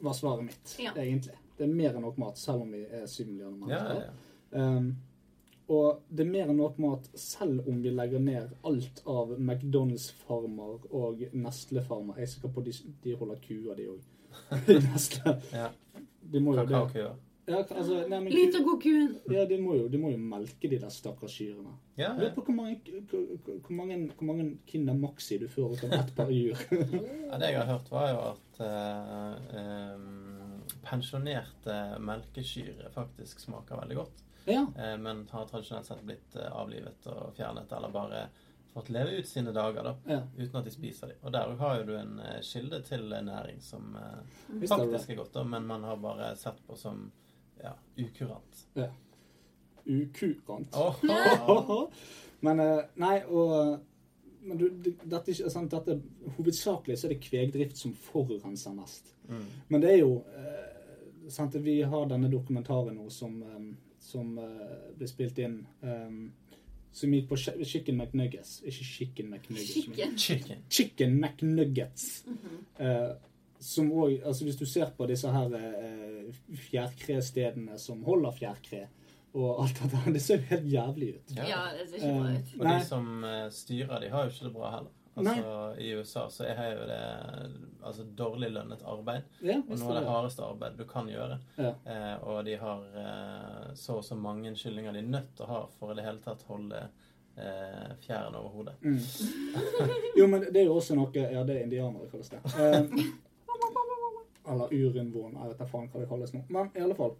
S1: var svaret mitt,
S3: Ja.
S1: egentlig. Det er mer enn nok mat, selv om vi er syv millioner
S2: Ja,
S1: mennesker.
S2: ja.
S1: Um, og det er mer enn nok mat selv om vi legger ned alt av McDonald's-farmer og Nestle-farmer. Jeg er sikker på de, de holder kuer, de òg. Nestle.
S2: Ja.
S1: De må jo det.
S2: Kakaokuer.
S1: Ja, altså, nei, men,
S3: Lite
S1: ku-
S3: god kuen.
S1: ja, de, må jo, de må jo melke de der stakkars kyrne.
S2: Ja, ja.
S1: Lurer på hvor mange, hvor- hvor- hvor mange, hvor mange Kinder Maxi du får ut av ett par dyr.
S2: Ja, det jeg har hørt, var jo at eh, em, pensjonerte melkekyr faktisk smaker veldig godt.
S1: ja.
S2: eh, men har tradisjonelt sett blitt eh, avlivet og fjernet, eller bare fått leve ut sine dager, da.
S1: ja.
S2: Uten at de spiser dem. Og der har jo du en eh, kilde til eh, næring som eh,
S1: Visst er det det.
S2: faktisk er godt, da, men man har bare sett på som ja, ukurant.
S1: Ukurant.
S2: Åh,
S1: Men eh, nei, og men du, det- dette, er ikke- sant, dette, hovedsakelig så er det kvegdrift som forurenser mest. Men det er jo eh, sant, Vi har denne dokumentaren nå som, eh, som eh, ble spilt inn eh, som gikk på Chi- Chicken McNuggets. Ikke Chicken McNuggets. men-
S3: Chicken.
S2: Chicken.
S1: Chicken McNuggets. Eh, som òg Altså, hvis du ser på disse her eh, fjærkrestedene som holder fjærkre, og alt dette her, det ser jo helt jævlig ut.
S2: Ja.
S3: Ja, det ser ikke bra ut.
S2: Og
S1: Nei.
S2: de som eh, styrer, de har jo ikke det bra heller. Altså, I USA så er jo det altså, dårlig lønnet arbeid.
S1: Ja,
S2: Og
S1: visst
S2: noe av
S1: er
S2: det
S1: det.
S2: hardeste arbeidet du kan gjøre.
S1: Ja.
S2: Eh, og de har eh, så og så mange kyllinger de er nødt til å ha for i det hele tatt holde eh, fjæren over hodet.
S1: Jo, men det er jo også noe Ja, det er indianere, kalles det. Eh, eller urinnvåner, jeg vet da faen hva det kalles nå. Men i alle fall.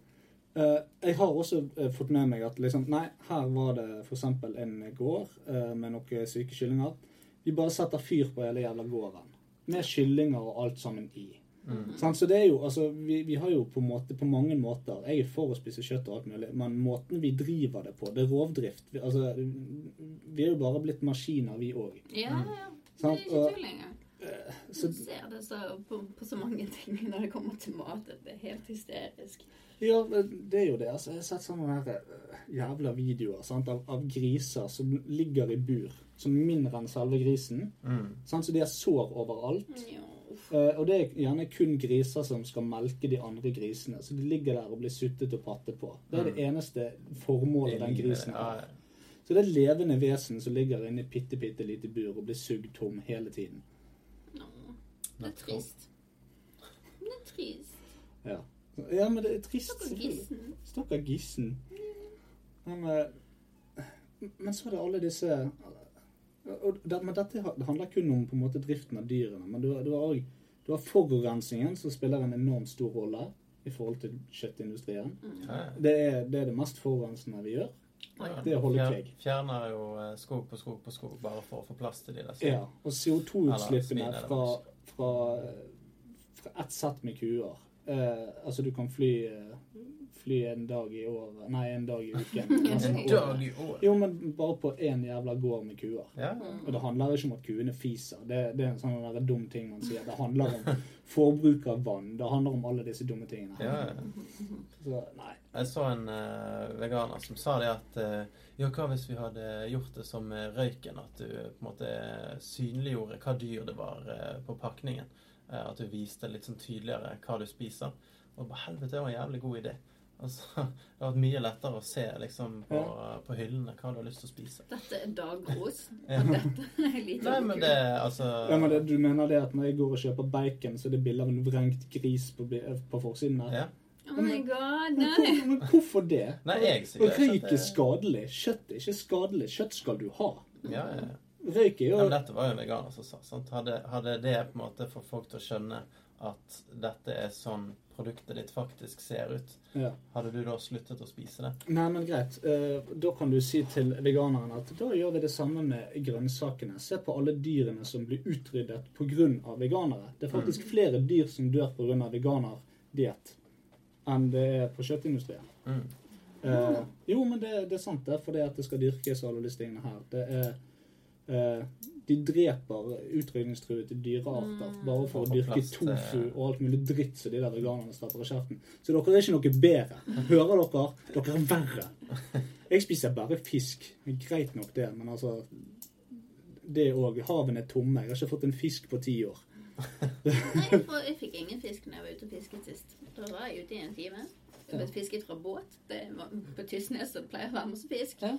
S1: eh, jeg har også eh, fått med meg at liksom Nei, her var det f.eks. en gård eh, med noen syke kyllinger. Vi bare setter fyr på hele jævla gården. Med kyllinger og alt sammen i. Sant? Så det er jo, altså, vi, vi har jo på, en måte, på mange måter Jeg er for å spise kjøtt og alt mulig, men måten vi driver det på, det er rovdrift. Vi, altså, vi er jo bare blitt maskiner, vi òg.
S3: Ja, ja.
S2: Mm.
S3: Det er
S1: Sant,
S3: ikke
S1: og-
S3: tull lenger.
S1: så-
S3: Du ser det så på, på så mange ting når det kommer til mat, at det er helt hysterisk.
S1: Ja, men det er jo det. Altså, jeg har sett sånne her, eh, jævla videoer sant? Av, av griser som ligger i bur, som er mindre enn selve grisen. Sant? Så de har sår overalt.
S3: Ja, uff.
S1: Eh, og det er gjerne kun griser som skal melke de andre grisene. Så de ligger der og blir suttet og pattet på. Det er det eneste formålet den grisen
S2: eh, Ja,
S1: har. Så det er et levende vesen som ligger inne i bitte, bitte lite bur og blir sugd tom hele tiden.
S3: Nå. Det er trist. Det er trist.
S1: Ja, ja men det er trist.
S3: Stakkars
S1: selvfølgelig.
S3: gissen.
S1: Stakkar gissen. Men, eh, men så er det alle disse eh, og det, men Dette ha- det handler kun om på en måte driften av dyrene. Men du, har- du, har, også- du har forurensningen, som spiller en enormt stor rolle i forhold til kjøttindustrien.
S2: ja.
S1: Det er det, er det mest forurensende vi gjør.
S2: Ja,
S1: Det holder
S2: fjer-
S1: kjeg.
S2: Fjerner jo eh, skog på skog på skog bare for å få plass til de der.
S1: Ja, Og CO2-utslippene
S2: Eller svin, eller
S1: fra
S2: mus.
S1: fra, eh, fra ett sett med kuer. Eh, altså du kan fly, eh, fly en dag i året Nei, en dag i uken. Altså, resten
S2: En
S1: av året.
S2: dag i år.
S1: Jo, men bare på én jævla gård med kuer.
S2: Ja.
S1: Og det handler ikke om at kuene fiser. Det, det er en sånn der dum ting man sier. Det handler om forbruk av vann. Det handler om alle disse dumme tingene.
S2: Ja, ja.
S1: Så, nei.
S2: Jeg så en eh, veganer som sa det at eh, Ja, hva hvis vi hadde gjort det som med røyken? At du eh, på en måte synliggjorde hva dyr det var eh, på pakningen. Eh, at du viste litt sånn tydeligere hva du spiser. Og på helvete, det var en jævlig god idé. Altså, det har vært mye lettere å se liksom, på, på hyllene hva du har lyst til å spise.
S3: Dette er dagros.
S2: Ja.
S3: Og dette er lite
S2: Nei, men det altså
S1: Ja, men det, du mener det at når jeg går og kjøper bacon, så er det bilde av en vrengt gris på, bi- på forsiden der?
S2: ja.
S3: Oh my god,
S1: Men, hvor,
S3: nei.
S1: men hvorfor det?
S2: Nei, jeg sier
S1: Og
S2: ikke
S1: Røyk
S2: at det-
S1: er skadelig. Kjøtt er ikke skadelig. Kjøtt skal du ha.
S2: Ja, ja, ja.
S1: Røyk er
S2: Ja,
S1: jo
S2: men dette var jo en veganer som sa. Sant? Hadde, hadde det på en måte fått folk til å skjønne at dette er sånn produktet ditt faktisk ser ut,
S1: ja.
S2: hadde du da sluttet å spise det?
S1: Nei, men greit. Eh, Da kan du si til veganeren at da gjør vi det samme med grønnsakene. Se på alle dyrene som blir utryddet pga. veganere. Det er faktisk flere dyr som dør pga. veganerdiett enn det er på kjøttindustrien.
S2: Mm.
S1: Eh, jo, men det, det er sant, det. For det at det skal dyrkes og alle disse tingene her. Det er eh, De dreper utrydningstruede dyrearter bare for
S2: For å
S1: å
S2: få
S1: dyrke
S2: plass til-
S1: tofu og alt mulig dritt som de der veganerne stapper i kjeften. Så dere er ikke noe bedre. Hører dere? Dere er verre. Jeg spiser bare fisk. Greit nok det, men altså Det òg. Havene er tomme. Jeg har ikke fått en fisk på ti år.
S3: Nei, for jeg fikk ingen fisk når jeg var ute og fisket sist. Da var jeg ute i en time. Jeg ble fisket fra båt. Det var på Tysnes så det pleier å være masse fisk.
S1: Ja.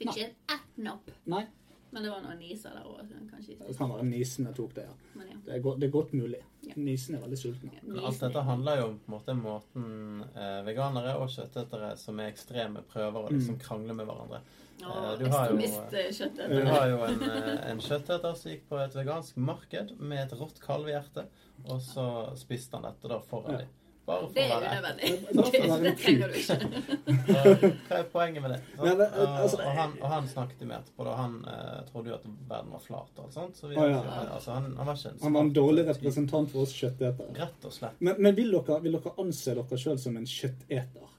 S3: Fikk ikke ett napp.
S1: Nei.
S3: Men det var noen niser der òg. Kanskje
S1: Det
S3: ikke.
S1: kan være nisene tok det, ja.
S3: Men ja.
S1: Det er godt, det er godt mulig.
S3: Ja.
S1: Nisene er veldig sultne.
S2: Men alt dette handler jo om på en måte måten eh, veganere og kjøttetere som er ekstreme, prøver å liksom krangle med hverandre. Eh, du har jo-
S3: ekstremistkjøttet.
S2: Du har jo en, eh, en kjøtteter som gikk på et vegansk marked med et rått kalvehjerte, og så spiste han dette da
S1: Ja.
S2: foran dem. Bare for
S3: Det
S2: å
S3: er
S2: være ekte.
S3: unødvendig.
S1: Bare for å være
S3: Det
S1: en
S3: trenger du ikke.
S2: Så, Eh, Hva er poenget med det? Sant?
S1: Nei, men,
S2: Eh,
S1: altså,
S2: og, han, og han snakket jo med etterpå. Da. Han eh, trodde jo at verden var flat. Og alt sånt, så vi,
S1: Å, ja.
S2: altså, han, han var ikke en
S1: Han var en dårlig
S2: smart-
S1: representant for oss kjøttetere.
S2: Rett og slett.
S1: Men, men vil, dere, vil dere anse dere sjøl som en kjøtteter?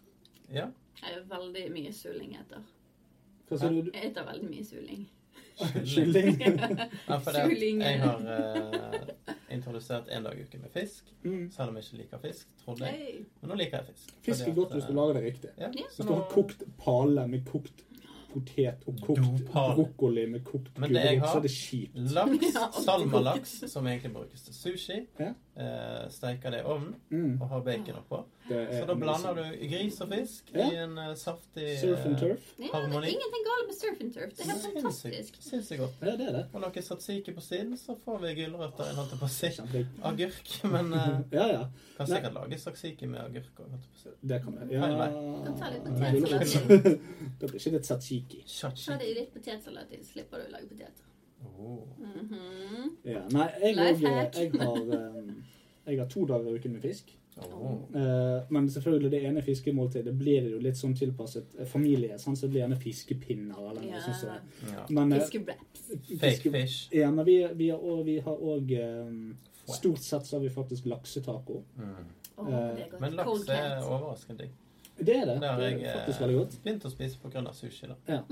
S2: Ja.
S3: Jeg er veldig mye suling etter.
S1: Hva sier du?
S3: Jeg eter veldig mye suling.
S1: Kylling?
S2: Ja, for det, at
S3: Suling.
S2: jeg har eh, introdusert en dag i uken med fisk.
S1: Mm.
S2: Selv om jeg ikke liker fisk, trodde jeg.
S3: Hey.
S2: Men nå liker jeg fisk.
S1: Fisk
S2: fordi
S1: er godt
S2: at,
S1: hvis du
S2: eh,
S1: lager det riktig.
S2: ja,
S3: Ja.
S1: Så
S2: så
S1: skal du
S2: nå-
S1: ha kokt pale med kokt potet og kokt
S2: Dopale.
S1: brokkoli med kokt
S2: Men det jeg
S1: gulrot, så
S2: har-
S1: er det kjipt.
S2: Laks,
S3: Ja, alt.
S2: salmalaks, som egentlig brukes til sushi.
S1: Ja.
S2: Eh, steiker det i ovnen
S1: Mm,
S2: og har bacon oppå.
S1: det
S2: Så
S1: er
S2: da blander du gris og fisk i
S1: Ja.
S2: en eh, saftig eh,
S1: Surf and turf?
S3: Ja, det er
S2: Harmoni.
S3: ingenting galt med surf and turf. Det er helt fantastisk.
S2: Sinnssykt godt.
S1: Ja, det er det.
S2: Og noe satsiki på siden, så får vi gulrøtter. Jeg holdt på å si
S1: Kjempe-
S2: agurk, men eh,
S1: Ja, ja. Nei.
S2: kan sikkert lage satsiki med agurk. og holdt på å si.
S1: Det kan du.
S2: Feil vei.
S3: Kan ta litt
S1: Ja.
S3: potet
S1: gulrot.
S3: til
S1: Da blir ikke det tzatziki.
S3: Ta det
S2: Tzatziki.
S3: i litt potetsalat, så slipper du å lage poteter.
S2: Oh.
S3: Mhm.
S1: Ja, nei, jeg,
S3: Life
S1: og,
S3: hack.
S1: jeg, har, eh, jeg har to dager i uken med fisk.
S2: Oh.
S1: Eh, Men selvfølgelig, det ene fiskemåltidet blir jo litt sånn tilpasset eh, familie. Sånn, så det blir gjerne fiskepinner eller noe
S3: Ja.
S1: sånt. som det.
S2: Ja.
S1: Men, eh,
S3: Fiskewraps.
S2: Fake fish.
S1: Ja, men vi, vi har og- vi har òg Stort sett så har vi faktisk laksetaco.
S2: Mm.
S3: Å,
S1: Eh,
S3: det er godt.
S2: Men laks
S3: Cold
S2: er
S3: cat.
S2: overraskende digg.
S1: Det er det.
S2: Det har
S1: Det
S2: jeg
S1: er faktisk veldig
S2: eh,
S1: godt.
S2: begynt å spise pga. sushi. da.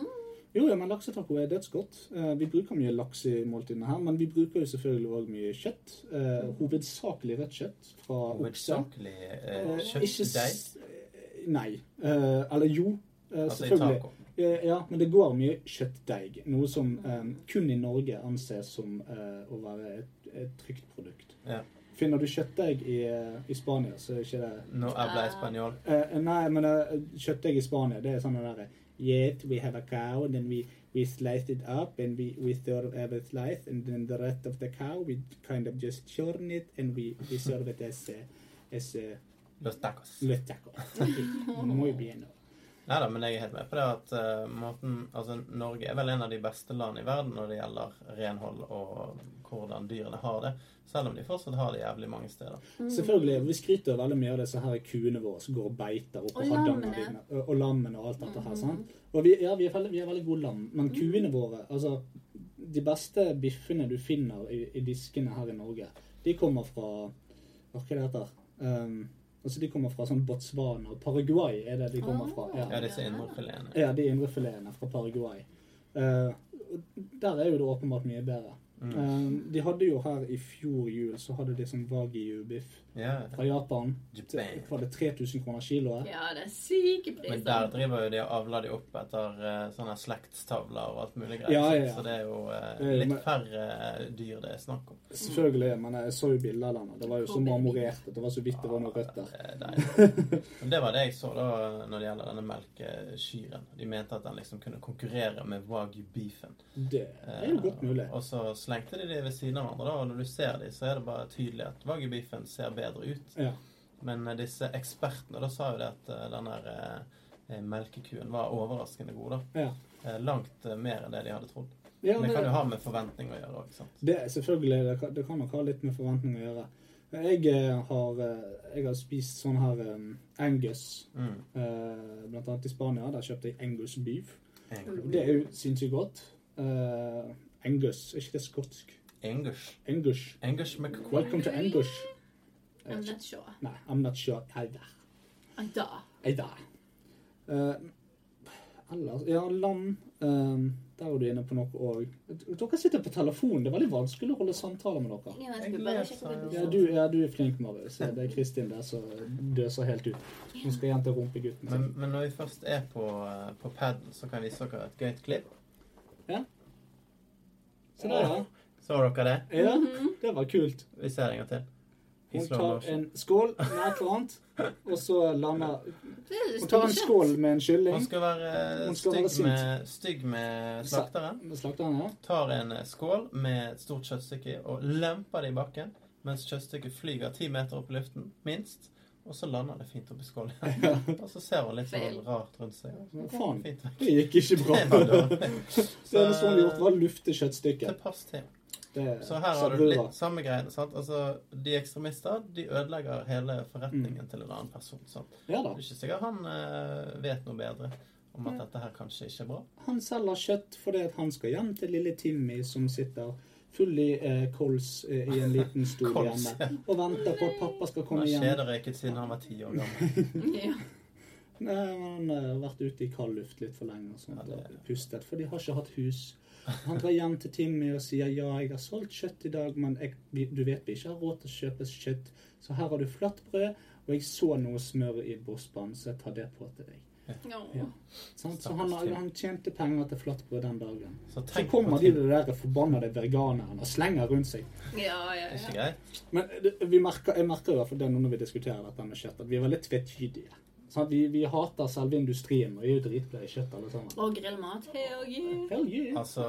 S1: Jo, ja, men laksetaco er dødsgodt. Eh, Vi bruker mye laks i måltidene her, men vi bruker jo selvfølgelig òg mye kjøtt. Eh,
S3: Mm.
S1: Hovedsakelig rødt kjøtt fra okse.
S2: Hovedsakelig eh,
S1: Eh, ikke
S2: kjøttdeig.
S1: s- eh, Nei. Eh, Eller jo, eh,
S2: Altså i
S1: selvfølgelig.
S2: taco.
S1: Eh, Ja, men det går mye kjøttdeig. Noe som eh, kun i Norge anses som eh, å være et, et trygt produkt.
S2: Ja.
S1: Finner du kjøttdeig i, eh, i Spania, så er ikke det
S2: Nå er jeg ble
S3: Ah.
S2: spanjol.
S1: Eh, Nei, men eh, kjøttdeig i Spania, det er sånn det derre Yet we have a cow, and then we, we sliced it up, and we, we serve every slice, and then the rest of the cow, we kind of just churn it, and we, we serve it as, eh, as eh,
S2: Los tacos.
S1: løtt taco. Muy bien.
S2: Nei da, men jeg er helt med på det at eh, måten, altså Norge er vel en av de beste land i verden når det gjelder renhold og hvordan dyrene har det. Selv om de fortsatt har det jævlig mange steder.
S3: Mm.
S1: Selvfølgelig, Vi skryter veldig mye av disse her kuene våre som går og beiter oppe
S3: Og
S1: på
S3: lammene. Mm.
S1: Hardangervidda. Og lammene og alt dette her. sant? Og vi, ja, vi er, veldig, vi er veldig gode lam, men kuene våre altså, De beste biffene du finner i, i diskene her i Norge, De kommer fra Hva er det heter? Um, altså de kommer fra sånn Botswana og Paraguay er det de kommer fra.
S3: Ah.
S2: Ja, disse indrefiletene.
S1: Ja, de indrefiletene fra Paraguay. Eh, og der er jo det åpenbart mye bedre.
S2: Mm.
S1: Eh, de hadde jo her i fjor jul så hadde de sånn wagyu-biff
S2: Ja.
S1: fra Japan.
S2: Japan.
S1: Var det 3000 kroner kiloet?
S3: Ja, det er syke
S2: Men der
S3: priser.
S2: driver jo de og avler de opp etter eh, sånne slektstavler og alt mulig greier.
S1: Ja, ja,
S2: sant?
S1: ja.
S2: Så det er jo eh,
S1: Det er jo
S2: litt
S1: med-
S2: færre eh, dyr det er snakk om.
S1: Selvfølgelig, men jeg så jo bilder av den, og det var jo så marmorert. og Det var så vidt det var noe rødt der.
S2: Det er deilig. Men det var det jeg så da når det gjelder denne melkeskyren. De mente at den liksom kunne konkurrere med wagyu-beefen.
S1: Det er jo godt mulig.
S2: Eh, Og så slengte de de ved siden av hverandre, da, og når du ser de, så er det bare tydelig at wagyu-beefen ser bedre ut.
S1: Ja.
S2: Men eh, disse ekspertene da sa jo det at eh, den der eh, melkekuen var overraskende god, da.
S1: Ja.
S2: Eh, Langt eh, mer enn det de hadde trodd.
S1: Ja,
S2: Men det kan jo
S1: det,
S2: ha med forventning å gjøre òg, sant.
S1: det, selvfølgelig, det kan, det kan nok ha litt med forventning å gjøre. Jeg eh, har, eh, jeg har spist sånn her eh, Angus,
S2: Mm.
S1: eh, blant annet i Spania. Der kjøpte jeg Angus beef.
S2: Eng-
S1: Det er jo sinnssykt godt. Eh, Angus, er ikke det skotsk?
S2: Engush.
S1: Angus.
S2: Engush McQuack.
S1: Welcome to Angus.
S3: I'm not sure.
S1: Nei, I'm not sure either.
S3: Ai, Da.
S1: Either. Eh, ellers, ja, lam. eh, der er du inne på noe òg. Dere sitter på telefon. Det er veldig vanskelig å holde samtaler med dere.
S3: Jeg vet ikke, bare sjekk om
S1: Ja, du, ja, du er flink, Marius. Ja, Det er Kristin der som døser helt ut. Hun skal hjem til rumpegutten
S2: Men,
S1: sin.
S2: men når vi først er på, eh, på paden, så kan jeg vise dere et gøyt klipp.
S1: Se der, ja.
S2: Så dere det?
S1: ja. Det var kult.
S2: Vi ser det en gang til. I
S1: Hun
S2: slow
S1: tar
S2: motion.
S1: en skål med et eller annet, og så lander
S3: Det er
S1: Hun tar en skål med en
S2: Han
S1: kylling.
S2: skal være eh,
S1: Hun skal være
S2: stygg
S1: sint.
S2: med, stygg med slakteren.
S1: Med slakteren, ja.
S2: Tar en eh, skål med et stort kjøttstykke i og lemper det i bakken. Mens kjøttstykket flyger ti meter opp i luften, minst. Og så lander det fint oppi skålen. og så ser hun litt sånn
S3: Feil.
S2: rart rundt seg.
S1: Men Faen,
S2: Fint vekk.
S1: det gikk ikke bra.
S2: Det var dårlig.
S1: Det sånn eneste hun gjorde, var å lufte kjøttstykket.
S2: Det passer til.
S1: Det
S2: Så her har
S1: satt
S2: du
S1: bra.
S2: litt samme greiene. sant? Altså, De ekstremister de ødelegger hele forretningen
S1: Mm.
S2: til en annen person. sant?
S1: Ja
S2: Det
S1: da.
S2: er ikke sikkert han eh, vet noe bedre om at dette her kanskje ikke er bra.
S1: Han selger kjøtt fordi at han skal hjem til lille Timmy, som sitter full i eh, kols eh, i en liten stol
S2: Kols, ja.
S1: hjemme og venter på at pappa skal
S2: Han
S1: komme
S2: har
S1: hjem.
S2: kjederøyket siden han var ti år gammel.
S3: Ja.
S1: Nei, Han har vært ute i kald luft litt for lenge og sånt,
S2: Ja, det-
S1: og pustet, for de har ikke hatt hus. Han drar hjem til Timmy og sier ja, jeg har solgt kjøtt i dag, men jeg, vi- du vet vi ikke har råd til å kjøpe kjøtt, så her har du flatbrød, og jeg så noe smør i brødspann, så jeg tar det på til deg.
S3: Ja.
S1: Sant? Så han, har- han tjente penger til flatbrød den dagen.
S2: Så
S1: Så
S2: tenk på
S1: kommer de
S2: ting.
S1: der forbannede veganerne og slenger rundt seg.
S3: Ja, ja,
S2: Det er ikke
S3: ja.
S2: greit.
S1: Men eh, det- vi merker, jeg merker i hvert fall det nå når vi diskuterer dette med kjøtt, at vi er veldig tvetydige. Sant? Vi, vi hater selve industrien, og vi er jo dritglade i kjøtt alle sammen.
S3: Og grillmat. Hell yeah.
S1: Hell yeah.
S2: Altså,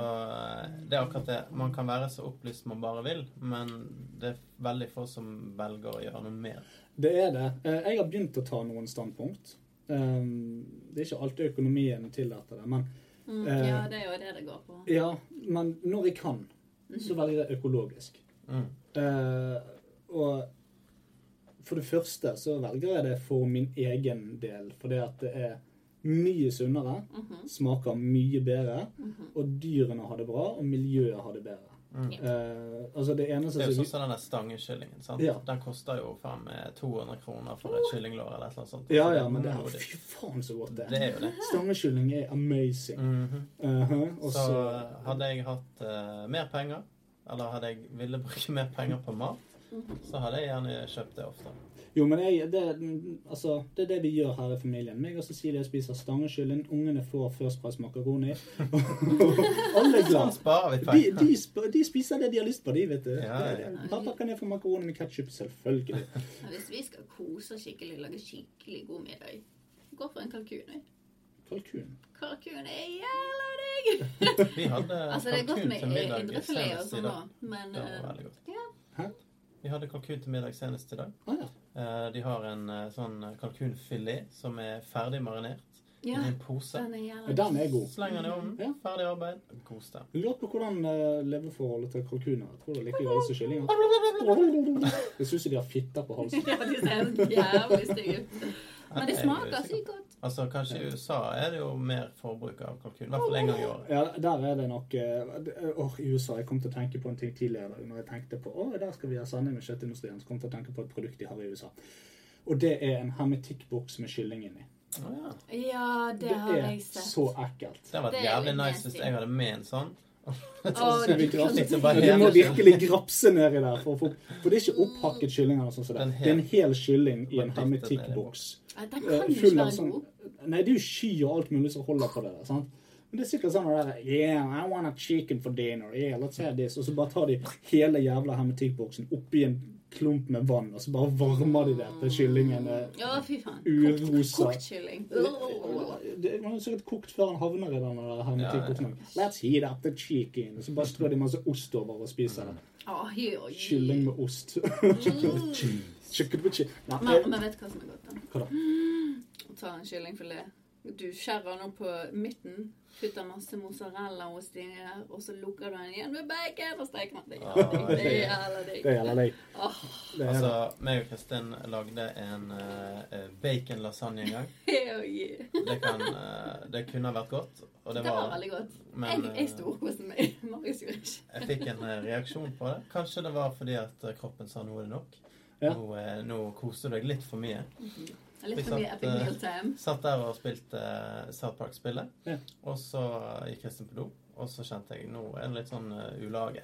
S2: det er akkurat det. Man kan være så opplyst man bare vil, men det er veldig få som velger å gjøre noe mer.
S1: Det er det. Eh, Jeg har begynt å ta noen standpunkt. Um, Det er ikke alltid økonomien tillater det, men,
S3: Mm,
S1: Eh.
S3: ja, det er jo det det går på.
S1: ja, men når jeg kan, så velger jeg økologisk.
S2: Mm.
S1: Eh, og for det første så velger jeg det for min egen del, fordi at det er mye sunnere, smaker mye bedre, og dyrene har det bra, og miljøet har det bedre. Eh, altså det eneste
S2: Mm. Det er
S1: som
S2: jo sånn som den der stangekyllingen. sant?
S1: Ja.
S2: Den koster jo faen meg 200 kroner for et kyllinglår eller et eller annet sånt.
S1: Ja,
S2: Så
S1: ja, men det
S2: må
S1: er
S2: du-
S1: Fy faen, så godt det
S2: det
S1: er.
S2: er jo det.
S1: Stangekylling er amazing.
S2: Mhm.
S1: Uh-huh, og
S2: Så
S1: så
S2: hadde jeg hatt eh, mer penger, eller hadde jeg ville bruke mer penger på mat, så hadde jeg gjerne kjøpt det ofte.
S1: Jo, men jeg, det, altså, det er det vi gjør her i familien. Meg og Cecilie spiser stangekylling. Ungene får førstpris makaroni. Alle er
S2: Sånn
S1: glad.
S2: sparer vi
S1: De,
S2: penger.
S1: de, sp- de spiser det de har lyst på, de, vet du.
S2: Ja,
S1: Det er
S2: ja.
S1: det. Pappa, kan jeg få makaroni med ketsjup? Selvfølgelig.
S3: Men Hvis vi skal kose oss skikkelig, lage skikkelig god middag Gå for en kalkun. jeg.
S1: Kalkun.
S3: Kalkun er jævla digg!
S2: Vi hadde
S3: Altså, det er godt
S2: kalkun
S3: med
S2: til middag
S3: indrefilet og
S2: senest i
S3: sånn, da,
S2: dag.
S3: men
S2: Det var
S3: eh,
S2: veldig godt.
S3: ja.
S1: Hæ?
S2: Vi hadde kalkun til middag senest i dag.
S1: Ah, ja.
S2: Eh, De har en eh, sånn kalkunfilet som er ferdig marinert i
S3: ja.
S2: en pose.
S3: Den er
S1: Ja,
S3: jævla
S1: Den er god.
S2: Slenger den i
S1: Ja.
S2: ovnen. Ferdig arbeid. Kos deg.
S1: Jeg lurer på hvordan eh, leveforholdet til kalkuner er. Tror du det er like greit som kyllinger? Jeg syns de har fitter på halsen.
S3: Ja, de ser helt jævlig stygge ut. Men det
S2: Nei,
S3: smaker
S2: det er
S3: sykt godt.
S2: Altså, kanskje i USA er det jo mer forbruk av kalkun. I hvert fall en gang i året.
S1: Ja, der er det nok eh, det- Åh, i USA. Jeg kom til å tenke på en ting tidligere i dag når jeg tenkte på åh, der skal vi ha sanding med kjøttindustrien. Så kom jeg til å tenke på et produkt de har i USA. Og det er en hermetikkboks med kylling inni.
S2: Å, ja.
S3: Ja, det,
S1: Det
S3: har
S1: er
S3: jeg sett.
S1: så ekkelt.
S2: Det hadde
S3: Det
S2: vært
S3: er jo
S2: jævlig nice hvis
S3: nasty.
S2: jeg hadde med en sånn.
S3: Å,
S1: det er
S2: Så
S3: sånn.
S2: sitter
S1: Men
S2: liksom bare
S1: du må
S2: hele tiden.
S1: virkelig grapse nedi der. For, å få- for det er ikke opphakket kylling. eller noe sånt som det.
S2: Den hel-
S1: det er en hel kylling i en
S2: Bare dyttet ned i
S1: hermetikkboks.
S3: Ja, Den
S1: Eh,
S3: kan jo ikke
S1: full av
S3: være
S1: sånn
S3: god.
S1: Nei, det er jo sky og alt mulig som holder på det der. sant? Men det er sikkert sånn der, Yeah, I want a chicken for dinner. Yeah, let's have this. Og så bare tar de hele jævla hermetikkboksen oppi en klump med vann, og så bare varmer de det til kyllingen eh. er
S3: Ja, fy faen. Kokt-
S1: urosa.
S3: Kokt kylling. oh,
S1: Det er jo sikkert kokt før han havner i den der hermetikkboksen. Let's heat up the chicken. Og så bare strør de masse ost over og spiser det.
S3: Å, hy og hy.
S1: Kylling med ost. Chicken with cheese. Chicken with cheese. Nei,
S3: Mm. Men, men vet du hva som er godt? da?
S1: hva da?
S3: Å ta en kyllingfilet. Du skjærer den opp på midten, putter masse mozzarellaost inni der, og så lukker du den igjen med bacon og steker den. Det gjelder deg. Det gjelder deg.
S1: Det gjelder deg.
S3: Åh,
S1: Det er
S2: Altså,
S1: det.
S2: meg og Kristin lagde en eh, bacon lasagne en gang.
S3: hell yeah.
S2: Det, kan, eh, det kunne ha vært godt, og det
S3: Det var
S2: var
S3: veldig godt.
S2: Men
S3: Jeg,
S2: eh,
S3: jeg storkoste meg. Marius gjorde ikke.
S2: jeg fikk en eh, reaksjon på det. Kanskje det var fordi at eh, kroppen sa nå er det nok.
S1: Ja.
S2: Nå, eh, nå koser du deg litt for mye.
S3: Det er Litt for mye
S2: Ikke sant,
S3: epic
S2: eh,
S3: meal time.
S2: Satt der og spilte eh, South Park-spillet.
S1: Ja.
S2: Og så gikk Kristin på do, og så kjente jeg nå er det litt sånn eh, ulage.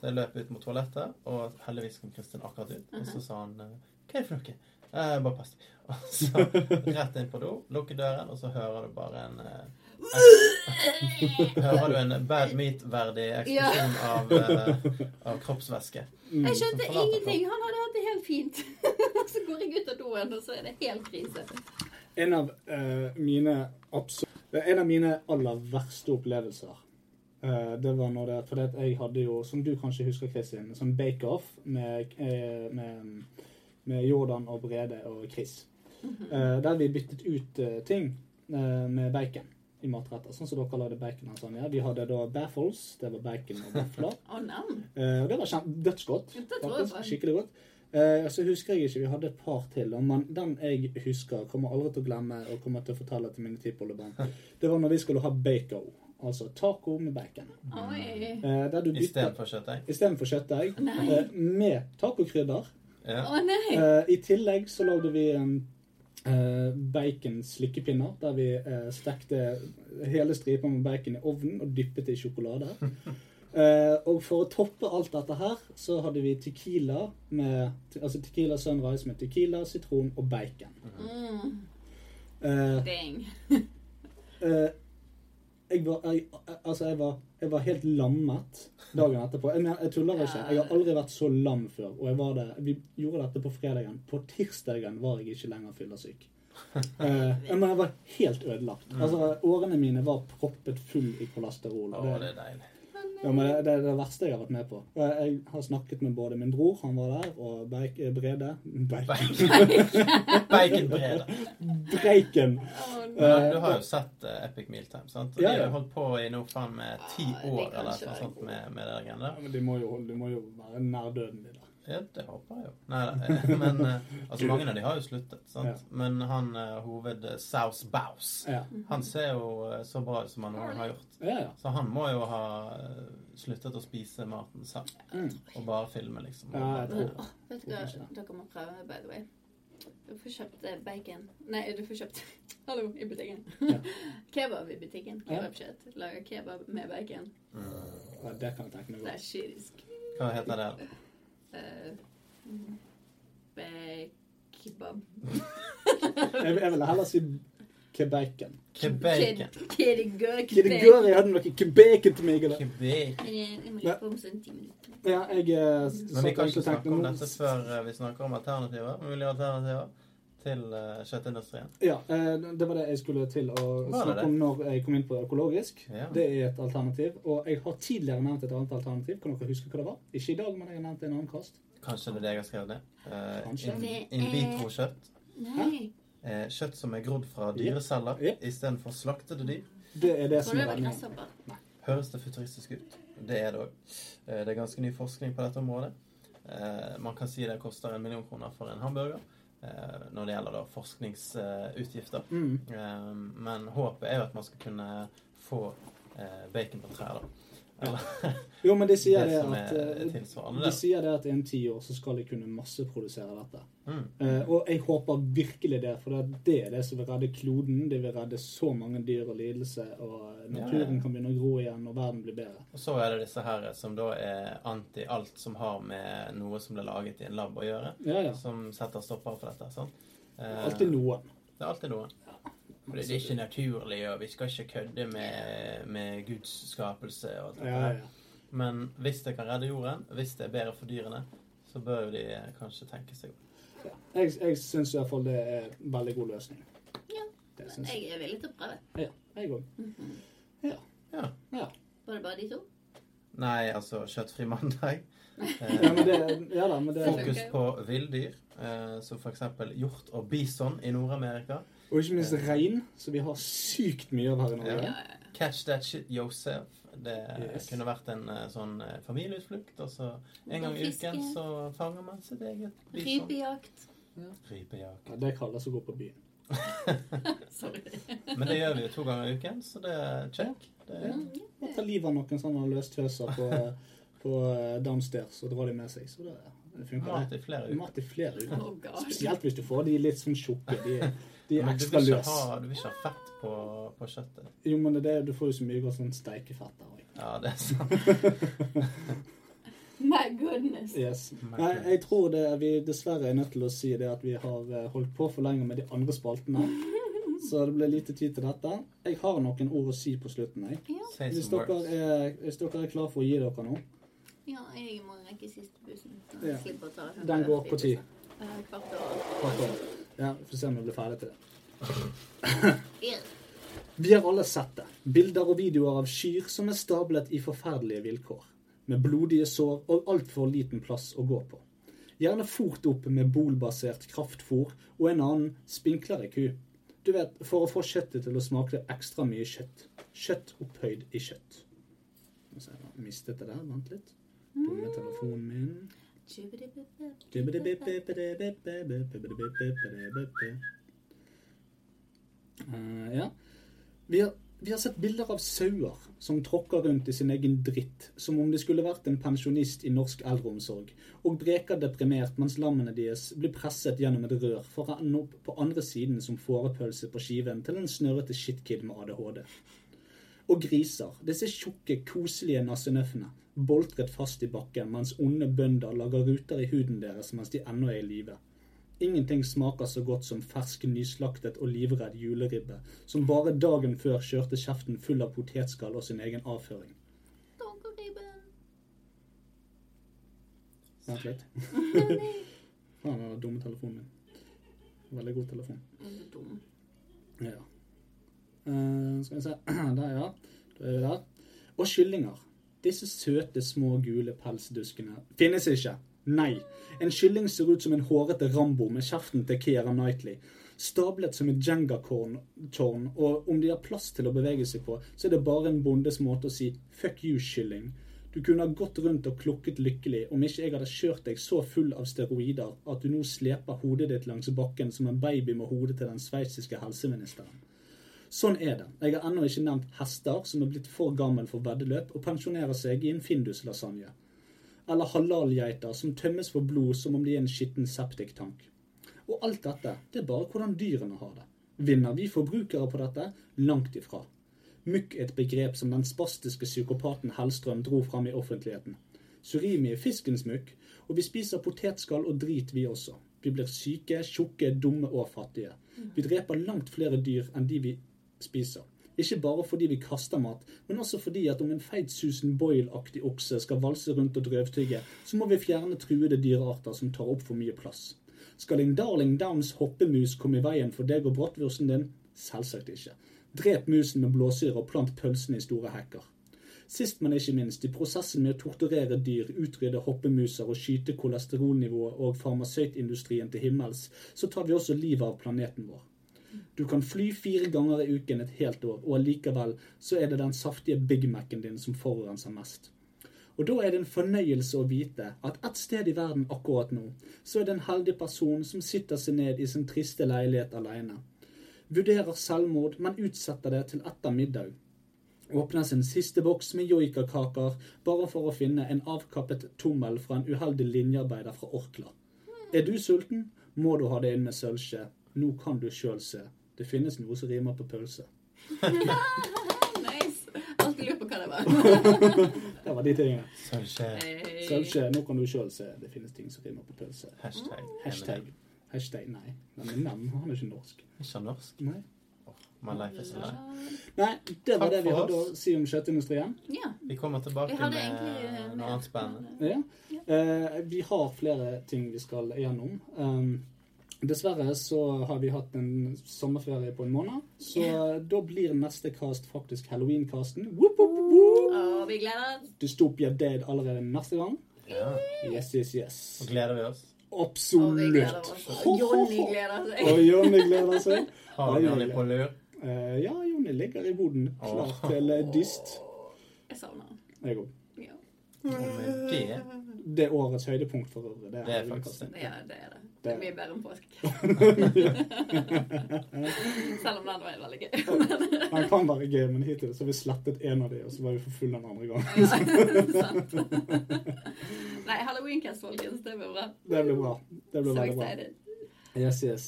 S2: Så jeg løp ut mot toalettet, og heldigvis kom Kristin akkurat ut. Og så sa han eh, Hva er det for noe? Eh, bare pass deg. Og så rett inn på do, lukke døren, og så hører du bare en eh, eks- Hører du en bad meat-verdig eksplosjon av, eh, av kroppsvæske.
S3: Jeg skjønte
S2: Så forlater
S3: ingenting. Han hadde hatt det helt fint. Så går jeg ut av doen, og så er det helt krise.
S1: En av eh, mine abso- det er En av mine aller verste opplevelser, eh, det var når det For det at jeg hadde jo, som du kanskje husker, Kristin, en sånn bake-off med, eh, med, med Jordan og Brede og Chris. Eh, der vi byttet ut eh, ting eh, med bacon i matretter. Sånn som dere lagde bacon og sånn. Ja. Vi hadde da baffles, det var bacon og vafler.
S3: Å, nam.
S1: Eh, og det var kjem- dødsgodt.
S3: Det tror jeg
S1: faktisk.
S3: på.
S1: Skikkelig godt. Eh, så husker jeg ikke, vi hadde et par til, og man, den jeg husker, kommer aldri til å glemme og kommer til å fortelle til mine tipoldebarn. Det var når vi skulle ha bacon, altså taco med bacon.
S3: Oi.
S1: Eh, der du bytter
S2: Istedenfor kjøttdeig.
S1: istedenfor kjøttdeig
S3: Nei.
S1: eh, med tacokrydder.
S2: Ja.
S3: Å nei.
S1: Eh, I tillegg så lagde vi en eh, bacon-slikkepinner, der vi eh, stekte hele stripen med bacon i ovnen og dyppet det i sjokolade. Eh, og for å toppe alt dette her, så hadde vi tequila med, altså tequila sunrise med tequila, sitron og bacon.
S3: Mm,
S1: Eh,
S3: dang.
S1: eh, jeg var, jeg, altså jeg, var, jeg var helt lammet dagen etterpå. Jeg, mener, jeg tuller ikke. Jeg har aldri vært så lam før. Og jeg var det, vi gjorde dette på fredagen. På tirsdagen var jeg ikke lenger fyllesyk. Eh, jeg, mener, jeg var helt ødelagt. Altså, årene mine var proppet full i kolesterol.
S2: Å,
S1: og
S2: det er deilig.
S1: ja, men det, det er det verste jeg har vært med på. Og Jeg jeg har snakket med både min bror, han var der, og Berk, eh, Brede Berk,
S2: Baconbrød.
S1: Breiken!
S3: Å, nei.
S2: Men du har jo sett eh, Epic Mealtime, sant? Og
S1: Ja,
S2: De har
S1: ja.
S2: jo holdt på i nå faen med ti
S3: Ja, det
S2: år
S3: kan
S2: eller
S3: ikke
S2: noe
S3: være
S2: sånt
S3: god.
S2: med, med det greiene
S1: Ja,
S2: der.
S1: men de må, jo, de må jo være nær døden, de der.
S2: Ja, det håper jeg jo. Nei da. eh, Men eh, altså, mange av de har jo sluttet,
S1: Ja.
S2: sant? Men han eh, hoved Saus Baus,
S1: Ja.
S2: han ser jo eh, så bra ut som han noen gang har gjort.
S1: Ja, ja.
S2: Så han må jo ha eh, sluttet å spise maten selv,
S1: Mm.
S2: og bare filme, liksom.
S1: ja jeg tror
S3: Åh, Vet du hva dere må prøve, by the way? Du får kjøpt eh, bacon Nei, du får kjøpt Hallo, i butikken.
S1: Ja.
S3: kebab i butikken.
S1: Ja.
S3: Kebabkjøtt. Lager kebab med bacon.
S1: ja, det kan jeg tenke meg
S3: Det
S1: godt.
S3: er kyrisk.
S2: Hva heter det?
S3: Uh, Kebab.
S1: Jeg, jeg ville heller si kebacon.
S2: Kebacon.
S3: Kedegør.
S1: Kidegør, jeg hadde noe kebacon til meg i dag.
S2: Kebacon.
S3: Jeg må legge på om sånn ti minutter.
S1: Ja, jeg eh,
S2: Men
S1: satt egentlig
S2: vi kan
S1: og
S2: ikke
S1: tenkte
S2: snakke om
S1: nå-
S2: dette før eh, vi snakker om alternativer. Mulige alternativer til eh, kjøttindustrien.
S1: Ja, eh, det var det jeg skulle til å
S2: det
S1: snakke
S2: det?
S1: om når jeg kom inn på økologisk.
S2: Ja.
S1: Det er et alternativ. Og jeg har tidligere nevnt et annet alternativ. Kan dere huske hva det var? Ikke i dag, men jeg har nevnt det i en annen kast.
S2: Kanskje det er det jeg har skrevet ned. Eh,
S1: Kanskje.
S2: in, in vitro kjøtt.
S3: Nei.
S2: Eh, kjøtt som er grodd fra dyreceller
S1: Ja.
S2: istedenfor slaktede dyr.
S1: Det er det
S3: Tror
S1: som
S3: du det
S1: er
S3: var
S1: redningen.
S3: gresshopper?
S2: Høres det futuristisk ut? Det er det òg. Eh, det er ganske ny forskning på dette området. Eh, man kan si det koster en million kroner for en hamburger. eh, når det gjelder da forskningsutgifter.
S1: Mm.
S2: Eh, men håpet er jo at man skal kunne få eh, bacon på trær, da. Eller
S1: Jo, men de sier
S2: det
S1: det
S2: som
S1: at
S2: er
S1: eh,
S2: tilsvarende.
S1: de
S2: da.
S1: sier det at innen ti år så skal de kunne masseprodusere dette.
S2: Mm.
S1: Eh, og jeg håper virkelig det, for det er det, det som vil redde kloden. Det vil redde så mange dyr og lidelse, og naturen
S2: Ja.
S1: kan begynne å gro igjen, og verden blir bedre.
S2: Og så er det disse her som da er anti alt som har med noe som ble laget i en lab å gjøre,
S1: Ja, ja.
S2: som setter stopper for dette. sant? Eh,
S1: Alltid noen.
S2: Det er alltid noe. For det er ikke naturlig, og vi skal ikke kødde med, med Guds skapelse og alt dette
S1: Ja,
S2: der.
S1: ja.
S2: Men hvis det kan redde jorden, hvis det er bedre for dyrene, så bør jo de eh, kanskje tenke seg om.
S1: Jeg, jeg syns i hvert fall det er en veldig god løsning.
S3: Ja.
S1: Det syns jeg.
S3: Jeg er villig til å prøve.
S1: Ja, jeg òg. Ja.
S2: Ja.
S1: ja.
S3: Var det bare de to?
S2: Nei, altså kjøttfri
S1: Ja,
S2: mandag.
S1: men
S2: Eh,
S1: det, ja da, men det
S2: fokus på villdyr, eh, som f.eks. hjort og bison i Nord-Amerika.
S1: Og ikke minst rein, som vi har sykt mye av her i Norge.
S2: Ja. Catch that shit yourself. Det
S1: Yes.
S2: kunne vært en eh, sånn eh, familieutflukt. Og så en gang i
S3: Fiske.
S2: uken så fanger man sitt eget bison.
S3: Rypejakt.
S2: Rypejakt.
S1: Ja, det kalles å gå på byen.
S3: Sorry.
S2: Men det gjør vi jo to ganger i uken, så det er check. Det er,
S3: Mm.
S1: Å ta livet av noen sånne løstøser på, på eh, downstairs og dra dem med seg. Så det, det funker.
S2: mat i flere
S1: det.
S2: uker.
S1: Mat i flere uker.
S3: Oh god.
S1: Spesielt hvis du får de litt sånn tjukke. De, de er
S2: Men du
S1: ekstra
S2: vil ikke
S1: løs.
S2: ha, du vil ikke ha fett på, på kjøttet.
S1: Jo, men det, er det, du får jo så mye godt sånn steikefett der òg.
S2: Ja, det er sant.
S3: My goodness.
S1: Yes. Nei,
S2: Merkelig.
S1: jeg tror det, vi dessverre er nødt til å si det at vi har eh, holdt på for lenge med de andre spaltene. Så det ble lite tid til dette. Jeg har noen ord å si på slutten. Jeg.
S3: Ja,
S2: Say
S1: Hvis
S2: some
S1: dere,
S2: words.
S1: er, hvis dere er klar for å gi dere noe
S3: ja jeg må rekke siste bussen. så
S1: Ja.
S3: jeg slipper å ta
S1: Den går på ti.
S3: Eh, Kvart over.
S1: Kvart over. Ja, vi får se om vi blir ferdig til det.
S3: Ja.
S1: Vi har alle sett det. Bilder og videoer av kyr som er stablet i forferdelige vilkår. Med blodige sår og altfor liten plass å gå på. Gjerne fort opp med bolbasert kraftfôr og en annen spinklere ku. Du vet, for å få kjøttet til å smake ekstra mye kjøtt. Kjøtt opphøyd i kjøtt. Nå ser jeg, jeg mistet det der, vent litt. På med telefonen min. Eh, ja. Vi har, vi har sett bilder av sauer som tråkker rundt i sin egen dritt, som om de skulle vært en pensjonist i norsk eldreomsorg, og breker deprimert mens lammene deres blir presset gjennom et rør for å ende opp på andre siden som fårepølse på skiven til en snørrete shitkid med ADHD. Og griser, disse tjukke, koselige nassenøffene, boltret fast i bakken mens onde bønder lager ruter i huden deres mens de ennå er i live. Ingenting smaker så godt som fersk, nyslaktet og livredd juleribbe, som bare dagen før kjørte kjeften full av potetskall og sin egen avføring.
S3: Donkeribben.
S1: Vent litt. Faen, den dumme telefonen min. Veldig god telefon.
S3: Er du dum?
S1: Ja. Eh, skal vi se. Der, ja. Da er vi der. Og kyllinger. Disse søte, små, gule pelsduskene finnes ikke. Nei. En kylling ser ut som en hårete Rambo med kjeften til Keira Knightley. Stablet som et Jenga-tårn, tårn, og om de har plass til å bevege seg på, så er det bare en bondes måte å si 'fuck you, kylling'. Du kunne ha gått rundt og klukket lykkelig om ikke jeg hadde kjørt deg så full av steroider at du nå sleper hodet ditt langs bakken som en baby med hodet til den sveitsiske helseministeren. Sånn er det. Jeg har ennå ikke nevnt hester som er blitt for gammel for veddeløp og pensjonerer seg i en finduslasagne. Eller halalgeiter som tømmes for blod som om de er en skitten septiktank. Og alt dette, det er bare hvordan dyrene har det. Vinner vi forbrukere på dette? Langt ifra. Mukk er et begrep som den spastiske psykopaten Hellstrøm dro fram i offentligheten. Surimi er fiskens mukk, og vi spiser potetskall og drit, vi også. Vi blir syke, tjukke, dumme og fattige. Vi dreper langt flere dyr enn de vi spiser. Ikke bare fordi vi kaster mat, men også fordi at om en feit Susan Boyle-aktig okse skal valse rundt og drøvtygge, så må vi fjerne truede dyrearter som tar opp for mye plass. Skal en Darling Downs hoppemus komme i veien for deg og bratwursten din? Selvsagt ikke. Drep musen med blåsyre og plant pølsene i store hekker. Sist, men ikke minst, i prosessen med å torturere dyr, utrydde hoppemuser og skyte kolesterolnivået og farmasøytindustrien til himmels, så tar vi også livet av planeten vår. Du kan fly fire ganger i uken et helt år, og allikevel så er det den saftige Big Mac-en din som forurenser mest. Og da er det en fornøyelse å vite at et sted i verden akkurat nå, så er det en heldig person som sitter seg ned i sin triste leilighet alene. Vurderer selvmord, men utsetter det til etter middag. Åpner sin siste boks med joikakaker bare for å finne en avkappet tommel fra en uheldig linjearbeider fra Orkla. Er du sulten, må du ha det inn med sølvskje. Nå kan du sjøl se. Det finnes noe som rimer på pølse.
S3: Nice. Alltid lurt på hva det var.
S1: Det var de tingene.
S2: Sølvskje.
S3: Hey.
S1: Sølvskje, nå kan du sjøl se. Det finnes ting som rimer på pølse.
S2: Hashtag.
S1: Hashtag. Hashtag, nei. Den er nam, han er ikke norsk.
S2: Ikke norsk.
S1: Nei,
S2: My life is a lie.
S1: nei det var
S2: Takk
S1: det vi
S2: for
S1: hadde
S2: oss.
S1: å si om kjøttindustrien.
S3: Ja.
S2: Vi kommer tilbake
S3: Vi hadde egentlig eh,
S2: med
S3: mer,
S2: noe annet spennende.
S3: men,
S1: Ja. Eh, vi har flere ting vi skal gjennom. Um, dessverre så har vi hatt en sommerferie på en måned, så da blir neste cast faktisk Halloween-casten. Whoop, whoop,
S3: eh,
S1: whoop.
S3: Og vi gleder oss.
S1: Dystopia Dead allerede neste gang.
S2: Ja.
S1: Yes, yes, yes.
S2: Så gleder vi oss.
S3: Og vi gleder
S1: Absolutt.
S3: oss. Og Jonny gleder
S1: Og
S3: seg.
S1: Jonny gleder seg.
S2: Har
S1: Oi,
S2: vi
S1: oi,
S2: Jonny
S1: oi.
S2: på lur?
S1: Eh, ja, Jonny ligger i boden, klar
S2: Åh.
S1: til eh, dyst.
S3: Jeg savner han.
S1: Jeg òg.
S3: Ja.
S2: Og med det
S1: Det er årets høydepunkt for øvrig. Det er, altså.
S2: Det er faktisk det.
S3: ja, det er det. Det er mye bedre enn påske. Selv om den var veldig gøy.
S1: Han kan være gøy, men hittil så har vi slettet en av de, og så var vi for fulle den andre gangen.
S3: Ja, sant. Nei, Halloweencast, folkens. Det blir bra.
S1: Det ble bra. Det ble
S3: So
S1: veldig bra.
S3: excited.
S1: Yes, yes.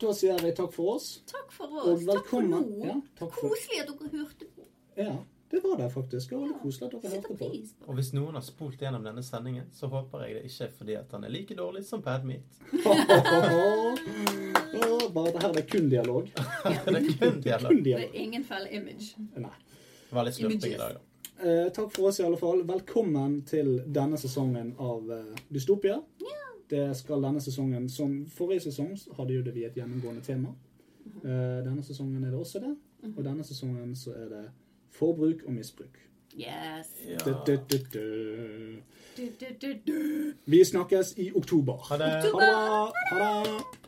S1: Da sier vi takk for oss,
S3: Takk for
S1: og
S3: oss. Takk for
S1: velkommen.
S3: nå.
S1: Ja, takk for
S3: Koselig at dere hørte på.
S1: Ja, det var det faktisk. Det var veldig koselig at dere
S3: Setter
S1: hørte på.
S3: pris på
S2: Og hvis noen har spolt gjennom denne sendingen, så håper jeg det ikke er fordi at han er like dårlig som Padmeat.
S1: Åh, Bare det her det er kun dialog.
S2: Det er kun dialog.
S1: Kun
S3: det.
S1: dialog.
S3: er Ingen feil image.
S1: Nei.
S2: Var litt slurping i dag, da.
S1: Eh, takk for oss i alle fall. Velkommen til denne sesongen av eh, Dystopia. Det skal denne sesongen, som forrige sesong, så hadde jo det vi et gjennomgående tema. Eh, denne sesongen er det også det. Og denne sesongen så er det forbruk og misbruk.
S3: Yes.
S1: Du, du,
S2: Ja.
S1: du, du.
S3: Du, du, du, du.
S1: Vi snakkes i oktober.
S2: Ha det.
S1: Ha det bra. Ha det.